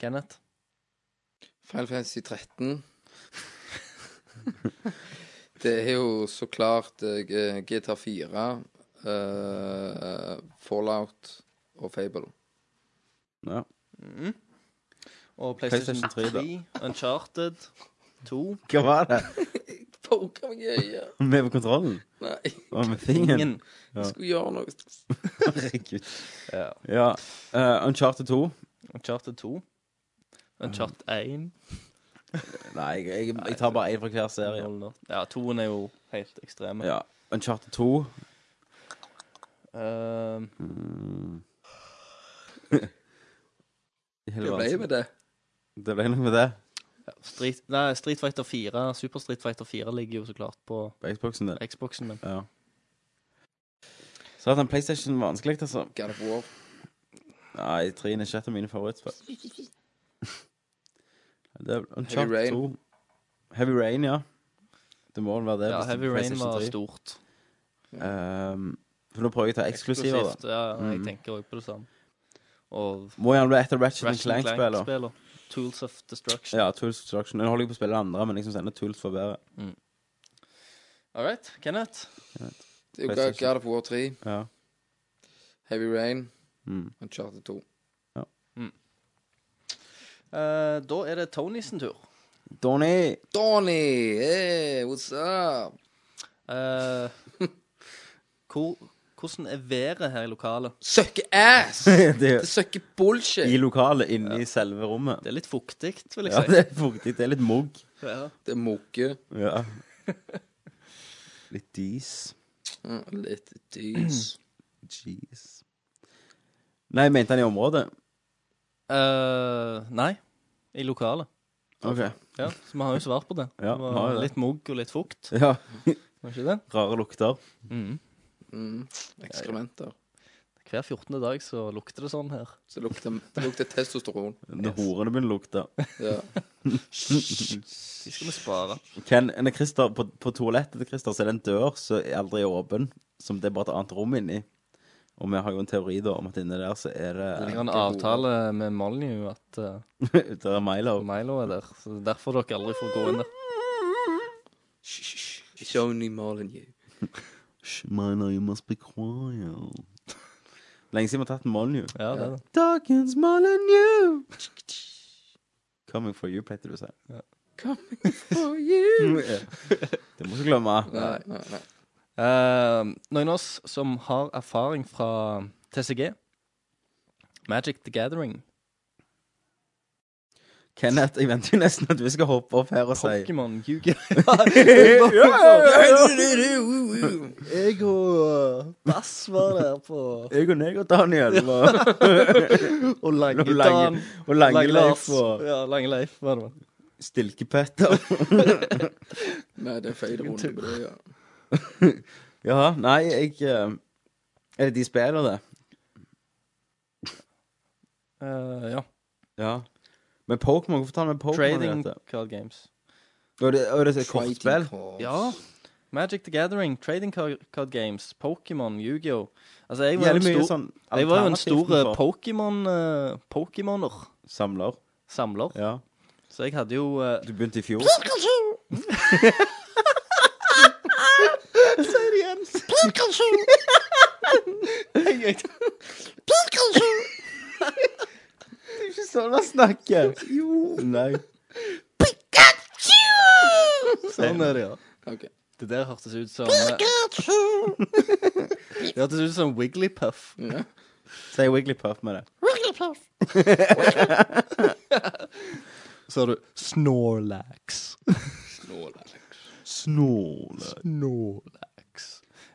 S7: Kenneth?
S8: Final Fantasy 13. det er jo så klart eh, GTA 4, eh, Fallout og Fable.
S6: Ja.
S7: Og PlayStation,
S6: PlayStation 3,
S7: 3, Uncharted 2.
S6: Hva var det?
S8: Poker meg i øyet!
S6: Med på kontrollen?
S8: Nei,
S6: Og med fingeren?
S7: Ingen.
S8: jeg skulle gjøre noe
S6: Herregud.
S7: Ja.
S6: Ja. eh, Uncharted 2.
S7: Uncharted 2. Uncharted
S6: Mm.
S7: 1.
S6: Nei, jeg, jeg, jeg tar bare én fra hver serie.
S7: Noll nå. Ja, toen er jo helt ekstreme.
S6: Ja. Uncharted 2.
S7: Ehm,
S6: Mm. I hele
S8: Det ble
S6: verden.
S8: med det.
S6: Det ble noe med det.
S7: Street, nei, Street Fighter 4, Super Street Fighter 4 ligger jo så klart på
S6: På Xboxen din.
S7: Xboxen min.
S6: Ja. Så har den PlayStation vanskelig, altså.
S8: God of War.
S6: Nei, treen er ikke et av mine favorittspill. Det er Uncharted
S8: Heavy Rain.
S6: 2. Heavy Rain, ja. Det må vel være det.
S7: Ja,
S6: hvis det er
S7: Heavy Rain
S6: PlayStation
S7: var
S6: 3.
S7: stort.
S6: Ehm, for nå prøver jeg å ta eksklusiver, da.
S7: Eksklusivt, Ja, jeg
S6: Mhm.
S7: tenker også på det samme. Og
S6: Må gjerne bli et av Ratchet and
S7: Ratchet and
S6: Clank-spillene.
S7: Clank-spiller. Tools of Destruction.
S6: Ja, Tools of Destruction. Nå holder jeg på å spille det andre, men jeg syns ennå Tools var bedre.
S7: All right, Kenneth.
S8: Det er jo
S6: PlayStation.
S8: God of War 3,
S6: Ja.
S8: Heavy Rain,
S6: Mm.
S8: Uncharted 2.
S7: Eh, da er det Tonys tur.
S6: Donny!
S8: Donny! Hey, what's up?
S7: Eh, hvor, hvordan er været her i lokalet?
S8: Søkke ass!
S6: det
S8: Det
S6: er
S8: søkker
S6: i
S8: bullshit!
S6: lokalet, inne i selve rommet.
S7: Det er litt fuktig, vil jeg
S6: Ja,
S7: si.
S6: det er fuktig. Det er litt mugg.
S7: Ja.
S8: Det moker.
S6: Ja. Litt dis.
S8: Mm, Litt dys.
S6: Jeez. Nei, mente han i området?
S7: Eh, nei, i lokalet.
S6: Ok.
S7: Ja, så vi har jo svart på det.
S6: Ja,
S7: det
S6: vi har
S7: var
S6: jo det.
S7: litt mugg og litt fukt,
S6: Ja.
S7: var ikke det?
S6: Rare lukter.
S7: Mhm.
S8: Mm, ekskrementer.
S7: Hver 14. dag så lukter det sånn her.
S8: Så det lukter, det lukter testosteron.
S6: Når horene begynner å lukte.
S8: Ja.
S7: De skal vi spare.
S6: Ken, når Christer, på, på toalettet til Christer så er det en dør som er aldri er åpen, som det er bare et annet rom inni. Og vi har jo en teori da om at inni der så er det
S7: Jeg har en avtale med Molyneux at eh,
S6: Der er Milo.
S7: Milo er der. Så derfor dere aldri får gå inn der.
S8: It's only more than you.
S6: Sh, Milo, you must be quiet. Lenge siden vi har tatt en Molyneux.
S7: Ja, det er det.
S6: Dagens Molyneux. Coming for you, pleide du å si.
S8: Coming for you!
S6: Det må du ikke glemme.
S8: Nei, nei, nei.
S7: Eh, noen av oss som har erfaring fra TCG, Magic the Gathering,
S6: Kenneth, jeg venter jo nesten at vi skal hoppe opp her og si
S7: Pokémon, Yugi Jeg og eh, Bass var der på
S6: Jeg og Neg og Daniel og,
S7: Og Lange,
S6: og Lange, og lange Leif og
S7: Ja, Lange Leif var det. vel.
S6: Stilkepetter.
S8: Nei, det er feil runde på det, ja.
S6: Ja, nei, jeg eh, Er det de spiller det?
S7: Eh, ja.
S6: Ja. Men Pokémon, hvorfor tar vi Pokémon?
S7: Trading
S6: i dette?
S7: Card Games.
S6: Og det, og det er et kortspill?
S7: Ja. Magic the Gathering, Trading Card, card Games, Pokémon, Yu-Gi-Oh! Altså, jeg var jo
S6: Jævlig
S7: en
S6: mye
S7: stor,
S6: sånn
S7: jeg var jo en
S6: alternativt
S7: stor eh,
S6: for-
S7: Pokémon eh, Pokémoner.
S6: Samler.
S7: Samler.
S6: Ja.
S7: Så jeg hadde jo eh,
S6: Du begynte i fjor. Ikke sånn man snakker. Jo. Nei.
S7: Sånn er det, ja.
S8: Ok.
S7: Det der hørtes ut som eh, Det hørtes ut som Wigglypuff.
S6: Si Wigglypuff med det.
S7: Så har du Snorlax.
S6: Snåle.
S7: Snorlax.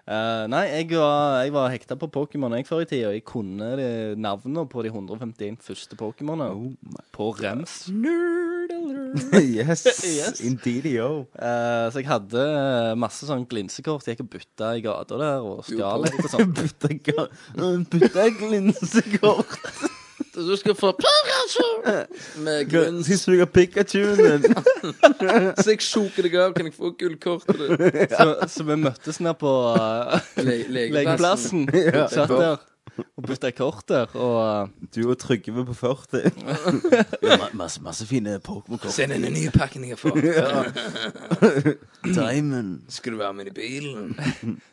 S7: Eh, nei, jeg var, jeg var hekta på Pokémon jeg før i tida. Jeg kunne de navnene på de 151 første Pokémonene på rems. Nerd alert.
S6: yes.
S7: Yes.
S6: Indeed, yo.
S7: Eh, så jeg hadde eh, masse sånn glinsekort. Jeg gikk og bytta i gata der og stjal litt og sånn.
S6: Byttegl- Bytteglinsekort.
S8: Du skal få Pikachu altså! med grønn
S6: Syns du jeg har Pikachuen din?
S8: Så jeg sjoker deg av. Kan jeg få gullkortet ditt?
S7: Så, så vi møttes ned på eh,
S8: Le legeplassen.
S7: legeplassen. Satt der og bytta kort der. Og eh,
S6: Du og Trygve på 40. Ja, ma- masse, masse fine Pokémon-kort.
S8: Send inn en ny pakken jeg har fått.
S6: Diamond.
S8: Skal du være med i bilen?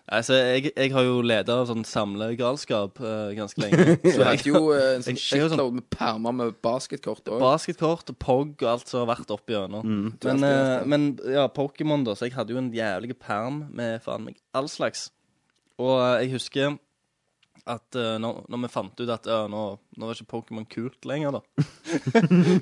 S7: altså, jeg, jeg har jo leda av sånn samlegalskap eh, ganske lenge.
S8: Du
S7: Så
S8: hadde
S7: jeg,
S8: jo eh, en sånn
S7: Jeg ser jo sånn-
S8: shitload med permer med basketkort òg.
S7: basketkort og POG og alt som har vært oppi gjennom. Men, eh, men ja, Pokémon, da. Så jeg hadde jo en jævlig perm med faen meg all slags. Og eh, jeg husker at eh, når, når vi fant ut at ja, nå, nå var ikke Pokémon kult lenger, da.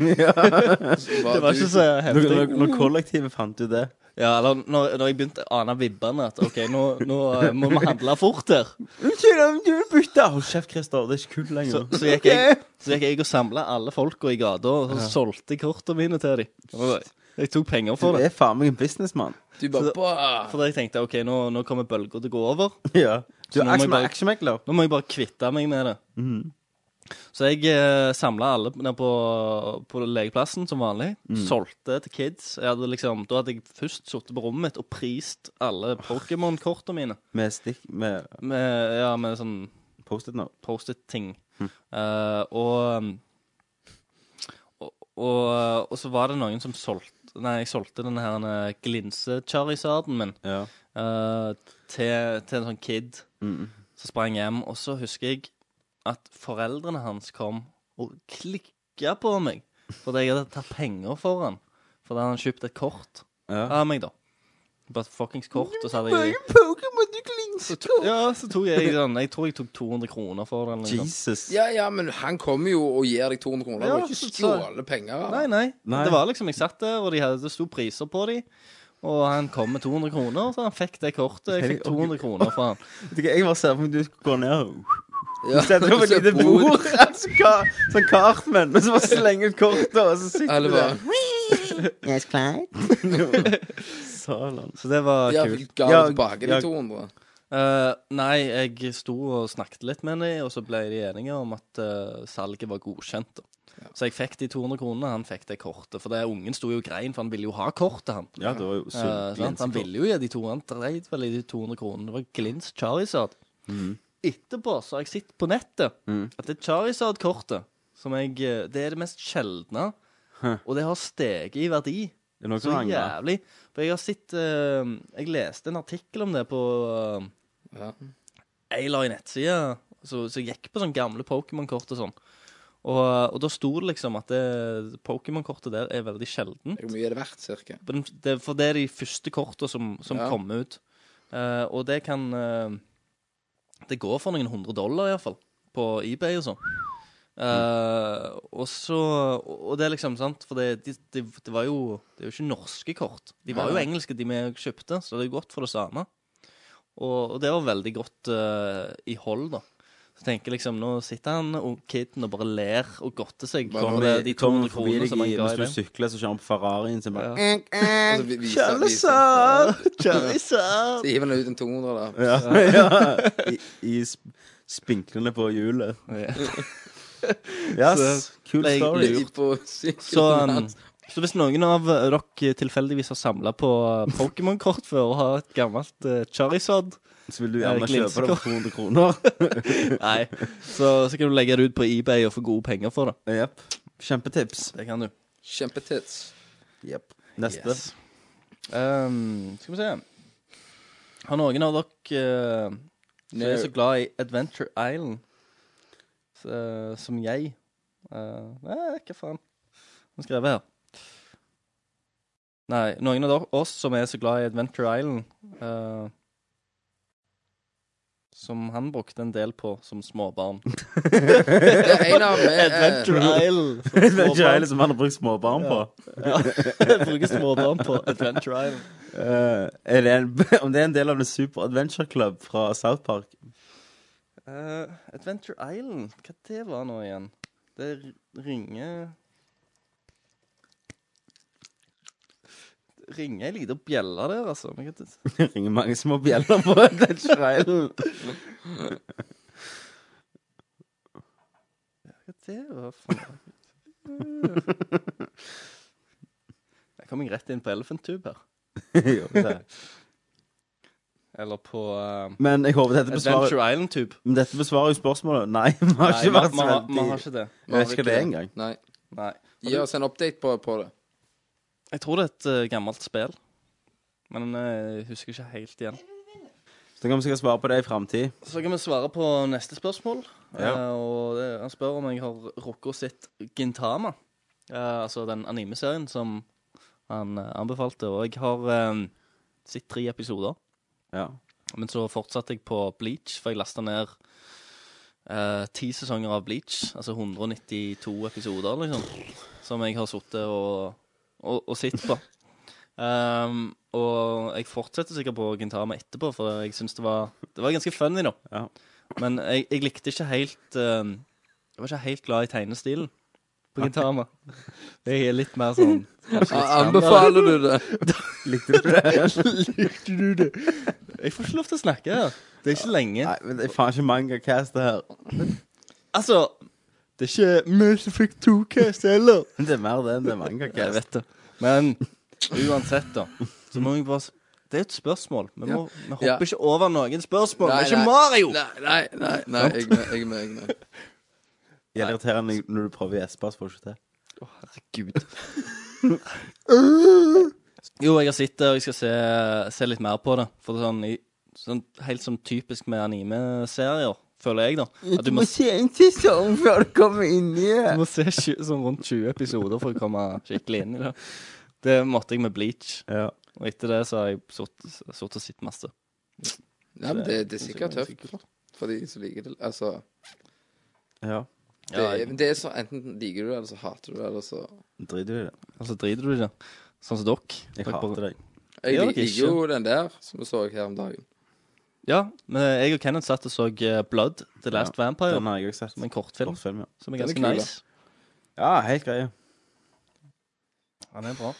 S7: Det var ikke så
S6: Når,
S7: heftig.
S6: når, når kollektivet fant du det
S7: Ja, eller når, når jeg begynte å ane vibbene at OK, nå, nå eh, må vi handle fort her.
S6: Unnskyld, jeg vil bytte! Hold kjeft, Christer. Det er ikke kult
S7: Så,
S6: lenger.
S7: så, gikk jeg, så gikk jeg og samla alle folka i gata og så solgte kortene mine til dem. Jeg tok
S6: Du
S7: penger for det.
S6: er faen meg en businessmann.
S8: Du bare bah.
S7: Fordi jeg tenkte OK, nå, nå kommer bølga til å gå over.
S6: Ja. Du
S7: Så nå må
S6: er
S7: jeg bare-
S6: aksjemegler.
S7: Nå må jeg bare kvitte meg med det. Så jeg eh, samla alle ned på, på legeplassen som vanlig. Solgte til kids. Jeg hadde liksom, da hadde jeg først sittet på rommet mitt og prist alle Pokémon-kortene mine
S6: Med stikk Med
S7: med, ja, med sånn
S6: Post-it note.
S7: Post-it-ting. Eh, og, og, og Og så var det noen som solgte Nei, jeg solgte den her eh, glinse-charizarden min.
S6: Ja.
S7: Eh, til, til en sånn kid.
S6: Mm.
S7: Så sprang jeg hjem, og så husker jeg at foreldrene hans kom og klikka på meg fordi jeg hadde tatt penger for han. Fordi han hadde kjøpt et kort
S6: Ja.
S7: av meg, da. Bare et fuckings kort, og så hadde jeg
S6: Pokémon, du glinser.
S7: Ja, så tok jeg sånn Jeg tror jeg tok 200 kroner for den. Liksom.
S6: Jesus.
S8: Ja, ja, men han kommer jo og gir deg 200 kroner. Du
S7: Ja,
S8: har ikke
S7: så-
S8: stjålet penger.
S7: Nei, nei,
S6: Nei.
S7: Det var liksom Jeg satt der, og de hadde det sto priser på de Og han kom med 200 kroner, så han fikk det kortet. Jeg fikk 200 kroner fra han.
S6: Vet du hva, Jeg bare ser for meg du skulle gå ned og
S8: Ja,
S6: Sette opp
S8: du
S6: et
S8: ser
S6: lite
S8: bord.
S6: bord, altså, ka- sånn kartmenn, og så bare slenge ut kortet, og så sitter
S8: Alle
S6: du
S8: bare
S6: der. Salen.
S7: Så det var
S8: Ja,
S7: kult.
S8: vil ga
S6: Ja,
S8: tilbake
S6: ja.
S8: de 200?
S7: Eh, nei, jeg sto og snakket litt med dem, og så ble de enige om at eh, salget var godkjent. Da. Så jeg fikk de 200 kronene, han fikk det kortet. For det ungen sto jo og grein, for han ville jo ha kortet, han.
S6: Ja, det var jo
S7: Eh, sant? Han ville jo gi de to, han dreit vel i de 200 kronene. Det var Glins Charizard.
S6: Mm.
S7: Etterpå så har jeg sett på nettet at det Charizard-kortet, som jeg eh, Det er det mest sjeldne, og det har steget i verdi.
S6: Det er noe
S7: Så
S6: som angrer.
S7: jævlig. For jeg har sett eh, Jeg leste en artikkel om det på eh,
S8: Ja.
S7: Ei la i nettside så, så jeg gikk på sånne gamle Pokémon-kort og sånn. Og, og da sto det liksom at det- Pokémon-kortet der er veldig sjeldent.
S8: Hvor mye er det verdt, cirka?
S7: For dem- det, for det er de første kortene som, som
S8: Ja.
S7: kommer ut. Eh, og det kan eh, Det går for noen hundre dollar, iallfall. På eBay og sånn. Eh, og så Og det er liksom sant, for det, de, de, det var jo Det er jo ikke norske kort. De var jo engelske, de vi kjøpte, så det er jo godt for det samme. Og, og det var veldig godt eh, i hold, da. Så tenker jeg liksom, Nå sitter han og kiden og bare ler og godter seg.
S8: Bare
S7: over
S8: når
S7: de
S6: Kommer
S7: 200
S6: forbi
S7: kronene
S6: deg
S7: som han
S6: i-
S7: ga
S6: Hvis
S7: i
S6: du
S7: den.
S6: sykler, så kjører han på Ferrarien sin bare
S8: Og så Altså, vi- viser- viser-
S7: Charizard!
S8: Så hiver han ut en 200 der.
S6: Ja, ja. I, i sp- spinklene på hjulet.
S7: Oh,
S6: Yes, cool
S7: ble jeg
S6: story.
S7: lurt.
S8: På
S7: Så,
S8: sykkelen
S7: um,
S8: hans.
S7: så hvis noen av dere tilfeldigvis har samla på Pokémon-kort før og har et gammelt eh, Charizard
S6: Så vil du
S7: Eh,
S6: gjerne kjøpe det for
S7: glinsekort.
S6: 200 kroner.
S7: Nei, så, så kan du legge det ut på eBay og få gode penger for det.
S6: Jep. Kjempetips.
S7: Det kan du.
S8: Kjempetids.
S6: Jep. Neste.
S7: Yes. Um, skal vi se Har noen av dere eh, som er så glad i Adventure Island s- eh, som jeg eh, Nei, hva faen. Hva skrev jeg her? Nei, noen av dere, oss som er så glad i Adventure Island eh, Som han brukte en del på som småbarn.
S8: Det er en av meg, eh,
S7: Trial.
S6: Det er ikke hele som han har brukt småbarn på.
S7: Bruker småbarn på Adventure Island.
S6: Eh, er det en, om det er en del av den Super Adventure Club fra South Park
S7: Eh, Adventure Island, hva det var nå igjen? Det r- ringer Det Ringer ei lita bjelle der, altså. Men hva det-
S6: ringer mange små bjeller på Adventure Island.
S7: Hva det var faen? Jeg kom meg rett inn på Elephant Tube her.
S6: Jo, det.
S7: Eller på eh,
S6: Men jeg håper dette besvarer
S7: Adventure Island Tube.
S6: Men dette besvarer jo spørsmålet. Nei, vi har
S7: Nei,
S6: ikke vært så
S7: man, man, man har
S6: heldige.
S7: ikke det.
S6: Jeg vet ikke hva det er engang.
S8: eh, Nei.
S7: Nei.
S8: Gi oss en update på, på det.
S7: Jeg tror det er et eh, gammelt spill. Men eh, jeg husker ikke helt igjen.
S6: Så kan vi sikkert svare på det i framtid.
S7: Så kan vi svare på neste spørsmål.
S6: Ja.
S7: Eh, og det, Han spør om jeg har rukket og sett Gintama. Eh, altså den anime-serien som han eh, anbefalte. Og jeg har eh, sett tre episoder.
S6: Ja.
S7: Men så fortsatte jeg på Bleach, for jeg lasta ned eh, ti sesonger av Bleach. Altså 192 episoder, liksom. Som jeg har sittet og, og, og sett på. Um, og jeg fortsetter sikkert på Gintama etterpå, for jeg syns det var Det var ganske funny, da.
S6: Ja.
S7: Men jeg, jeg likte ikke helt eh, Jeg var ikke helt glad i tegnestilen på Gintama. Jeg er litt mer sånn
S8: Anbefaler du det?
S6: Likte du det?
S7: Likte du det? Jeg får ikke lov til å snakke her. Det er ikke lenge.
S6: Nei, men det er faen ikke manga-cast, det her.
S7: Altså Det er ikke Mass Effect 2-cast heller.
S6: Det er mer det enn det er
S7: Jeg
S6: manga-cast.
S7: vet det. Men uansett, da. Så må jeg bare s- Det er jo et spørsmål. Vi, må, vi hopper
S8: Ja.
S7: ikke over noen spørsmål. det
S8: Nei,
S7: er ikke
S8: nei.
S7: Mario!
S8: Nei, nei, nei, nei jeg er med. Jeg er med, jeg er med.
S6: Det er irriterende når du prøver å gjespe, så får du ikke til.
S7: Herregud. jo, jeg har sett det, og jeg skal se, se litt mer på det. For det er sånn, i, sånn helt som typisk med anime-serier, føler jeg, da. At du må,
S6: se en sesong før du kommer inn i
S7: du må se tjue- sånn rundt 20 episoder for å komme skikkelig inn i det. Det måtte jeg med Bleach.
S6: Ja.
S7: Og etter det så har jeg sittet og sett masse.
S8: Ja, men det, det er sikkert tøft for de som liker det. Altså,
S6: ja.
S8: det, er- men det er så enten liker du det, eller så hater du det, eller så
S6: Driter du i det?
S7: Altså driter du i det. Sånn som dere.
S6: Jeg
S7: Dere bare-
S6: hater deg.
S8: Jeg
S7: Ja,
S8: liker
S7: ikke.
S8: jo den der, som vi så her om dagen.
S7: Ja, men jeg og Kenneth satt og så eh, Blood, The Last Vampire,
S6: Den har jeg også sett.
S7: som en kortfilm,
S6: Kortfilm, ja.
S7: som er
S8: Den er
S7: ganske
S8: kul, da.
S7: nice.
S6: ja, helt greie.
S7: Han er bra.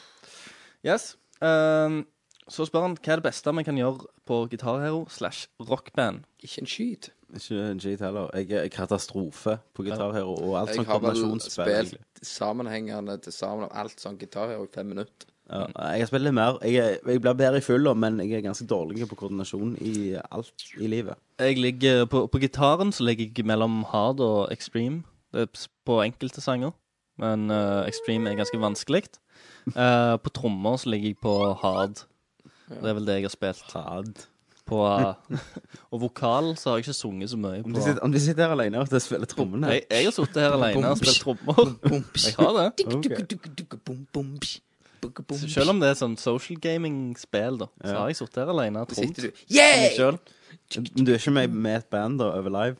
S7: Yes. ehm, så spør han hva er det beste vi kan gjøre på Guitar Hero slash rockband.
S8: Ikke en skit.
S6: Ikke en cheat heller. Jeg er katastrofe på gitarhero og alt
S8: Jeg
S6: sånn
S8: har vel
S6: kombinasjonsspill.
S8: spilt
S6: egentlig.
S8: sammenhengende til sammen av alt sånn gitar her i fem minutter.
S6: Ja, jeg har spilt litt mer. Jeg, er, jeg blir bedre i fylla, men jeg er ganske dårlig på koordinasjon i alt i livet.
S7: Jeg ligger på, på gitaren så ligger jeg mellom hard og extreme Det er s- på enkelte sanger. Men eh, extreme er ganske vanskelig. Eh, på trommer så ligger jeg på hard. Det er vel det jeg har spilt.
S6: Tad.
S7: på eh, Og vokal så har jeg ikke sunget så mye
S6: Om de
S7: på
S6: sitter, om de sitter her alene og spiller trommene
S7: Jeg, jeg har sittet her alene og spilt trommer. Jeg har det. Så selv om det er sånn social gaming-spill, da, så
S6: Ja.
S7: har jeg sittet her alene og tromt
S8: Sitter du
S7: for meg
S8: Yeah!
S7: sjøl.
S6: Men Du er ikke med, med et band da, over live?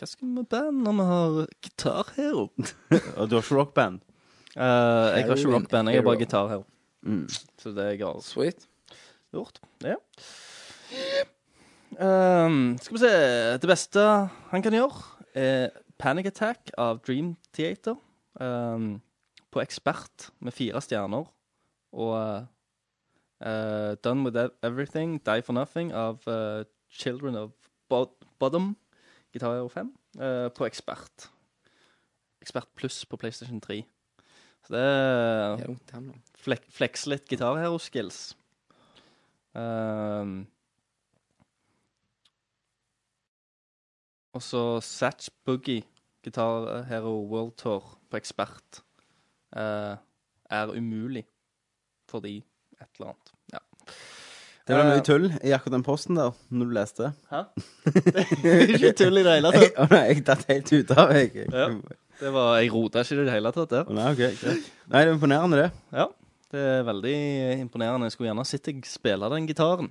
S7: Hva skal vi med band når vi har gitarhero?
S6: Og du har ikke rockband?
S7: Uh, jeg har ikke rockband, jeg har bare
S8: Hero. Mm.
S7: gitarhero. Så det er jeg har
S8: Sweet.
S7: gjort. Ja. Ehm, skal vi se Det beste han kan gjøre, er Panic Attack av Dream Theater. ehm, på Ekspert med fire stjerner. Og eh, Done With Ev- Everything, Die For Nothing av eh, Children of Bod Bottom, Gitar Hero 5, eh, på Ekspert. Ekspert pluss på PlayStation 3. Så det er
S8: Ja, damn it.
S7: flek flex litt gitarhero-skills. Ehm. og så Satch Boogie, gitarhero world tour på ekspert, eh, er umulig fordi et eller annet. Ja.
S6: Det var
S7: Eh,
S6: mye tull i akkurat den posten der, når du leste.
S7: Hæ? Det er ikke tull i det hele
S6: Jeg,
S7: tatt.
S6: å nei, jeg datt helt ut av, jeg.
S7: Ja. Det var, jeg rota ikke i det hele tatt der.
S6: Å nei, ok, greit. Nei, det er imponerende, det.
S7: Ja, det er veldig imponerende. Jeg skulle gjerne sett deg spille den gitaren.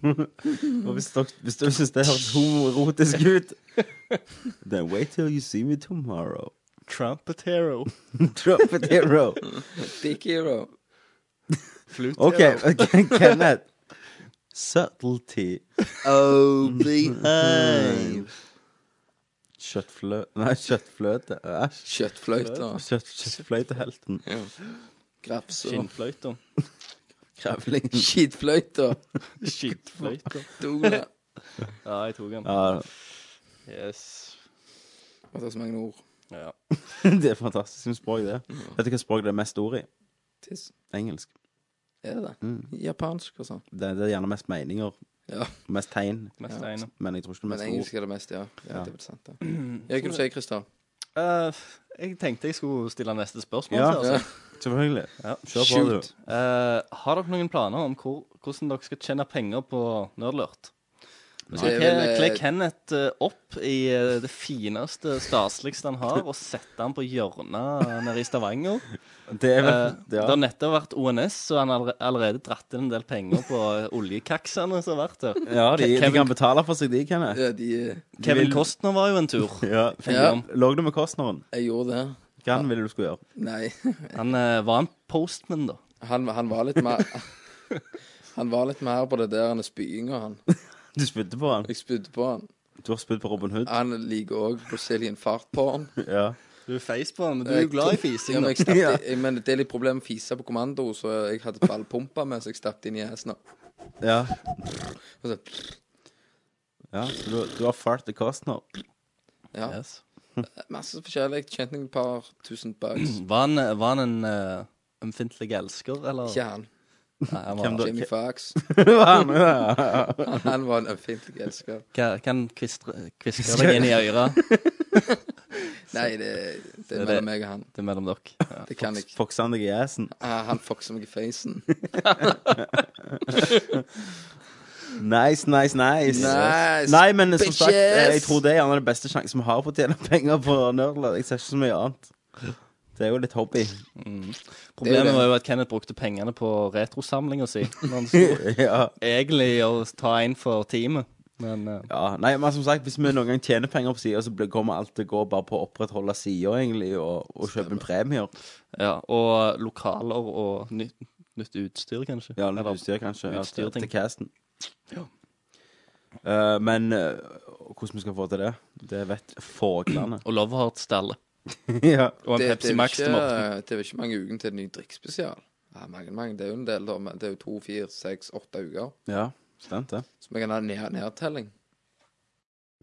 S6: Og hvis dere, hvis dere syns det høres homoerotisk ut Then wait till you see me tomorrow.
S11: Trumpetero.
S6: Trumpetero.
S8: Dick Hero.
S6: OK, ok, Kenneth. Subtlety.
S11: Oh, behave.
S6: Kjøttflø... Nei, kjøttfløte. Æsj.
S8: Kjøttfløyte.
S6: Kjøtt, kjøttfløytehelten.
S8: Grapse.
S11: Skinnfløyta.
S6: Kravlingen.
S8: Skitfløyte.
S11: Skittfløyta.
S8: Dole.
S11: Ja, jeg tok den.
S6: Ja,
S11: Yes.
S8: Og Det er så mange ord.
S11: Ja.
S6: det er fantastisk med språk, det. Vet du hva språk det er mest ord i?
S8: Tiss.
S6: Engelsk.
S8: Er det det?
S6: Mm.
S8: Japansk og sånn.
S6: Det, det er gjerne mest meninger.
S8: Ja.
S6: Mest tegn.
S7: Mest ene.
S6: Men jeg tror ikke det er
S8: Men
S6: mest
S8: engelsk
S6: ord.
S8: er det meste, ja. ja,
S6: Ja.
S8: Det er vel sant, det. Ja, hva du sier du, Christer?
S7: Eh, jeg tenkte jeg skulle stille neste spørsmål.
S6: Ja.
S7: til, altså.
S6: Selvfølgelig.
S7: Ja.
S6: Kjør på, du.
S7: Eh, har dere noen planer om hvor, hvordan dere skal tjene penger på Nerdlurt?
S8: Det er vel, eh,
S7: Kle Kenneth eh, opp i eh, det fineste, staseligste han har, og sette han på hjørnet eh, nede i Stavanger.
S6: Det er vel
S7: Eh, Det
S6: ja.
S7: har nettopp vært ONS, så han har allerede- allerede dratt inn en del penger på eh, oljekaksene som har vært der.
S6: ja, de, de
S7: Kevin-
S6: kan betale for seg, de, Kenneth.
S8: Ja, de eh,
S7: Kevin Costner var jo en tur.
S6: Ja.
S8: Ja.
S6: Lå du med Costneren?
S8: Jeg gjorde det.
S6: Hva han ville du skulle gjøre?
S8: Nei.
S7: Han eh, var en postman, da.
S8: Han, han var litt mer Han var litt mer på det der han er spyinga, han.
S6: Du spydde på han.
S8: Jeg spydde på han.
S6: Du har spydd på Robin Hood.
S8: Han liker òg Brazilian fart på han.
S6: Ja.
S7: Du feis på han, men
S8: du er jo glad i
S7: fising.
S8: Ja, men, jeg stappte, jeg, men det er litt problem å fise på kommando, så jeg hadde ballpumpa mens jeg stappet inn i hesten. Og
S6: ja.
S8: så,
S6: ja. Så du, du har fart til Costner.
S8: ja,
S7: Yes.
S8: Masse forskjellig. Tjente meg et par tusen bucks.
S7: Var han, var han en eh, ømfintlig elsker, eller?
S8: Ikke han.
S7: Nei, han
S6: Hvem da?
S7: var,
S8: Jimmy Fox. Han var en ømfintlig elsker.
S7: Hva- kan kvistre, kviskre deg inn i øret.
S8: Nei, det, det er
S7: det-
S8: mellom meg og han.
S7: Det er mellom dere. Ja.
S8: Det kan jeg ikke.
S6: Fokser han deg i assen?
S8: Ah, Han foxer meg i facen.
S6: Nice, nice, nice.
S8: Nice,
S6: Nei, men som sagt, eh, jeg
S8: bitches.
S6: tror det er gjerne den beste sjansen vi har for å tjene penger på nerdler. Jeg ser ikke så mye annet. Det er jo litt hobby.
S8: Det er jo
S7: Problemet
S8: det.
S7: var jo at Kenneth brukte pengene på retrosamlinga si. Når han skulle
S6: ja.
S7: egentlig å ta inn for teamet. Men eh,
S6: ja. Nei, men som sagt, hvis vi noen gang tjener penger på sida, så blir- kommer alt til å gå bare på å opprettholde sida, egentlig, og, og kjøpe inn premier.
S7: ja, og lokaler og nytt, nytt utstyr, kanskje.
S6: Ja, litt utstyr, kanskje. Ja,
S7: utstyr,
S6: til,
S7: ting.
S6: til casten. Eh, men eh, hvordan vi skal få til det, det vet fuglene.
S7: Og Loveheart-stallet.
S6: ja.
S7: Og en
S8: Det, det,
S7: Pepsi
S8: er
S7: Max
S8: ikke,
S7: til Morten.
S8: det er jo ikke mange ukene til en ny drikkspesial. Ja, mange, mange. Det er jo en del, da. Men det er jo to, fire, seks, åtte uker.
S6: ja, stemt det.
S8: Så vi kan ha ned, nedtelling.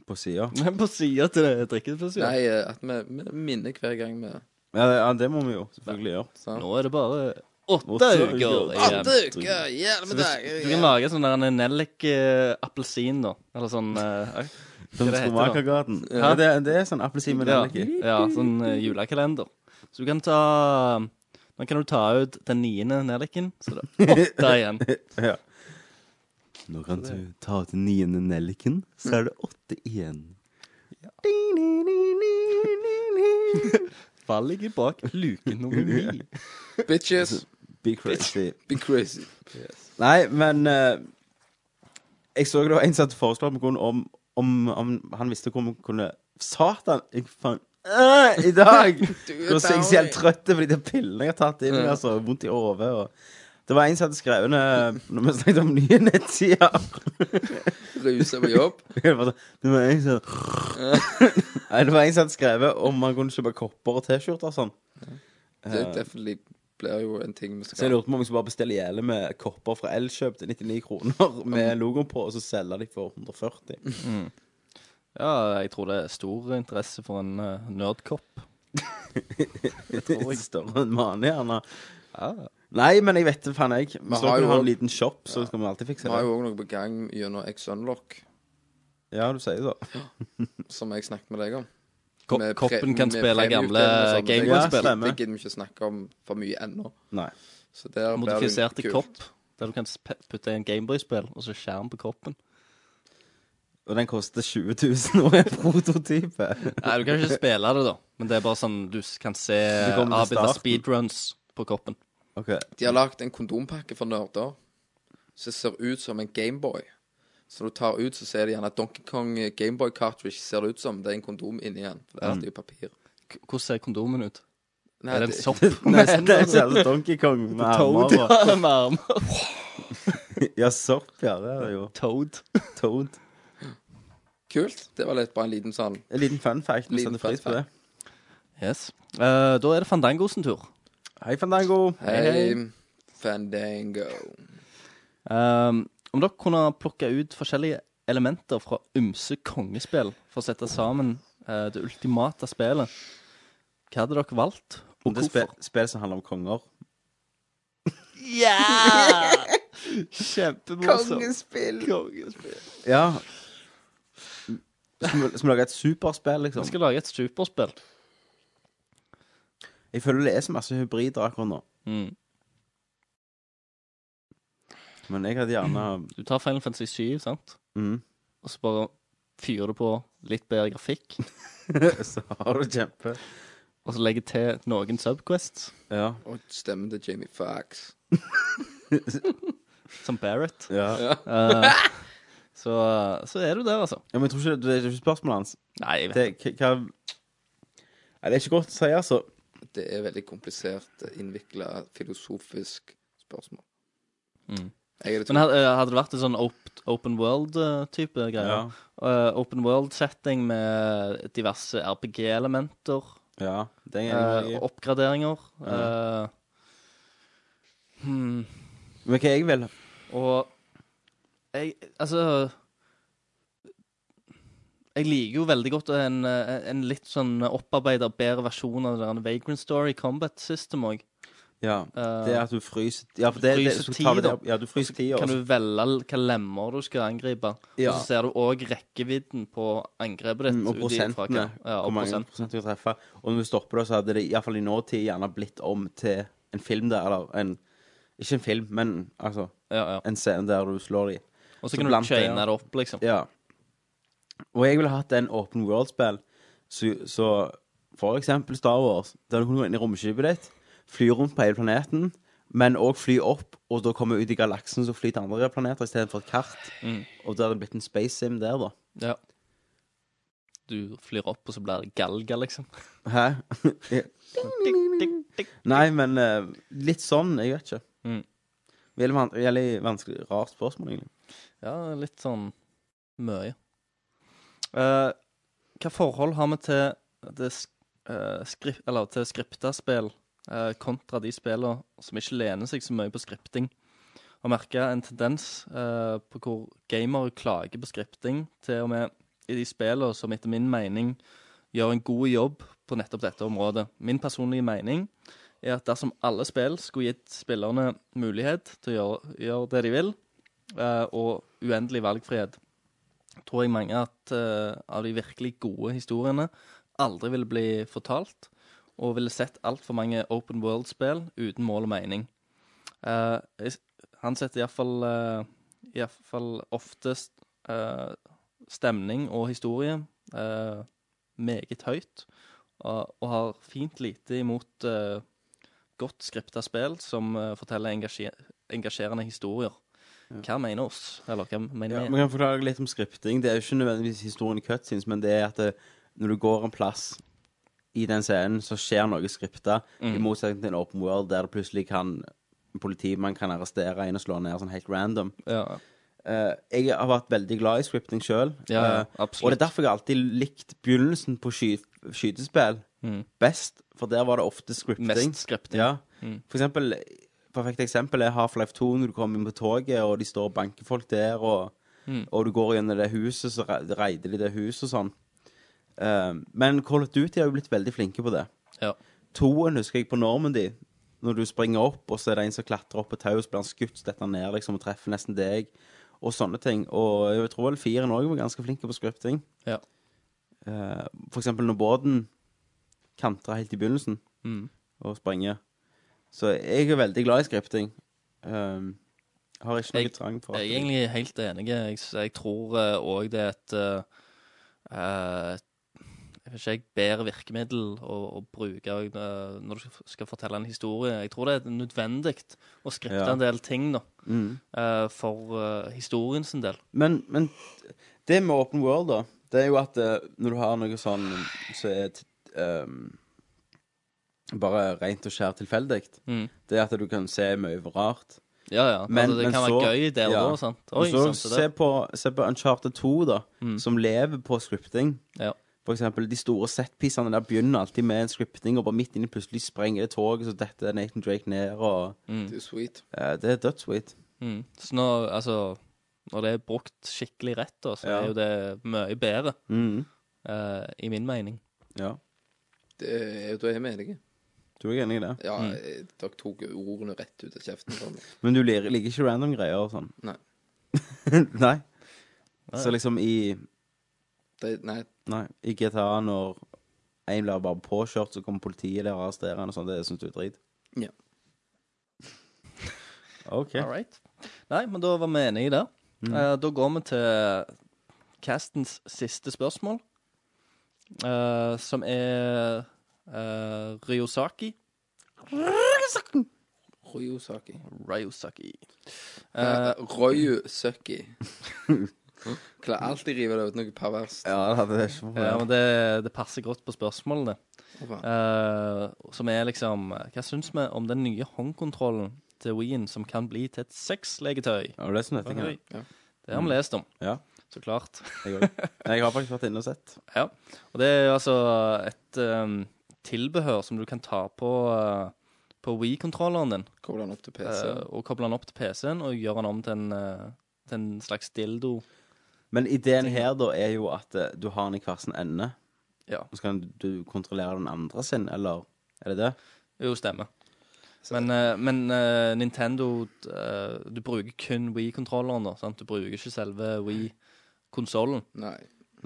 S6: På sida.
S7: Men på sida til det drikkespesial.
S8: Nei, eh, at vi, vi minner hver gang vi
S6: Ja, det- ja, det må vi jo selvfølgelig gjøre.
S8: sant?
S7: Nå er det bare åtte
S6: Åtte
S7: uker
S6: uker.
S7: igjen.
S8: Åtte uker! Hjelpe
S7: Så
S8: deg!
S7: hvis, du kan lage sånn der en nellik-appelsin, da. Eller sånn eh,
S6: Som
S7: det heter
S6: Skomakergaten. Ja, det, det er sånn appelsin med
S7: ja,
S6: nellik i.
S7: ja, sånn eh, julekalender. Så du kan ta Nå kan du ta ut den niende nelliken, så det er åtte igjen.
S6: Ja. Nå kan du ta ut den niende nelliken, så er det åtte igjen. Ding, ding, ding, ding, ding, ding.
S7: Hva ligger bak luke nummer ni?
S8: Bitches,
S6: Be crazy.
S8: be crazy.
S6: Nei, men eh, Jeg så det var en som hadde foreslått meg om, om, om han visste hvor vi kunne Satan! Jeg faen øh, I dag! Nå er jeg så helt trøtt fordi de pillene jeg har tatt inn.
S8: Ja.
S6: Altså, vondt i hodet. og Det var en som hadde skrevet ned når vi snakket om nye nettsider.
S8: Rusa på jobb.
S6: Det var en som Nei, det var en som hadde skrevet om man kunne kjøpe kopper og T-skjorter og sånn. Eh,
S8: Det definitely blir jo en ting vi
S6: Så jeg
S8: skal
S6: lurte på om jeg skulle bare bestille gjelde med kopper fra Elkjøp til 99 kroner med logoen på, og så selge de for 140.
S7: Ja, jeg tror det er stor interesse for en eh, nerdkopp.
S6: Større enn vanlig, gjerne. Nei, men jeg vet det, faen jeg. Vi
S8: har
S6: skal
S8: jo
S6: jo ha en
S8: også-
S6: liten shop, så skal vi alltid
S8: Vi
S6: fikse
S8: har
S6: det.
S8: jo òg noe på gang gjennom X-Unlock,
S6: Ja, du sier så.
S8: som jeg snakket med deg om.
S7: Ko-
S8: Med pre-
S7: Koppen kan
S8: med
S7: spille
S8: premieutdeling
S7: gamle
S8: og sånn, men det-
S7: Game
S6: Ja,
S7: Boy-spill.
S6: stemmer.
S8: Det gidder vi ikke snakke om for mye ennå.
S6: Nei.
S8: Så der blir det
S7: Modifiserte
S8: kult.
S7: kopp, der du kan sp- putte en Gameboy-spill og så skjerm på koppen.
S6: Og den koster 20 000 og er prototype.
S7: Nei, du kan ikke spille det, da. Men det er bare sånn du s- kan se
S6: Det kommer til
S7: avbilda
S6: starten.
S7: speedruns på koppen.
S6: Ok.
S8: De har lagd en kondompakke for nerder. som ser ut som en Gameboy. Så du tar ut, så ser det gjerne at Donkey Kong Gameboy cartridge ser det ut som. Det er en kondom inni den. For det er alltid i papir.
S7: K- Hvordan ser kondomen ut?
S8: Nei,
S7: er Mm. sånn det en
S8: det-
S7: sopp?
S6: Nei, det er ikke altså Donkey Kong med
S7: Toad,
S6: armer og
S7: ja. Med armer.
S6: Ja, sopp, ja. Det er det jo.
S7: Toad.
S6: Toad.
S8: Kult. Det var litt, bare en liten sånn
S6: En liten fun fact. Vi
S8: Liten
S6: setter pris
S8: fun
S6: på det.
S7: Yes. Eh, da er det Fandangos sin tur.
S6: Hei, Fandango.
S8: Hei, Fandango.
S7: Ehm, om dere kunne plukke ut forskjellige elementer fra ymse kongespill for å sette sammen eh, det ultimate spillet, hva hadde dere valgt, og
S6: Det er spe
S7: hvorfor?
S6: spill som handler om konger.
S7: Kjempemorsomt.
S6: Ja. Som som lager et superspill, liksom.
S7: Vi skal lage et superspill.
S6: Jeg føler det er så masse hybrider akkurat nå.
S7: Mm.
S6: Men jeg hadde gjerne
S7: Du tar Final Fantasy 7, sant?
S6: mm,
S7: og så bare fyrer du på litt bedre grafikk,
S6: Så har du kjempe.
S7: og så legger til noen subquests,
S6: Ja.
S8: Og stemmen til Jamie Foxx.
S7: som Barrett.
S6: Ja. ja.
S7: Eh, så, så er du der, altså.
S6: Men jeg tror ikke det, det er ikke spørsmålet hans.
S7: Nei, jeg vet
S6: Det, hva hva- Nei, det er ikke godt å si, altså.
S8: Det er veldig komplisert, innvikla, filosofisk spørsmål.
S7: Mm.
S8: Jeg er det
S7: Men had- eh, hadde det vært en sånn op open world-type greier?
S6: Ja.
S7: Eh, open world-setting med diverse RPG-elementer
S6: ja det er jeg
S7: eh,
S6: enig i.
S7: og oppgraderinger. eh, hmm,
S6: Men hva jeg vil
S7: og jeg Altså Jeg liker jo veldig godt en, eh, en litt sånn opparbeida, bedre versjon av den Vagrant Story Combat System òg.
S6: Ja.
S7: Eh,
S6: Det er at du fryser Ja, for det, det,
S7: fryser
S6: så tar vi
S7: tid,
S6: det opp. Ja, du fryser tida.
S7: kan
S6: også.
S7: du velge hvilke lemmer du skal angripe.
S6: Ja.
S7: Og så ser du òg rekkevidden på angrepet ditt.
S6: Mm, og
S7: ut ifra
S6: prosentene.
S7: hva- Ja,
S6: hvor
S7: og
S6: mange
S7: prosent.
S6: prosent du kan treffe. Og når du stopper det, så hadde det iallfall i nåtid gjerne blitt om til en film der, eller en Ikke en film, men altså
S7: Ja, ja.
S6: en scene der du slår de.
S7: Og
S6: Så
S7: så kan du
S6: blant det,
S7: chaine
S6: ja.
S7: det opp, liksom.
S6: Ja. Og jeg ville hatt en open world-spill, så, så for eksempel Star Wars, der du kunne gå inn i romskipet ditt, fly rundt på hele planeten, men òg fly opp, og da komme ut i galaksen og fly til andre planeter istedenfor et kart. Og det hadde blitt en space sim der, da.
S7: Ja. Du flyr opp, og så blir det galga, liksom.
S6: Hæ? Nei, men eh, litt sånn, jeg vet ikke.
S7: Mm.
S6: Veldig, van veldig vanskelig, rart spørsmål, egentlig.
S7: Ja, litt sånn mye. Eh, hva forhold har vi til det sk eh, skrip eller til skripta spill eh, kontra de spillene som ikke lener seg så mye på skripting? Og merker en tendens eh, på hvor gamere klager på skripting, til og med i de spillene som etter min mening gjør en god jobb på nettopp dette området. Min personlige mening er at dersom alle spill skulle gitt spillerne mulighet til å gjøre, gjøre det de vil, eh, og uendelig valgfrihet, tror jeg mange at, eh, av de virkelig gode historiene aldri ville bli fortalt, og ville sett altfor mange open world-spill uten mål og mening. Eh, jeg s- han setter iallfall uh, iallfall oftest eh, stemning og historie eh, meget høyt, og, og har fint lite imot eh, godt skripta spill som eh, forteller engasje engasjerende historier. Hva mener oss? Eller hva mener
S6: Ja,
S7: vi?
S6: man kan forklare litt om skripting. Det er jo ikke nødvendigvis historien i cutscenes, men det er at det, når du går en plass i den scenen, så skjer noe skripta, i motsetning til en open world der det plutselig kan politimann kan arrestere en og slå ned sånn helt random.
S7: Ja,
S6: Eh, jeg har vært veldig glad i scripting sjøl.
S7: Ja, ja, absolutt.
S6: og det er derfor jeg alltid likt begynnelsen på sky skytespill best, for der var det ofte scripting.
S7: Mm. Mest scripting. Mm.
S6: Ja. For eksempel, perfekt eksempel er Half-Life 2, når du kommer inn på toget, og de står og banker folk der, og,
S7: Mm.
S6: og du går gjennom det huset, så re- reider de det huset og sånn. Eh, men Call of Duty har jo blitt veldig flinke på det.
S7: ja.
S6: Toen husker jeg på Normandy. Når du springer opp, og så er det en som klatrer opp på tauet, så blir han skutt, så detter han ned liksom, og treffer nesten deg, og sånne ting. Og jeg tror vel firen òg var ganske flink på scripting.
S7: Ja.
S6: Eh, for eksempel når båten kantrer helt i begynnelsen
S7: Mm.
S6: og springer. Så jeg er veldig glad i scripting. Um, har ikke noe
S7: Jeg-
S6: trang for
S7: Jeg er
S6: at-
S7: egentlig helt enig. Jeg, s- jeg tror òg det er et eh, eh, jeg vet ikke jeg, bedre virkemiddel å, å bruke eh, når du skal- skal fortelle en historie. Jeg tror det er nødvendig å skripte
S6: Ja.
S7: en del ting da,
S6: Mm.
S7: eh, for eh, historien sin del.
S6: Men, men det med open world, da, det er jo at eh, når du har noe sånn som så er t- ehm, bare rent og skjært tilfeldig,
S7: Mm.
S6: det er at du kan se mye rart.
S7: Ja, ja.
S6: Men-
S7: altså, det
S6: men
S7: kan
S6: så-
S7: være gøy der og
S6: ja.
S7: da. sant?
S6: Og
S7: Oi,
S6: så
S7: sant, det
S6: se
S7: der.
S6: på, se på Uncharted 2, da,
S7: Mm.
S6: som lever på scripting.
S7: Ja.
S6: For eksempel de store setpissene der begynner alltid med en scripting, og bare midt inni plutselig sprenger det toget, så detter Nathan Drake ned, og
S7: Mm.
S8: Det er sweet.
S6: eh, Det er dødssweet.
S7: Mm. Så nå, altså, når det er brukt skikkelig rett, da, så
S6: Ja.
S7: er jo det mye bedre,
S6: Mm.
S7: eh, i min mening.
S6: Ja.
S8: Det er, da er vi enige.
S6: Du er enig i det?
S8: Ja,
S7: Mm.
S8: eh, dere tok ordene rett ut av kjeften. på meg.
S6: Men du liker, liker ikke random greier og sånn?
S8: Nei.
S6: Nei. Så liksom i
S8: Det, nei,
S6: Nei, i GTA når en blir bare påkjørt, så kommer politiet der og arresterer han og sånn. Det syns du er drit?
S8: Ja.
S6: OK.
S7: All right. Nei, men da var vi enige der. Eh, da går vi til castens siste spørsmål, eh, som er eh, Ryosaki.
S8: Royo Saki.
S7: Ryosaki.
S8: Eh, Royo Sucky. Klarer alltid rive det ut noe perverst.
S6: Ja, det hadde jeg ikke
S7: Ja, men det, det passer godt på spørsmålene.
S8: Hva faen?
S7: Eh, som er liksom Hva syns vi om den nye håndkontrollen til Wien som kan bli til et sexlegetøy?
S6: Ja, det er det som heter det.
S8: Ja.
S7: Det har vi lest om.
S6: Ja.
S7: Så klart.
S6: Jeg også. Jeg har faktisk vært inne og sett.
S7: Ja, og det er jo altså et ehm, tilbehør som du kan ta på, eh, på Wii-kontrolleren din,
S8: Kobler den opp til PC.
S7: eh, og koble den opp til PC-en og gjøre den om til en, eh, til en slags dildo.
S6: Men ideen her da er jo at eh, du har den i hver sin ende.
S7: Ja.
S6: Og så kan du kontrollere den andre sin, eller er det det?
S7: Jo, stemmer. Men, eh, men eh, Nintendo eh, Du bruker kun Wii-kontrolleren, da. Sant? Du bruker ikke selve Wii-konsollen.
S8: Nei.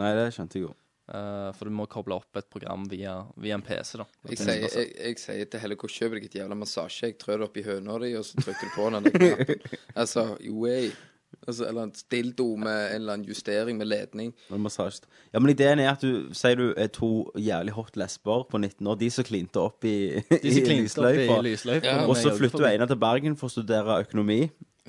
S6: Nei, det skjønte jeg jo.
S7: eh, for du må koble opp et program via, via en PC, da. Altså,
S8: Jeg sier, jeg, jeg sier til Helle, hvor kjøper jeg et jævla massasje? Jeg trør det opp i høna di, og så trykker du på den der knappen. Altså, way. Altså, eller en dildo med en eller annen justering med ledning.
S6: Men massasje Ja, men ideen er at du sier du er to jævlig hot lesber på 19 år, de som klinte opp i,
S7: De som
S6: i
S7: klinte opp i
S6: lysløypa.
S7: lysløypa.
S8: Ja.
S7: når
S6: Og
S7: vi
S6: så
S7: jobbet
S6: flytter
S7: forbi.
S6: hun ene til Bergen for å studere økonomi,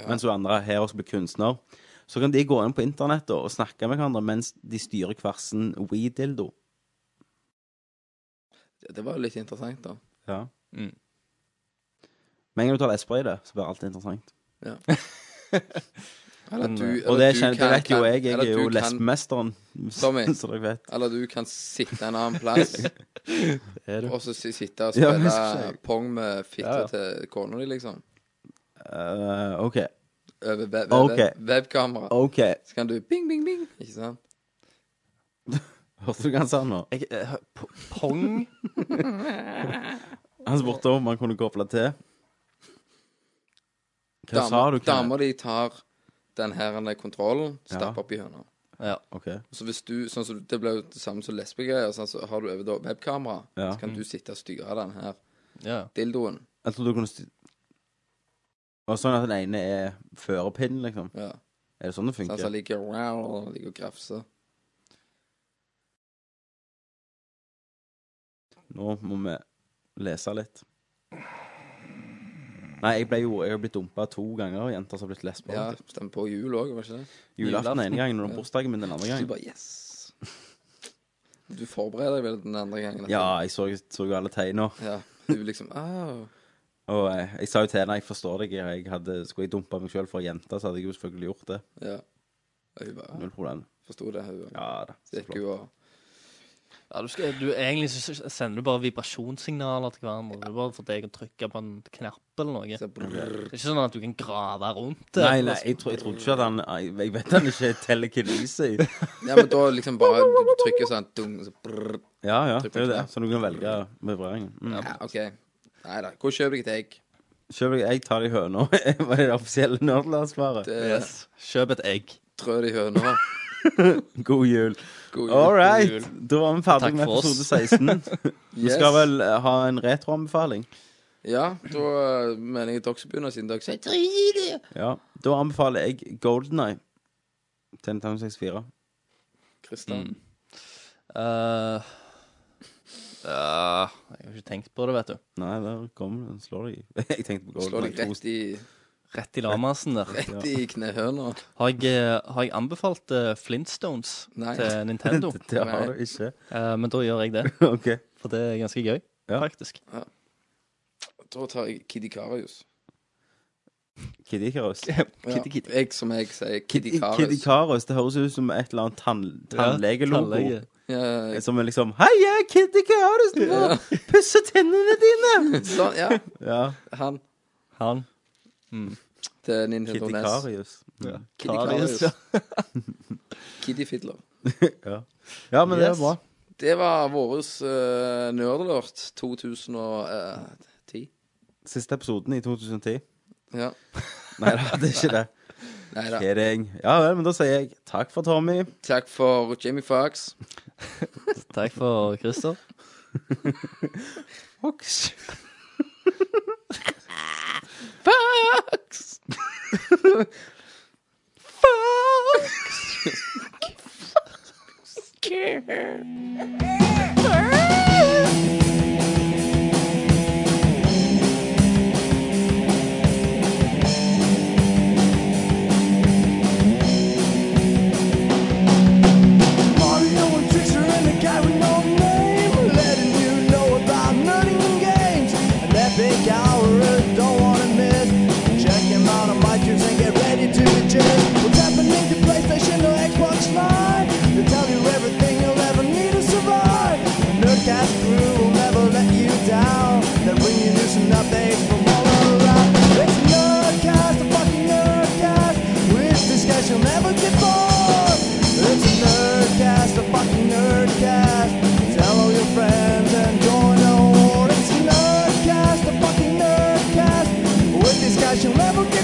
S6: mens hun andre er her og skal bli kunstner. Så kan de gå inn på internett og og snakke med hverandre mens de styrer hver sin weed-dildo.
S8: Det var jo litt interessant, da.
S6: Ja.
S7: Mm.
S6: Med en gang du tar lesber i det, så blir alt interessant.
S8: Eller
S7: Men,
S8: du,
S7: eh,
S6: Mm. Og
S8: eller
S6: det,
S8: du
S6: kjenner, det
S8: kan-
S6: vet jo jeg. Jeg
S8: eller
S6: er jo
S8: du kan-
S6: lesbemesteren,
S8: Tommy.
S6: så dere vet.
S8: Eller du kan sitte en annen plass, og så si- sitte og
S6: Ja,
S8: spille
S6: men så-
S8: pong med fitta
S7: Ja, ja.
S8: til kona di, liksom.
S6: Eh, OK.
S8: Over web, web,
S6: Ok.
S8: webkamera.
S6: OK.
S8: Så kan du bing, bing, bing. Ikke sant?
S6: Hørte du hva han sa nå?
S7: Jeg, eh, hø- p- pong
S6: Han spurte om han kunne koble til. Hva sa du? Kenneth?
S8: Dama di tar den her kontrollen,
S6: Ja.
S8: stapper opp i høna.
S7: Ja.
S6: OK.
S8: Så hvis du, sånn som, Det blir jo det samme som lesbegreier. Sånn, så har du over da webkamera,
S6: Ja.
S8: så kan du sitte og styre den her
S7: ja.
S8: dildoen.
S6: Jeg trodde du kunne styre Og sånn at den ene er førerpinnen, liksom.
S8: Ja.
S6: Er det sånn det
S8: Sånn
S6: funker?
S8: som ligger wow, og ligger og grafser.
S6: Nå må vi lese litt. Nei, jeg ble jo Jeg har blitt dumpa to ganger av jenter som har blitt lesber.
S8: Ja, stemmer på jul òg, var det ikke det?
S6: Julaften den ene gangen, og
S8: Ja.
S6: bursdagen min den andre
S8: Du
S6: gangen.
S8: bare yes. Du forbereder deg vel den andre gangen? at-
S6: Ja, jeg så, så jo alle tegner.
S8: ja. Du liksom au.
S6: Og jeg, jeg sa jo til henne jeg forstår deg, jeg hadde, skulle jeg dumpa meg sjøl for ei jente, så hadde jeg jo selvfølgelig gjort det.
S8: Ja. Og hun bare
S6: Null problem.
S8: forsto det, hun.
S6: Ja da.
S8: Så
S6: Så
S8: gikk
S6: flott.
S8: hun og
S7: Ja, du skal, du, egentlig så s- sender du bare vibrasjonssignaler til hverandre. Det er bare for deg å trykke på en knapp eller noe.
S8: så brrr.
S7: Det er ikke sånn at du kan grave rundt det.
S6: Nei, nei, jeg, tror, jeg trodde ikke at han Jeg jeg vet han ikke er telekinese. i.
S8: Ja, men da liksom bare Du trykker sånn dung, så brrr.
S6: Ja, ja,
S8: Trykk
S6: det
S8: på
S6: er jo det.
S8: knapp.
S6: Så du kan velge vibreringen. Mm.
S8: Ja, OK. Nei da. Hvor kjøper jeg et egg?
S6: Kjøp deg egg, ta det i høna. Var det det offisielle nerdlandsvaret?
S8: Det
S7: Yes. Kjøp et egg.
S8: Trør det i høna.
S6: God jul.
S8: God jul.
S6: All
S7: jul.
S6: right. Da var vi ferdig
S7: Takk
S6: med
S7: for
S6: episode
S7: oss.
S6: 16. Vi
S8: Yes.
S6: skal vel eh, ha en retroanbefaling.
S8: Ja, da eh, mener jeg at dere skal begynne siden dere sier tre.
S6: Ja. Da anbefaler jeg Golden Eye til Nintendo 64.
S8: Kristian.
S7: Eh,
S12: Ja, jeg har ikke tenkt på det, vet du.
S6: Nei, der kommer den. Slår deg. i- Jeg tenkte på
S8: Slår
S6: Golden
S8: deg rett i,
S12: Rett i lamasen der.
S8: rett i knehøna.
S12: Har jeg, eh, har jeg anbefalt eh, Flintstones
S8: Nei.
S12: til Nintendo?
S6: Det har du ikke.
S12: Eh, men da gjør jeg det,
S6: OK.
S12: for det er ganske gøy,
S6: Ja.
S12: faktisk.
S8: Da tar jeg Kidikarius.
S6: Kiddy Karus.
S8: Ja,
S12: Kitty, kitty.
S8: jeg som jeg sier,
S6: Kiddy
S8: Kidikarius.
S6: Karus, det høres ut som et eller annet tann tannlegelogo.
S12: tannlege.
S8: Ja,
S6: Som er liksom Hei, jeg er Kiddy Karus! Du må pusse tennene dine!
S8: sånn, ja.
S6: Ja.
S8: Han
S12: Han.
S8: til Nintendo E
S6: Kiddy
S8: NES.
S6: Karus.
S8: Kidikarius.
S12: Karius.
S8: Kiddy Fiddler.
S6: Ja. ja, men det er
S12: Yes.
S6: bra.
S8: Det var vår uh, nerdelort eh, 2010.
S6: Siste episoden i 2010.
S8: Ja.
S6: Nei da, det er ikke det.
S8: Nei da.
S6: Kidding. Ja vel, men da sier jeg takk for Tommy.
S8: Takk for Jamie Fox.
S12: Takk for Christer.
S7: Nerdcast, the fucking Nerdcast, with discussion level